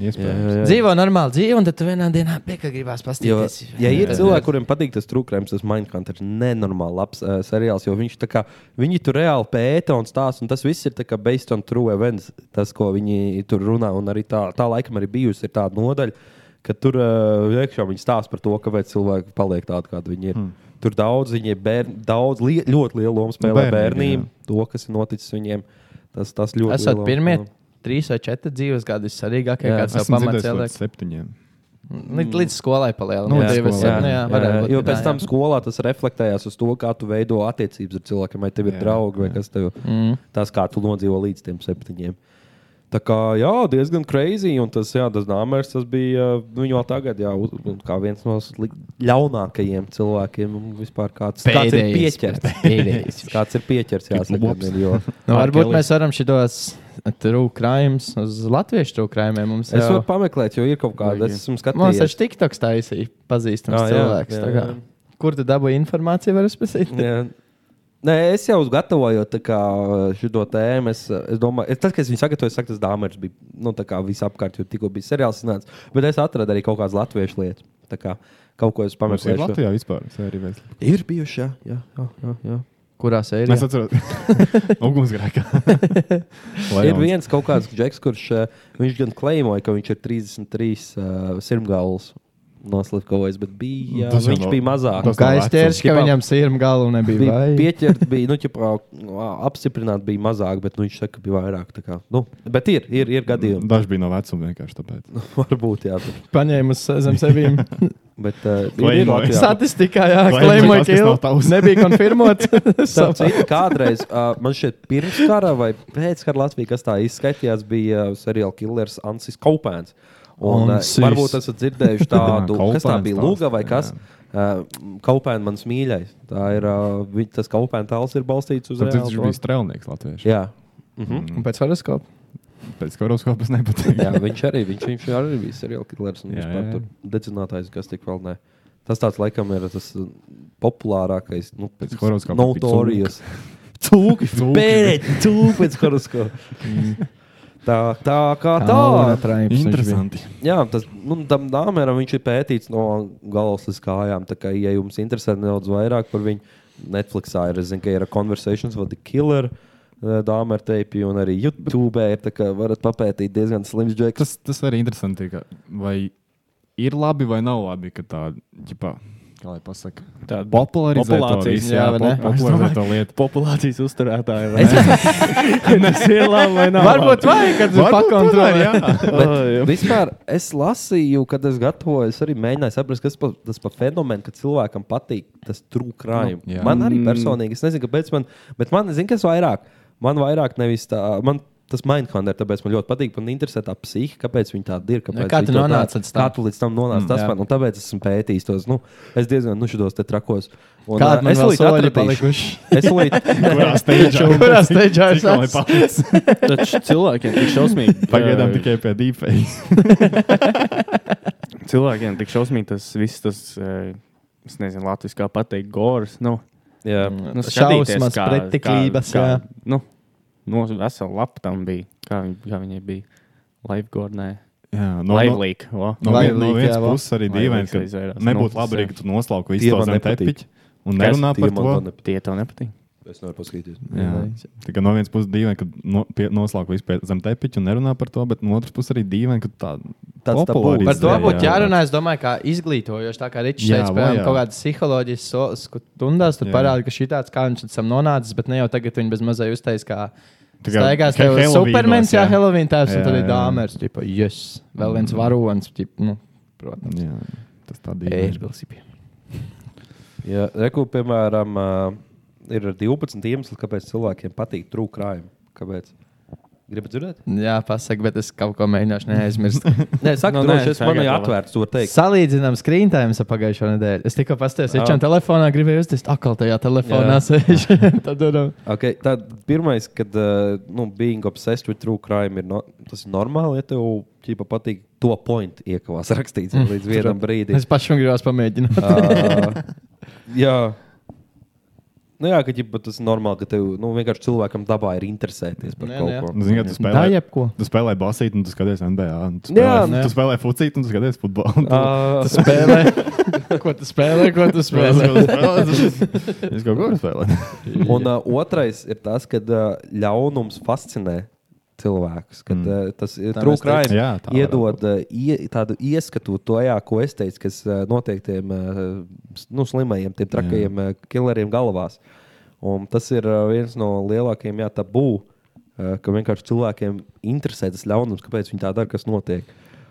[SPEAKER 1] Iespējams.
[SPEAKER 6] Jā.
[SPEAKER 8] Dzīvo normāli dzīvi, un tad tu vienā dienā piekā gribās
[SPEAKER 6] Jo,
[SPEAKER 8] pastīties.
[SPEAKER 6] ja ir
[SPEAKER 8] Jā.
[SPEAKER 6] cilvēki, kuriem patīk tas trūkums, tas Minecraft ir nenormāli labs uh, seriāls, jo viņš tā kā viņi tur reāli pēta un stāsta, un tas viss ir tā kā based on true events, tas, ko viņi tur runā, un arī tā, tā laikam arī bijusi ir tāda nodaļa. Ka tur uh, iekšā viņi stāsta par to, kāpēc cilvēki paliek tādi, kādi viņi ir.
[SPEAKER 1] Hmm.
[SPEAKER 6] Hmm. Tur daudz, viņi ir bērni, daudz, li ļoti liela loma spēlē
[SPEAKER 1] Bērnīgi,
[SPEAKER 6] bērniem.
[SPEAKER 1] jā.
[SPEAKER 6] To, kas ir noticis viņiem, tas, tas ļoti
[SPEAKER 8] Esat
[SPEAKER 6] lielu-
[SPEAKER 8] pirmie trīs vai četri dzīves gadi svarīgākie,
[SPEAKER 6] Jā.
[SPEAKER 8] kāds jau
[SPEAKER 6] Esmu
[SPEAKER 8] pamats
[SPEAKER 6] dzirdējis Mm. Nu,
[SPEAKER 8] cilvēks. Nu,
[SPEAKER 1] Līdz septiņiem.
[SPEAKER 8] Līdz, līdz skolai palielināt.
[SPEAKER 6] Jā, skolā.
[SPEAKER 8] nu jā, jā, varētu būt,
[SPEAKER 6] jo
[SPEAKER 8] jā,
[SPEAKER 6] pēc
[SPEAKER 8] jā.
[SPEAKER 6] tam skolā tas reflektējās uz to, kā tu veido attiecības ar cilvēkiem, vai tev ir
[SPEAKER 8] Jā,
[SPEAKER 6] draugi, vai kas tev
[SPEAKER 8] Mm.
[SPEAKER 6] tas, kā tu nodzīvo līdz tiem septiņiem. Tā kā jā, diezgan crazy. Un tas, jā, tas nāmērs tas bija uh, nu, jau tagad, jā, uz- un kā viens no slik- ļaunākajiem cilvēkiem un vispār. Kāds, kāds ir
[SPEAKER 8] Pēdējais,
[SPEAKER 6] pieķerts?
[SPEAKER 8] pēdējais.
[SPEAKER 6] kāds ir pieķerts? Jā,
[SPEAKER 8] Ups.
[SPEAKER 6] sakam, jo, R.
[SPEAKER 8] Nu, varbūt
[SPEAKER 6] Kelly.
[SPEAKER 8] mēs varam šitos true crimes uz latviešu true crime.
[SPEAKER 6] Es varu pameklēt, jo ir kaut kāda. Es esmu skatījis.
[SPEAKER 8] Mums taču TikToks taisīja pazīstams
[SPEAKER 6] Ā, Ah, jā,
[SPEAKER 8] cilvēks.
[SPEAKER 6] jā,
[SPEAKER 8] tā kā.
[SPEAKER 6] jā.
[SPEAKER 8] Kur tu dabūji informāciju, var uzspēsīt?
[SPEAKER 6] Jā. Nē, es jau gatavoju tā kā, šo tēmu. Es, es domāju, es- tas, kas viņa sagatavoja, saka, tas dāmas bija nu, tā kā visapkārt, jo tikko bija seriāls. Nāc. Bet es atradu arī kaut kādas latviešu lietas. Tā kā, kaut ko es
[SPEAKER 1] Mums ir
[SPEAKER 6] pamanīju.
[SPEAKER 1] Latvijā vispār sērija veids.
[SPEAKER 6] Ir bijuši, jā. jā, jā, jā, jā.
[SPEAKER 8] Kurā sērijā?
[SPEAKER 1] Es atceros, ugunsgrēkā.
[SPEAKER 6] Ir viens kaut kāds džeks, kurš eh, viņš gan klejmoja, ka viņš ir 33 uh, sirmgālis. noslēpkojas, eh, bet bija,
[SPEAKER 8] Tas
[SPEAKER 6] tas
[SPEAKER 8] jau
[SPEAKER 6] viņš
[SPEAKER 8] nav-
[SPEAKER 6] bija mazāk.
[SPEAKER 8] tas nav Kā es tieši, ka
[SPEAKER 6] Ķipā,
[SPEAKER 8] viņam sirma galva nebija,
[SPEAKER 6] Bija
[SPEAKER 8] vai?
[SPEAKER 6] pieķert, bija nu, ķipā, apstiprināt, bija mazāk, bet nu, viņš saka, ka bija vairāk. tā kā, Nu, bet ir, ir, ir gadījumi.
[SPEAKER 1] Dažs bija no vecuma vienkārši
[SPEAKER 6] Nu,
[SPEAKER 1] tāpēc.
[SPEAKER 6] Varbūt, jā. Bet...
[SPEAKER 8] Paņēma uz zem sevīm.
[SPEAKER 6] Bet, uh,
[SPEAKER 8] Claimoja. Statistikā, jā, claimoja, ka il- nebija konfirmēts.
[SPEAKER 6] Starp citu, Kādreiz, uh, man šeit pirms kara vai pēc kara Latvijā, kas tā izskaitījās, bija uh, seriāla killers Ansis Kaupēns. Un, uh,
[SPEAKER 8] Ansis.
[SPEAKER 6] varbūt esat dzirdējuši tādu,
[SPEAKER 8] Jā,
[SPEAKER 6] kas tā
[SPEAKER 8] Kaupēns
[SPEAKER 6] bija
[SPEAKER 8] tās,
[SPEAKER 6] Lūga vai kas. Uh, Kaupēns mans mīļais. Tā ir uh, vi- tas Kaupēns tēls ir balstīts uz
[SPEAKER 1] Starp citu,
[SPEAKER 6] reālu
[SPEAKER 1] viņš
[SPEAKER 6] to-
[SPEAKER 1] bija strēlnieks latvieši.
[SPEAKER 6] Jā. Mhm.
[SPEAKER 8] Un pēc horoskopa.
[SPEAKER 1] Pēc horoskopas nepatīk.
[SPEAKER 6] Jā, viņš arī, viņš, viņš arī bija seriāla killers. un
[SPEAKER 1] Jā,
[SPEAKER 6] Viņš pat
[SPEAKER 1] jā.
[SPEAKER 6] tur dedzinātājs, kas tik vēl ne. Tas tāds laikam ir tas uh, populārākais. Nu,
[SPEAKER 1] Pēc horoskopa bija
[SPEAKER 6] Notorious.
[SPEAKER 1] Cūki.
[SPEAKER 6] Cūki.
[SPEAKER 1] Mm.
[SPEAKER 6] Pēc cūki pēc horoskopa. Tā, tā kā tā.
[SPEAKER 8] Kauna traips viņš
[SPEAKER 1] Interesanti.
[SPEAKER 6] Jā, tas nu, tam dāmēram viņš ir pētīts no galvas līdz kājām. Tā kā, ja jums interesē nedaudz vairāk par viņu, Netflixā ir, es zinu, ka ir Conversations with the Killer. Dāmas ar teipi, un arī YouTube ir. Tā kā varat papētīt diezgan slims džeks.
[SPEAKER 1] Tas, tas arī interesanti, ka vai ir labi vai nav labi, ka tā, ģipā, kā lai pasaka,
[SPEAKER 2] Tāda
[SPEAKER 1] popularizē to
[SPEAKER 2] populācijas,
[SPEAKER 1] visu,
[SPEAKER 2] jā, vai ne?
[SPEAKER 1] pop- popularizē to lietu.
[SPEAKER 2] Populācijas uzturētāji. vai ne? Nes ir labi vai nav?
[SPEAKER 6] Varbūt
[SPEAKER 2] labi?
[SPEAKER 6] vajag, kad
[SPEAKER 2] Varbūt tomēr, jā.
[SPEAKER 6] Bet Vispār es lasīju, kad es gatavoju, es arī mēģināju saprast, kas pa, tas par fenomenu, ka cilvēkam patīk tas trūkrājums.
[SPEAKER 10] Nu,
[SPEAKER 6] Nu,
[SPEAKER 10] jā.
[SPEAKER 6] man arī
[SPEAKER 10] Mm.
[SPEAKER 6] personīgi, es nezinu, kāpēc man, bet man, zinu, kas vairāk, man vairāk nevis tā, man tas mindhunter, tāpēc man ļoti patīk, man interesē tā psihi, kāpēc viņi tāda ir. Kāpēc
[SPEAKER 8] Nu, kā tu
[SPEAKER 6] viņi to
[SPEAKER 8] nonāci
[SPEAKER 6] tā-
[SPEAKER 8] līdz tam?
[SPEAKER 6] Kā tu līdz tam nonāci?
[SPEAKER 8] Mm.
[SPEAKER 6] Mm, tas
[SPEAKER 8] Jā.
[SPEAKER 6] man, un tāpēc esmu pētījis tos, nu, es diezgan, nu, šitos te trakos. Un,
[SPEAKER 8] Kādi
[SPEAKER 6] ā,
[SPEAKER 8] man
[SPEAKER 6] es
[SPEAKER 8] vēl
[SPEAKER 6] līdz
[SPEAKER 8] soļi
[SPEAKER 6] atradīšu.
[SPEAKER 8] palikuši?
[SPEAKER 6] Es līdz
[SPEAKER 8] Kurā stageā? Kurā stageā es Cik vēl ir esmu? palicis?
[SPEAKER 2] Taču cilvēkiem tik šausmīgi.
[SPEAKER 1] Pagaidām
[SPEAKER 2] jā.
[SPEAKER 1] tikai pie
[SPEAKER 2] deepfake. cilvēkiem tik šausmīgi tas viss, tas, eh, es nezinu, latvijas kā pateikt, gors. Nu,
[SPEAKER 6] jā,
[SPEAKER 2] nu,
[SPEAKER 8] Šausmas,
[SPEAKER 2] skatīties, kā-
[SPEAKER 8] pretiklības,
[SPEAKER 2] kā-
[SPEAKER 8] jā.
[SPEAKER 2] kā- Nu, no vesela lapa tam bija, kā, viņ- kā viņai bija Life Gornē.
[SPEAKER 1] Jā, no,
[SPEAKER 2] no, Live
[SPEAKER 1] no-
[SPEAKER 2] Leak. o.
[SPEAKER 1] no, vien, no vienas puses arī
[SPEAKER 2] Live
[SPEAKER 1] dīvaini,
[SPEAKER 2] Leaks
[SPEAKER 1] ka
[SPEAKER 2] aizvairās.
[SPEAKER 1] nebūtu
[SPEAKER 2] Nu,
[SPEAKER 1] labi,
[SPEAKER 2] tas
[SPEAKER 1] arī,
[SPEAKER 2] ir.
[SPEAKER 1] ka tu noslauki
[SPEAKER 2] Tie
[SPEAKER 1] visu to
[SPEAKER 2] man
[SPEAKER 1] zem
[SPEAKER 2] nepatīk.
[SPEAKER 1] tepiņa un
[SPEAKER 2] Kas?
[SPEAKER 1] nerunā
[SPEAKER 2] Tie
[SPEAKER 1] par
[SPEAKER 2] man
[SPEAKER 1] to.
[SPEAKER 2] to nep- Tie tev nepatīk.
[SPEAKER 6] Es nevaru paskatīties.
[SPEAKER 1] Jā. Tā kā no vienas puses dīvaini, ka no, pie- noslauka visu pie- zem tepiņa un nerunā par to, bet no otras puses arī dīvaini, ka tā
[SPEAKER 6] Tāds tabū.
[SPEAKER 8] Par to
[SPEAKER 1] popularizē,
[SPEAKER 8] būtu
[SPEAKER 1] jā.
[SPEAKER 8] jārunā, es domāju, kā izglītojoši. Tā kā Ričs
[SPEAKER 1] Jā,
[SPEAKER 8] šeit
[SPEAKER 1] vajag.
[SPEAKER 8] spēlē kaut kādas psiholoģijas so- stundās, tur
[SPEAKER 1] Jā.
[SPEAKER 8] parāda, ka šī tāds kā viņš līdz tam nonācis, bet ne jau tagad viņa bez mazai uztais, kā
[SPEAKER 1] Tā kā
[SPEAKER 8] staigās
[SPEAKER 1] he-
[SPEAKER 8] tev ir
[SPEAKER 1] Halloweenos,
[SPEAKER 8] supermens, jā,
[SPEAKER 1] jā.
[SPEAKER 8] Halloween tēvs, un
[SPEAKER 1] Jā,
[SPEAKER 8] tad ir
[SPEAKER 1] jā. Mm.
[SPEAKER 8] dāmers, tipo, yes, vēl viens varonis, tipo, nu, protams.
[SPEAKER 1] Jā, tas tā dīvaini.
[SPEAKER 8] Ērbelsība.
[SPEAKER 6] Jā, reku, piemēram, ā, ir 12 iemesli, kāpēc cilvēkiem patīk trūkrājumi. Kāpēc? Gribu dzirdēt?
[SPEAKER 8] Jā, pasaka, bet es kaut ko mēģināšu neaizmirst.
[SPEAKER 6] Nē, saka,
[SPEAKER 8] Nu,
[SPEAKER 6] droši,
[SPEAKER 8] nē,
[SPEAKER 6] es- man
[SPEAKER 8] tagad
[SPEAKER 6] ir
[SPEAKER 8] vēl.
[SPEAKER 6] atvērts, to var teikt.
[SPEAKER 8] Salīdzinām screen time ar pagājušo nedēļu. Es tikko paskatījos,
[SPEAKER 6] Ah.
[SPEAKER 8] iekšā telefonā gribēju uztvert, akal tajā telefonā
[SPEAKER 6] Jā.
[SPEAKER 8] sēž. Tad, nu,
[SPEAKER 6] Okay, tad pirmais, kad uh, nu, being obsessed with true crime, ir no, tas ir normāli, ja tev ķipa, patīk to point iekavās rakstīts
[SPEAKER 8] Mm,
[SPEAKER 6] līdz vienam
[SPEAKER 8] protams.
[SPEAKER 6] brīdim.
[SPEAKER 8] Es pašam gribēju pamēģināt.
[SPEAKER 6] Ā, jā. Nu jā, ka ķipa, tas ir normāli, ka tev nu, vienkārši cilvēkam dabā ir interesēties par
[SPEAKER 8] Nē,
[SPEAKER 6] kaut
[SPEAKER 8] nu jā.
[SPEAKER 6] ko.
[SPEAKER 1] Nu, Zini, ka tu spēlē,
[SPEAKER 8] Da jebko.
[SPEAKER 1] tu spēlē basīt, un tu skaties NBA. un Tu
[SPEAKER 6] Jā,
[SPEAKER 1] spēlē,
[SPEAKER 6] nē.
[SPEAKER 1] tu spēlē fucīt, un tu skaties futbolu. un Tu,
[SPEAKER 8] Ah,
[SPEAKER 6] Ā.
[SPEAKER 1] tu spēlē.
[SPEAKER 8] ko tu spēlē, ko tu spēlē?
[SPEAKER 1] Es kaut ko spēlēju.
[SPEAKER 6] Un uh, otrais ir tas, ka uh, ļaunums fascinē cilvēkus. Kad, mm. uh, tas ir
[SPEAKER 1] Tā mēs
[SPEAKER 6] trūkums,
[SPEAKER 1] teicām. Jā, tā
[SPEAKER 6] iedod uh, ie, tādu ieskatu tajā, ko es teicu, kas uh, notiek tiem uh, s- nu, slimajiem, tiem trakajiem uh, killeriem galvās. Un tas ir uh, viens no lielākajiem jā, tabū, uh, ka vienkārši cilvēkiem interesē tas ļaunums, kāpēc viņi tā dara, kas notiek.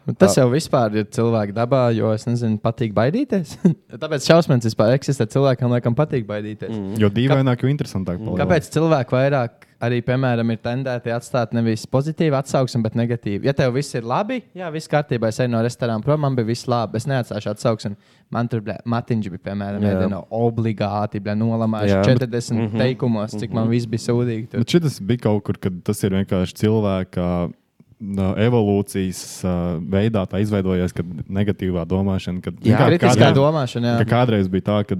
[SPEAKER 8] Un Tas jau vispār ir cilvēka dabā, jo es nezinu, patīk baidīties. Tāpēc šausmas vispār eksistē. Cilvēkam laikam patīk baidīties. Mm.
[SPEAKER 1] Jo dīvaināk, jo interesantāk. paliek.
[SPEAKER 8] Kāpēc cilvēki vairāk arī, piemēram, ir tendēti atstāt nevis pozitīvu atsauksmi, bet negatīvu? Ja tev viss ir labi, jā, viss kārtībā, es eju no restorāna prom, man bija viss labi, es neatstāšu atsauksmi. Man tur bija matiņš, bija piemēram,
[SPEAKER 6] Jā.
[SPEAKER 8] viena no obligāti bija
[SPEAKER 6] Jā,
[SPEAKER 8] nolamājuši
[SPEAKER 6] bet-
[SPEAKER 8] 40 mm
[SPEAKER 6] Mhm.
[SPEAKER 8] -hmm. teikumos, cik mm -hmm. man viss bija sūdīgi. Tur.
[SPEAKER 1] Bet šis Nu, bija kaut kur, kad tas ir vienkārši cilvēka nā, evolūcijas ā, veidā tā izveidojies, kad negatīvā domāšana, kad
[SPEAKER 8] Jā,
[SPEAKER 1] vienkārši
[SPEAKER 8] kritiskā
[SPEAKER 1] kādreiz-
[SPEAKER 8] domāšana, jā.
[SPEAKER 1] ka Kādreiz bija tā, ka.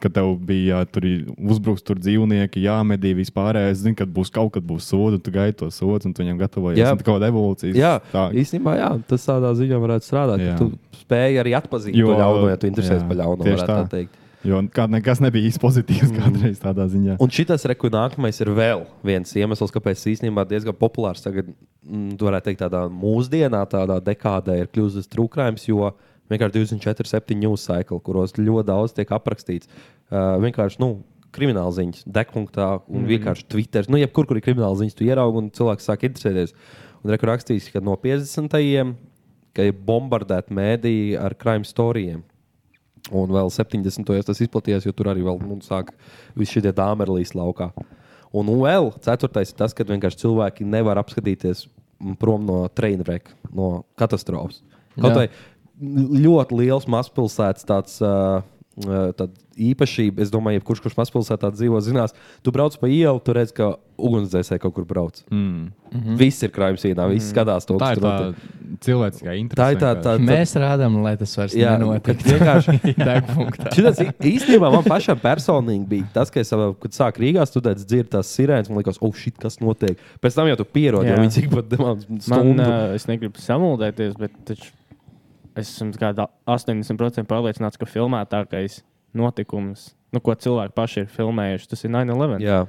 [SPEAKER 1] Kad tev bija jā, tur ir uzbrukts tur dzīvnieki, jāmedī vispār. Es zinu, ka būs kaut kad būs soda, un tu gaidi to sodu, un tu viņam gatavojies.
[SPEAKER 6] Jā.
[SPEAKER 1] Jā, tā kā evolūcija.
[SPEAKER 6] Jā, tā īstenībā jā, tas tādā ziņā varētu strādāt. ka
[SPEAKER 1] Jā.
[SPEAKER 6] Tu spēji arī atpazīt jo, to ļauno, ja tu interesējies par ļaunu.
[SPEAKER 1] Tieši
[SPEAKER 6] varētu
[SPEAKER 1] tā.
[SPEAKER 6] tā teikt.
[SPEAKER 1] Jo kā, nekas nebija īsti pozitīvs mm. kādreiz tādā ziņā.
[SPEAKER 6] Un šis rekurents ir vēl viens iemesls, kāpēc tas īstenībā diezgan populārs tagad, mm, tu varētu teikt, tādā mūsdienā, tādā dekādē ir kļuvis trūkājums. Jo vienkārši 24, 7 news cycle, kuros ļoti daudz tiek aprakstīts. Uh, vienkārši, nu, krimināla ziņas, degpunktā un mm.
[SPEAKER 10] Mhm.
[SPEAKER 6] vienkārši Twitter. Nu, jebkur, kur ir krimināla ziņas, tu ieraugi un cilvēks sāk interesēties. Un rekur rakstīs, ka no 50. ka ir bombardēta mēdīja ar crime storijiem. Un vēl 70. tas izplatījās, jo tur arī vēl nu, sāk visi šie dāmerlīs laukā. Un vēl ceturtais ir tas, ka vienkārši cilvēki nevar apskatīties mm, prom no trainwreck, no katastrofas. Kaut
[SPEAKER 10] Jā.
[SPEAKER 6] vai ļoti liels mazpilsētas tāds. Uh, uh, Tāda īpašība, es domāju, jebkurš, kurš mazpilsētā dzīvo, zinās, tu brauc pa ielu, tu redz, ka ugunsdzēsēji kaut kur brauc.
[SPEAKER 1] Mm.
[SPEAKER 6] Mhm. Viss ir krājums īnā, viss
[SPEAKER 1] Mhm.
[SPEAKER 6] skatās to,
[SPEAKER 1] Tā
[SPEAKER 6] kas
[SPEAKER 1] ir
[SPEAKER 6] tur
[SPEAKER 1] tā
[SPEAKER 6] notiek.
[SPEAKER 1] cilvēciskā interese
[SPEAKER 6] Tā ir tā, tā, tā
[SPEAKER 8] Mēs rādām, lai tas vairs
[SPEAKER 6] Jā,
[SPEAKER 8] nenotiek.
[SPEAKER 6] bet vienkārši-
[SPEAKER 8] degpunktā.
[SPEAKER 6] Šitas i- īstenībā man pašam personīgi bija tas, ka es, savā- kad sāku Rīgā studēt, dzirdēju tās sirēnas, man liekas, oh, shit, kas notiek. Pēc tam jau tu pierodi, jo
[SPEAKER 2] Jā.
[SPEAKER 6] viņi cik pat demām
[SPEAKER 2] Man,
[SPEAKER 6] stundu.
[SPEAKER 2] uh, es negribu samuldēties, bet taču es esmu kādā 80% pārliecināts, ka filmētākais notikums, nu, ko cilvēki paši ir filmējuši, tas ir 9-11.
[SPEAKER 6] Jā.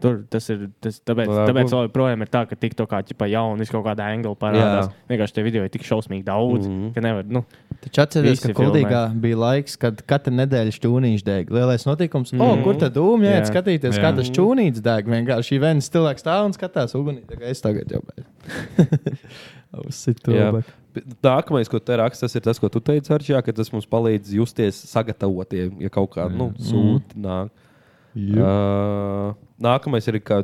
[SPEAKER 2] Tur tas ir. Tas, tāpēc
[SPEAKER 6] Varētu
[SPEAKER 2] tāpēc
[SPEAKER 6] būt.
[SPEAKER 2] vēl joprojām ir tā, ka tik to kā ķipa jaunu, kaut kāda angļu parādās. Vienkārši tie video ir tik šausmīgi daudz, mm
[SPEAKER 6] Mhm.
[SPEAKER 2] -hmm. ka nevar. Nu,
[SPEAKER 8] Taču atcerieties, ka
[SPEAKER 2] visi filmē.
[SPEAKER 8] Kultūrā bija laiks, kad katra nedēļa šķūnīša deg. Lielais notikums, mm. oh,
[SPEAKER 2] Mhm.
[SPEAKER 8] kur tad dūmā
[SPEAKER 2] Jā.
[SPEAKER 8] jāiet skatīties,
[SPEAKER 2] Jā.
[SPEAKER 8] kā tas šķūnīts deg. Vienkārši viens cilvēks stāv un skatās ugunī. Tā kā es tagad jau
[SPEAKER 6] Jā.
[SPEAKER 8] beidzu.
[SPEAKER 6] Bet Nākamais, ko te raksta, tas ir tas, ko tu teici, Arčijā, ka tas mums palīdz justies sagatavotiem, ja kaut kāda nu, sūta
[SPEAKER 2] Mhm.
[SPEAKER 6] nāk. Uh, nākamais ir, ka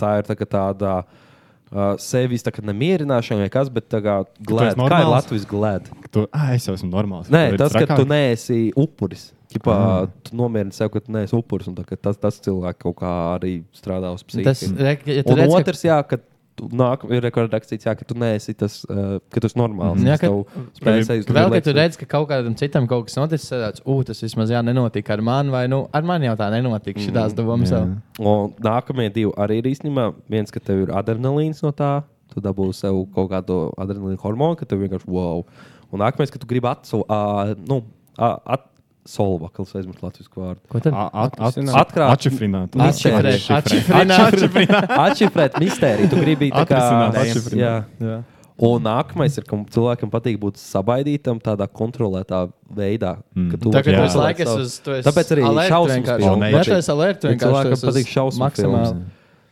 [SPEAKER 6] tā ir tā kā tāda uh, sevis tā kā nemierināšana, vai kas, bet tā kā glēda. Kā ir Latvijas glēda?
[SPEAKER 1] Tu, ah, es jau esmu normāls.
[SPEAKER 6] Nē,
[SPEAKER 1] Tāpēc
[SPEAKER 6] tas, ka
[SPEAKER 1] trakāk.
[SPEAKER 6] tu neesi upuris. Ķipā,
[SPEAKER 1] Ah.
[SPEAKER 6] tu nomierini sev, ka tu neesi upuris. un tā, ka Tas, tas cilvēks kaut kā arī strādā uz psihiku.
[SPEAKER 8] Tas, re, ja tu
[SPEAKER 6] un
[SPEAKER 8] redz, ka-
[SPEAKER 6] otrs, jā, ka tu nāk, ir rakstīts, jā, ka tu neesi tas, uh, ka tu esi normāls.
[SPEAKER 8] Mhm. Jā,
[SPEAKER 6] tas
[SPEAKER 8] ka,
[SPEAKER 6] tev spējas aiz-
[SPEAKER 8] vēl, kad tu
[SPEAKER 6] liekas-
[SPEAKER 8] redz, ka kaut kādam citam kaut kas noticis, tad uh, tas vismaz jā, nenotika ar mani, vai nu ar mani jau tā nenotika šīs domas. Mm.
[SPEAKER 6] Un nākamie divi arī ir īstenībā. Viens, ka tev ir adrenalīns no tā, tu dabūsi sev kaut kādu adrenalīnu hormonu, ka tev vienkārši wow. Un nākamais, ka tu gribi atsolvot, uh, nu, uh, at Solvakls, aizmirst latviešu vārdu.
[SPEAKER 8] Ko tad?
[SPEAKER 1] At- at-
[SPEAKER 6] Atkrāt,
[SPEAKER 1] atšifrināt.
[SPEAKER 6] mistēriju.
[SPEAKER 1] Atšifrināt.
[SPEAKER 6] Atšifrināt. Atšifrēt mistēriju. Tu gribi tā kā
[SPEAKER 1] Atrisināt, atšifrināt.
[SPEAKER 6] Jā.
[SPEAKER 1] Jā.
[SPEAKER 6] Un nākamais ir, ka cilvēkam patīk būt sabaidītam, tādā kontrolētā veidā. Mm. Ka tu
[SPEAKER 8] Tā
[SPEAKER 6] vari
[SPEAKER 8] kā tu esi
[SPEAKER 6] kontrolēt
[SPEAKER 8] laikas
[SPEAKER 6] savu-
[SPEAKER 8] uz- tu esi
[SPEAKER 6] Tāpēc arī
[SPEAKER 8] alert
[SPEAKER 6] šausmas
[SPEAKER 8] vienkārši.
[SPEAKER 6] filmas
[SPEAKER 8] Jā, tu
[SPEAKER 6] patīk.
[SPEAKER 8] esi alert
[SPEAKER 6] Ja
[SPEAKER 8] vienkārši, tu
[SPEAKER 6] Cilvēkam
[SPEAKER 8] esi
[SPEAKER 6] patīk
[SPEAKER 8] uz
[SPEAKER 6] šausmas
[SPEAKER 8] maksimāli.
[SPEAKER 6] filmas.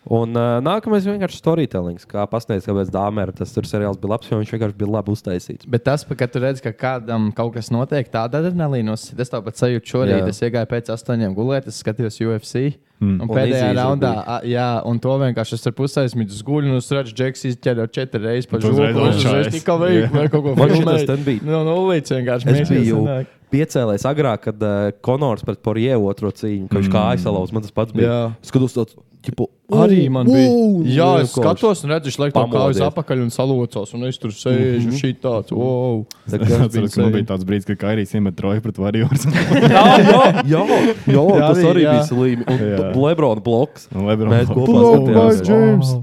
[SPEAKER 6] Un uh, nākamais vienkārši storytelling, kā pasniedz, kāpēc Dāmēra tas tur seriāls bija labs, jo viņš vienkārši bija labi uztaisīts.
[SPEAKER 8] Bet tas, pa- kad tu redz, ka kādam kaut kas notiek, tāda adrenalīna uzsita. Es tāpat sajūtu šorīt,
[SPEAKER 6] Jā.
[SPEAKER 8] jā. es iegāju pēc astoņiem gulēt, es skatījos UFC.
[SPEAKER 6] Mm. Un
[SPEAKER 8] Mm. Un pēdējā
[SPEAKER 6] izīžu
[SPEAKER 8] un raundā, a, jā, un to vienkārši es tur pusaizmidu uz guļu, un nu, es redzu, Džeks izķēra četras reizes pa
[SPEAKER 6] Un tu uzreiz
[SPEAKER 8] žogu. un Es
[SPEAKER 6] atšāvies.
[SPEAKER 8] uzreiz tikai veiku,
[SPEAKER 6] Jā.
[SPEAKER 8] vai kaut ko
[SPEAKER 6] Man šitas
[SPEAKER 8] filmēju.
[SPEAKER 6] ten bija.
[SPEAKER 8] No nulles vienkārši.
[SPEAKER 6] Es
[SPEAKER 8] mēs
[SPEAKER 6] biju
[SPEAKER 8] sanāk.
[SPEAKER 6] piecēlējis agrāk, kad uh, Konors pret Porjē otro cīņu, ka viņš
[SPEAKER 8] Mm.
[SPEAKER 6] kā aizsalauzt, man tas pats bija.
[SPEAKER 8] Jā.
[SPEAKER 6] Skatos, tāds, ķipu,
[SPEAKER 8] Arī man bija.
[SPEAKER 6] "Uu!"
[SPEAKER 8] Jā,
[SPEAKER 6] Nu,
[SPEAKER 8] es
[SPEAKER 6] vienkārši
[SPEAKER 8] skatos, un redzu, viņš laikam kā uz
[SPEAKER 6] pamodies.
[SPEAKER 8] apakaļ un salocos, un es tur sēžu
[SPEAKER 6] Mhm.
[SPEAKER 8] šī tāds. Wow.
[SPEAKER 1] Es atceros, ka man bija tāds brīdis, kad Kairijs iemet troju pret Warriors.
[SPEAKER 6] Jā, jā, jā, jā, jā tas arī jā. bija slīmi. Un
[SPEAKER 1] Jā.
[SPEAKER 6] Lebrons bloks.
[SPEAKER 1] Lebrona
[SPEAKER 6] Mēs
[SPEAKER 1] bloks.
[SPEAKER 6] kopā
[SPEAKER 1] Block by
[SPEAKER 6] skatījāmies.
[SPEAKER 1] James.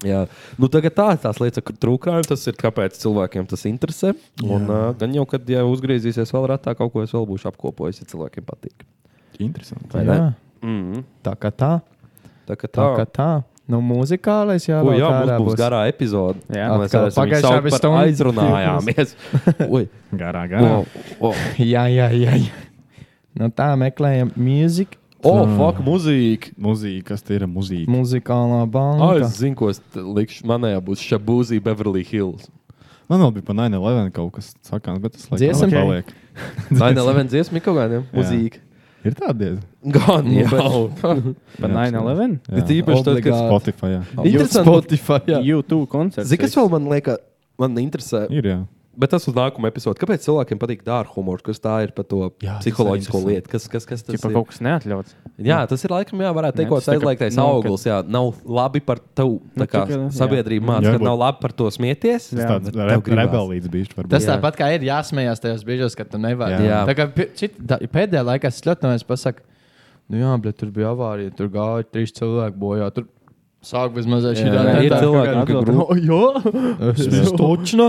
[SPEAKER 6] Jā, nu tagad tā ir tās lietas, kur trūkājumi tas ir, kāpēc cilvēkiem tas interesē. Un uh, gan jau, kad ja uzgriezīsies vēl rātā, kaut ko es vēl būšu apkopojis, ja cilvēkiem patīk.
[SPEAKER 1] Interesanti.
[SPEAKER 6] Vai ne?
[SPEAKER 8] Jā.
[SPEAKER 6] Mhm.
[SPEAKER 8] Tā kā tā.
[SPEAKER 6] Tā kā
[SPEAKER 8] Tā kā
[SPEAKER 6] tā.
[SPEAKER 8] tā. Nu, muzikālais jau
[SPEAKER 6] O, jā, mums būs garā epizode.
[SPEAKER 8] Jā.
[SPEAKER 6] Un mēs
[SPEAKER 8] Atkal
[SPEAKER 6] varēsim viņu
[SPEAKER 8] pagājušā
[SPEAKER 6] saukt
[SPEAKER 8] bija
[SPEAKER 6] par
[SPEAKER 8] stundu.
[SPEAKER 6] aizrunājāmies. Ui.
[SPEAKER 1] Garā,
[SPEAKER 6] garā. O, o.
[SPEAKER 8] jā, jā, jā. jā. Nu, tā meklējam mūziku.
[SPEAKER 6] O, fuck, mūzika.
[SPEAKER 1] Mūzika, kas te ir mūzika?
[SPEAKER 8] Muzikālā
[SPEAKER 6] Ai,
[SPEAKER 8] balva.
[SPEAKER 6] es zinu, ko es te likšu. Manējā būs Šabūzija Beverly Hills.
[SPEAKER 1] Man vēl bija pa 9-11 kaut kas sakāms, bet tas laikam
[SPEAKER 6] Dziesma?
[SPEAKER 1] vēl paliek.
[SPEAKER 6] 9-11 dziesma ir kaut kāda
[SPEAKER 1] Jā.
[SPEAKER 6] mūzika.
[SPEAKER 1] Ir tāda diezgan.
[SPEAKER 6] Gan
[SPEAKER 1] Nu,
[SPEAKER 6] jau.
[SPEAKER 1] bet-
[SPEAKER 2] Bet 9/11?
[SPEAKER 1] Jā.
[SPEAKER 6] Ir īpaši tas, ka
[SPEAKER 1] Obligāti. Spotify. jā.
[SPEAKER 6] Interesanti.
[SPEAKER 8] Spotify.
[SPEAKER 2] YouTube koncerts.
[SPEAKER 6] Zini, kas vēl man liekas, man interesē?
[SPEAKER 1] Ir, jā.
[SPEAKER 6] Bet tas uz nākamo epizodu. Kāpēc cilvēkiem patīk dārza humors? Kas tā ir par to jā,
[SPEAKER 1] tas ir
[SPEAKER 6] psiholoģisko
[SPEAKER 1] interesanti.
[SPEAKER 6] lietu? Kas, kas, kas tas
[SPEAKER 2] Ķipa
[SPEAKER 6] ir?
[SPEAKER 2] kaut kas neatļauts.
[SPEAKER 6] Jā, tas ir laikam, jā, varētu teikt,
[SPEAKER 2] Nē,
[SPEAKER 6] ka
[SPEAKER 2] tas tā kā-
[SPEAKER 6] aizliegtais
[SPEAKER 2] nu, ka-
[SPEAKER 6] auglis. Jā, nav labi par tevi.
[SPEAKER 2] Nu,
[SPEAKER 6] Tā kā
[SPEAKER 2] tikai, jā.
[SPEAKER 6] sabiedrība māca,
[SPEAKER 1] Jā,
[SPEAKER 6] ka
[SPEAKER 1] būt-
[SPEAKER 6] nav labi par to smieties.
[SPEAKER 1] Tas tāds
[SPEAKER 6] bet tev
[SPEAKER 1] re-
[SPEAKER 6] gribās.
[SPEAKER 1] rebelīts bišķi varbūt.
[SPEAKER 8] Tas
[SPEAKER 1] Jā.
[SPEAKER 8] tāpat kā ir jāsmējās tajos brīžos, kad tu nevari.
[SPEAKER 6] Jā. Jā.
[SPEAKER 8] Tā kā pi- cit- tā- pēdējā laikā es ļoti no jums pasaku, nu jā, bet tur bija avārija, tur gāja trīs cilvēki bojā. Tur Sāk vismaz ar šī
[SPEAKER 6] Jā,
[SPEAKER 8] tādu
[SPEAKER 6] ir cilvēki, kas grūti.
[SPEAKER 8] grūti.
[SPEAKER 6] Stočna.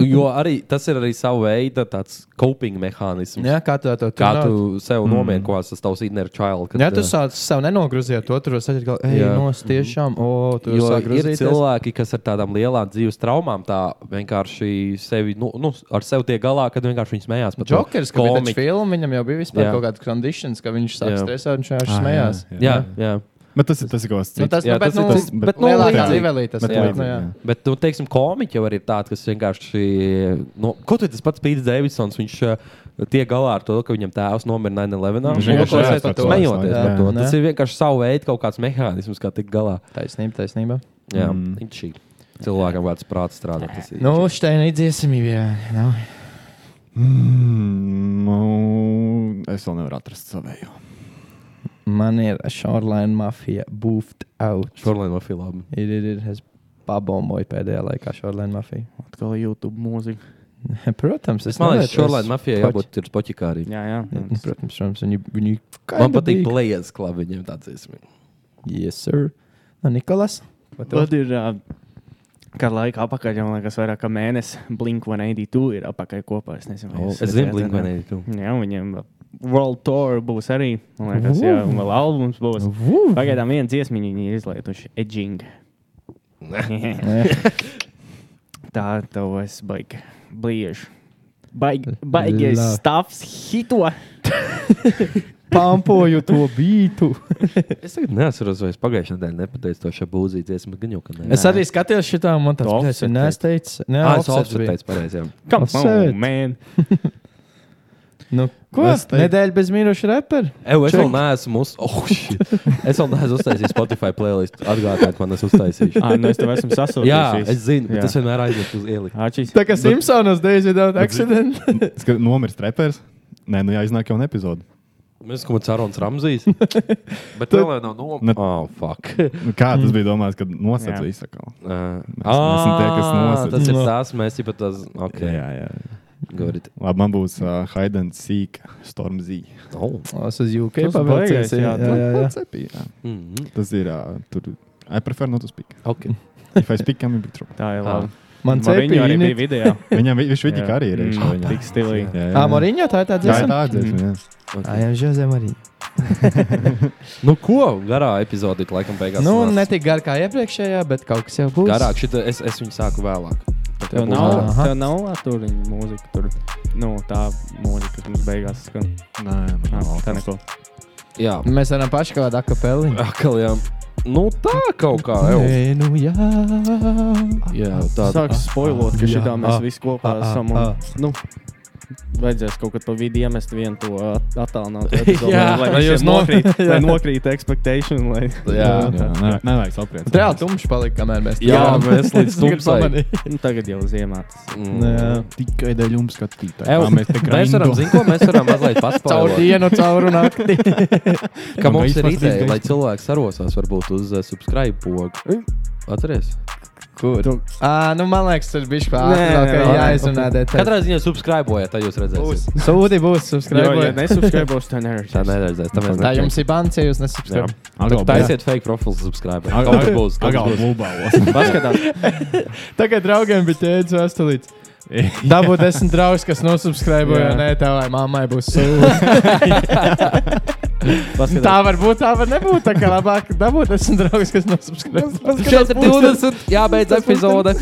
[SPEAKER 6] Jo arī tas ir arī sava veida tāds coping mehānisms.
[SPEAKER 8] Jā, kā tu to
[SPEAKER 6] kā tu
[SPEAKER 8] turināt.
[SPEAKER 6] sev
[SPEAKER 8] Mm.
[SPEAKER 6] nomierini, ko tas tavs inner child. kad,
[SPEAKER 8] Ja tu
[SPEAKER 6] uh,
[SPEAKER 8] sāc sev nenogruzīt, to tur sasprāst, ka, ej,
[SPEAKER 6] Jā.
[SPEAKER 8] nos tiešām, o, tu
[SPEAKER 6] Jo
[SPEAKER 8] sāc
[SPEAKER 6] ir
[SPEAKER 8] grūzīt.
[SPEAKER 6] cilvēki, kas ar tādām lielām dzīves traumām tā vienkārši sevi, nu, nu, ar sevi tiek galā, kad vienkārši viņi smējās par to.
[SPEAKER 8] Džokers, kā viņš
[SPEAKER 6] Komiķi.
[SPEAKER 8] bija filmā, viņam jau bija vispār
[SPEAKER 6] Jā.
[SPEAKER 8] jā. kaut kāda konditions, ka viņš sāk
[SPEAKER 6] Jā.
[SPEAKER 8] stresēt un viņš vienkārši
[SPEAKER 6] Ah,
[SPEAKER 8] smējās.
[SPEAKER 6] jā, jā. Jā, jā.
[SPEAKER 1] Bet tas ir tas, ko es
[SPEAKER 8] Nu, tas- nu, bet, nu, bet nu, lielākā līmenī tas ir, nu, jā.
[SPEAKER 6] Bet, nu, teiksim, komiķi jau ir tādi, kas vienkārši. Nu, ko tad tas pats Pīts Davidsons? Viņš eh, tiek galā ar to, ka viņam tēvs nomira 9-11.
[SPEAKER 8] Viņš
[SPEAKER 6] Nu, Viņš
[SPEAKER 8] vienkārši
[SPEAKER 6] vienkārši
[SPEAKER 8] jās par to.
[SPEAKER 6] smejoties
[SPEAKER 8] Jā,
[SPEAKER 6] par to.
[SPEAKER 8] jā.
[SPEAKER 6] Tas ir vienkārši savu veidu kaut kāds mehānisms, kā tikt galā.
[SPEAKER 8] Taisnība, taisnība.
[SPEAKER 6] Jā,
[SPEAKER 8] Mm.
[SPEAKER 6] mm. šī cilvēkam kāds prāts strādā. Tas ir.
[SPEAKER 8] Nu, Steina izdziesimība, jā. Nu.
[SPEAKER 1] Mm, nu, es vēl nevaru atrast savēju.
[SPEAKER 8] Man ir Šorlaina mafija, buffed out.
[SPEAKER 6] Šorlaina mafija, labi.
[SPEAKER 8] Ir, ir, ir. Es pabomboju pēdējā laikā Šorlaina mafiju.
[SPEAKER 2] Atkal YouTube mūzika.
[SPEAKER 8] Protams, es
[SPEAKER 6] Es domāju,
[SPEAKER 8] nelietu,
[SPEAKER 6] ka Šorlaina mafijai
[SPEAKER 8] poķi.
[SPEAKER 6] jābūt ir poķikā arī.
[SPEAKER 2] Jā, jā.
[SPEAKER 8] Protams, protams, viņi, viņi
[SPEAKER 6] Man
[SPEAKER 8] kinda
[SPEAKER 6] patīk
[SPEAKER 8] big.
[SPEAKER 6] Blazers klubu, viņiem tāds ir.
[SPEAKER 8] Yes, sir. Nu, Nikolas? vai tev?
[SPEAKER 2] Tad ir uh, kāda laika apakaļ, jau man liekas, vairāk kā mēnesis. Blink 182 ir apakaļ kopā. Nu, Es nezinu,
[SPEAKER 6] Oh,
[SPEAKER 2] vai jūs
[SPEAKER 6] es zinu
[SPEAKER 2] redzējāt,
[SPEAKER 6] Blink
[SPEAKER 2] vai ne?
[SPEAKER 6] 182.
[SPEAKER 2] Jā, viņiem uh, World Tour būs arī. Man liekas, jā, un vēl albums būs. Pagaidām viena dziesmiņa viņi ir izlaiduši Edging. Tā tev es baigi. Blieži. Baigi- Baigies
[SPEAKER 8] Lā.
[SPEAKER 2] stāvs hito.
[SPEAKER 8] Pampoju to bītu.
[SPEAKER 6] Es tagad neatceros, vai es pagājušajā nedēļā nepateicu to šabūzīju dziesmu, gan jau, ka nē.
[SPEAKER 8] Es arī skatījos šo tādu monētu,
[SPEAKER 6] Tu
[SPEAKER 8] kāda ir. Nē, es teicu, nē,
[SPEAKER 6] Ah, es
[SPEAKER 8] Offsets
[SPEAKER 6] Offset
[SPEAKER 8] bija.
[SPEAKER 6] teicu pareizi, jā.
[SPEAKER 2] Come on,
[SPEAKER 8] Offset.
[SPEAKER 2] man.
[SPEAKER 8] nu, ko?
[SPEAKER 6] Es teicu-
[SPEAKER 8] Nedēļa bez mīnuša repera.
[SPEAKER 6] Eju, es vēl neesmu uz... oh, shit. es vēl neesmu uztaisījis Spotify playlist. Atgādājiet, man tas uztaisīšu.
[SPEAKER 2] Ā, nu es tev esmu sasodījis.
[SPEAKER 6] Jā, es zinu,
[SPEAKER 2] Jā.
[SPEAKER 6] bet tas vienmēr aiziet uz ieliku.
[SPEAKER 2] Ačīs.
[SPEAKER 8] Tā kā Simpsonos Days without accident.
[SPEAKER 1] Ska- Nomirst reperis. Nē, nu jāiznāk jauna epizode.
[SPEAKER 6] Mēs kaut kāds Arons Ramzīs. Bet vēl jau nav
[SPEAKER 1] Ne-
[SPEAKER 6] nopietni. Oh, fuck.
[SPEAKER 1] Nu, Kā tas bija domāts, kad
[SPEAKER 6] Jā.
[SPEAKER 1] nosacīja visu?
[SPEAKER 6] Uh,
[SPEAKER 1] Mēs esam tie, kas nosacīja.
[SPEAKER 6] Ah, tas ir tās, mēs jau pat tās. Okay.
[SPEAKER 1] Jā, jā.
[SPEAKER 6] Gorit.
[SPEAKER 1] Labi, man būs uh, Haidens Sīka, Storm Z.
[SPEAKER 6] Oh.
[SPEAKER 8] Tas uz UK
[SPEAKER 1] Tas
[SPEAKER 8] pabeigts.
[SPEAKER 1] baigais, jā,
[SPEAKER 8] jā, jā. jā.
[SPEAKER 1] Cepī, jā.
[SPEAKER 6] Mhm.
[SPEAKER 1] Tas ir. Uh, tur, I prefer not to speak.
[SPEAKER 6] Okay.
[SPEAKER 1] If I speak, I'm in big trouble.
[SPEAKER 2] Tā ir labi.
[SPEAKER 8] Man cepī
[SPEAKER 2] Viņu arī
[SPEAKER 8] init.
[SPEAKER 2] bija video.
[SPEAKER 1] Viņam vi- viņš viņa
[SPEAKER 2] Jā.
[SPEAKER 1] arī ir. iekšā
[SPEAKER 2] Mm,
[SPEAKER 1] viņā.
[SPEAKER 2] Tik stilīgi.
[SPEAKER 1] Jā, jā.
[SPEAKER 8] Ā, Moriņo, tā ir
[SPEAKER 1] Tā
[SPEAKER 8] tā
[SPEAKER 1] ir
[SPEAKER 8] dziesma?
[SPEAKER 1] tā dziesma. jā.
[SPEAKER 8] Ai, jā, Jose Marija.
[SPEAKER 6] Nu, ko garā epizode ir laikam beigās?
[SPEAKER 8] Nu,
[SPEAKER 6] sanāca.
[SPEAKER 8] ne tik gara kā iepriekšējā, bet kaut kas jau būs.
[SPEAKER 6] Garāk, šita, es, es viņu sāku vēlāk. Tad jau
[SPEAKER 2] Tev
[SPEAKER 6] būs
[SPEAKER 2] nav,
[SPEAKER 6] vēlāk.
[SPEAKER 2] tev nav aturiņa mūzika tur. Nu, tā mūzika, kas mums beigās skan.
[SPEAKER 1] Nē,
[SPEAKER 2] Nā,
[SPEAKER 8] Nu,
[SPEAKER 2] tā neko.
[SPEAKER 6] Jā,
[SPEAKER 8] Mēs varam paši kaut kādu akapeli.
[SPEAKER 6] atkal jā. Nu, tā kaut kā jau.
[SPEAKER 8] Nē, nu jā.
[SPEAKER 6] Jā, tā
[SPEAKER 2] Sāks spoilot, ka
[SPEAKER 8] Ah, Jā.
[SPEAKER 2] šitā mēs
[SPEAKER 8] Ah,
[SPEAKER 2] visi kopā
[SPEAKER 8] ah,
[SPEAKER 2] esam. Un,
[SPEAKER 8] ah.
[SPEAKER 2] nu, vajadzēs kaut kad pa vidu iemest vienu to attālinātu epizodi.
[SPEAKER 8] Jā,
[SPEAKER 2] lai
[SPEAKER 8] lai
[SPEAKER 2] visiem
[SPEAKER 8] jūs no-
[SPEAKER 2] nokrīt, lai
[SPEAKER 8] Jā.
[SPEAKER 2] nokrīt expectation. Lai...
[SPEAKER 6] Jā.
[SPEAKER 1] Jā, ne- Nevajag sapriekt.
[SPEAKER 8] Reāli tumšs palika, kamēr mēs
[SPEAKER 6] Jā, mēs līdz tumsai.
[SPEAKER 2] Nu, tagad jau ziemā tas.
[SPEAKER 6] Mm.
[SPEAKER 1] Tikai dēļ jums skatītāji.
[SPEAKER 6] Ev,
[SPEAKER 1] kā Mēs te
[SPEAKER 6] Mēs varam,
[SPEAKER 1] grindam.
[SPEAKER 6] zinām, ko mēs varam mazliet
[SPEAKER 8] Caur
[SPEAKER 6] paspaust.
[SPEAKER 8] dienu, caur nakti.
[SPEAKER 6] Ka
[SPEAKER 1] Man
[SPEAKER 6] mums ir
[SPEAKER 1] gaismas
[SPEAKER 6] ideja,
[SPEAKER 1] līdz
[SPEAKER 6] lai cilvēks sarosās varbūt uz uh, subscribe pogu. Atcerieties!
[SPEAKER 8] Kur? Ā, nu man liekas, tas bija
[SPEAKER 2] Nē,
[SPEAKER 8] pārāk.
[SPEAKER 2] nē, nē,
[SPEAKER 8] Jā, aizrunā detaļas.
[SPEAKER 6] Katrā ziņā subscribe, tad jūs redzēsiet.
[SPEAKER 8] Sūdi
[SPEAKER 2] Jo,
[SPEAKER 8] būs,
[SPEAKER 2] ja
[SPEAKER 8] subscribe.
[SPEAKER 2] nesubscribos, tad neredzēs.
[SPEAKER 6] Tā neredzēs. Tā mēs
[SPEAKER 8] Tā jums ir bans, ja jūs nesubscribe.
[SPEAKER 1] Agal,
[SPEAKER 6] Taisiet fake profilu subscribe.
[SPEAKER 1] Agal-
[SPEAKER 6] Kaut kas būs. kaut
[SPEAKER 1] Agal
[SPEAKER 6] kas būs.
[SPEAKER 1] būbālos.
[SPEAKER 2] Paskatās,
[SPEAKER 8] Tagad draugiem bija ķēdes vēstulīts. Dabūt desmit draugus, kas nosubscribe, jo
[SPEAKER 2] Jā.
[SPEAKER 8] nē, tavai mammai būs sūdi. tā var būt, tā var nebūt. Tā kā labāk dabūt desmit draugus, kas nosubscribe.
[SPEAKER 6] Šeit ir 20. Jābeidz epizode.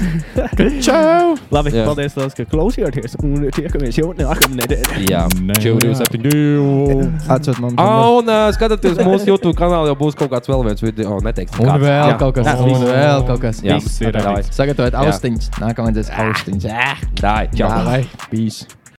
[SPEAKER 8] Čau!
[SPEAKER 2] labi,
[SPEAKER 6] Jā.
[SPEAKER 2] paldies, liels, ka klausījāties. Un tiekamies jau nākamnedēļ.
[SPEAKER 6] Jā,
[SPEAKER 1] Nē,
[SPEAKER 6] 27. divi.
[SPEAKER 8] Atsūt mums.
[SPEAKER 6] Ah, un uh, skatieties, mūsu YouTube kanālā jau būs kaut kāds vēl viens video. Oh, neteiks,
[SPEAKER 8] Un
[SPEAKER 6] kāds.
[SPEAKER 8] vēl
[SPEAKER 6] Jā.
[SPEAKER 8] kaut kas,
[SPEAKER 6] Tas
[SPEAKER 8] un
[SPEAKER 6] viss.
[SPEAKER 8] vēl kaut kas.
[SPEAKER 6] Jā,
[SPEAKER 1] Viss ir
[SPEAKER 6] davai.
[SPEAKER 8] Sagatavot austiņas. Nākamais ir austiņas. Jā,
[SPEAKER 6] Dai, čau.
[SPEAKER 8] Davai. Peace.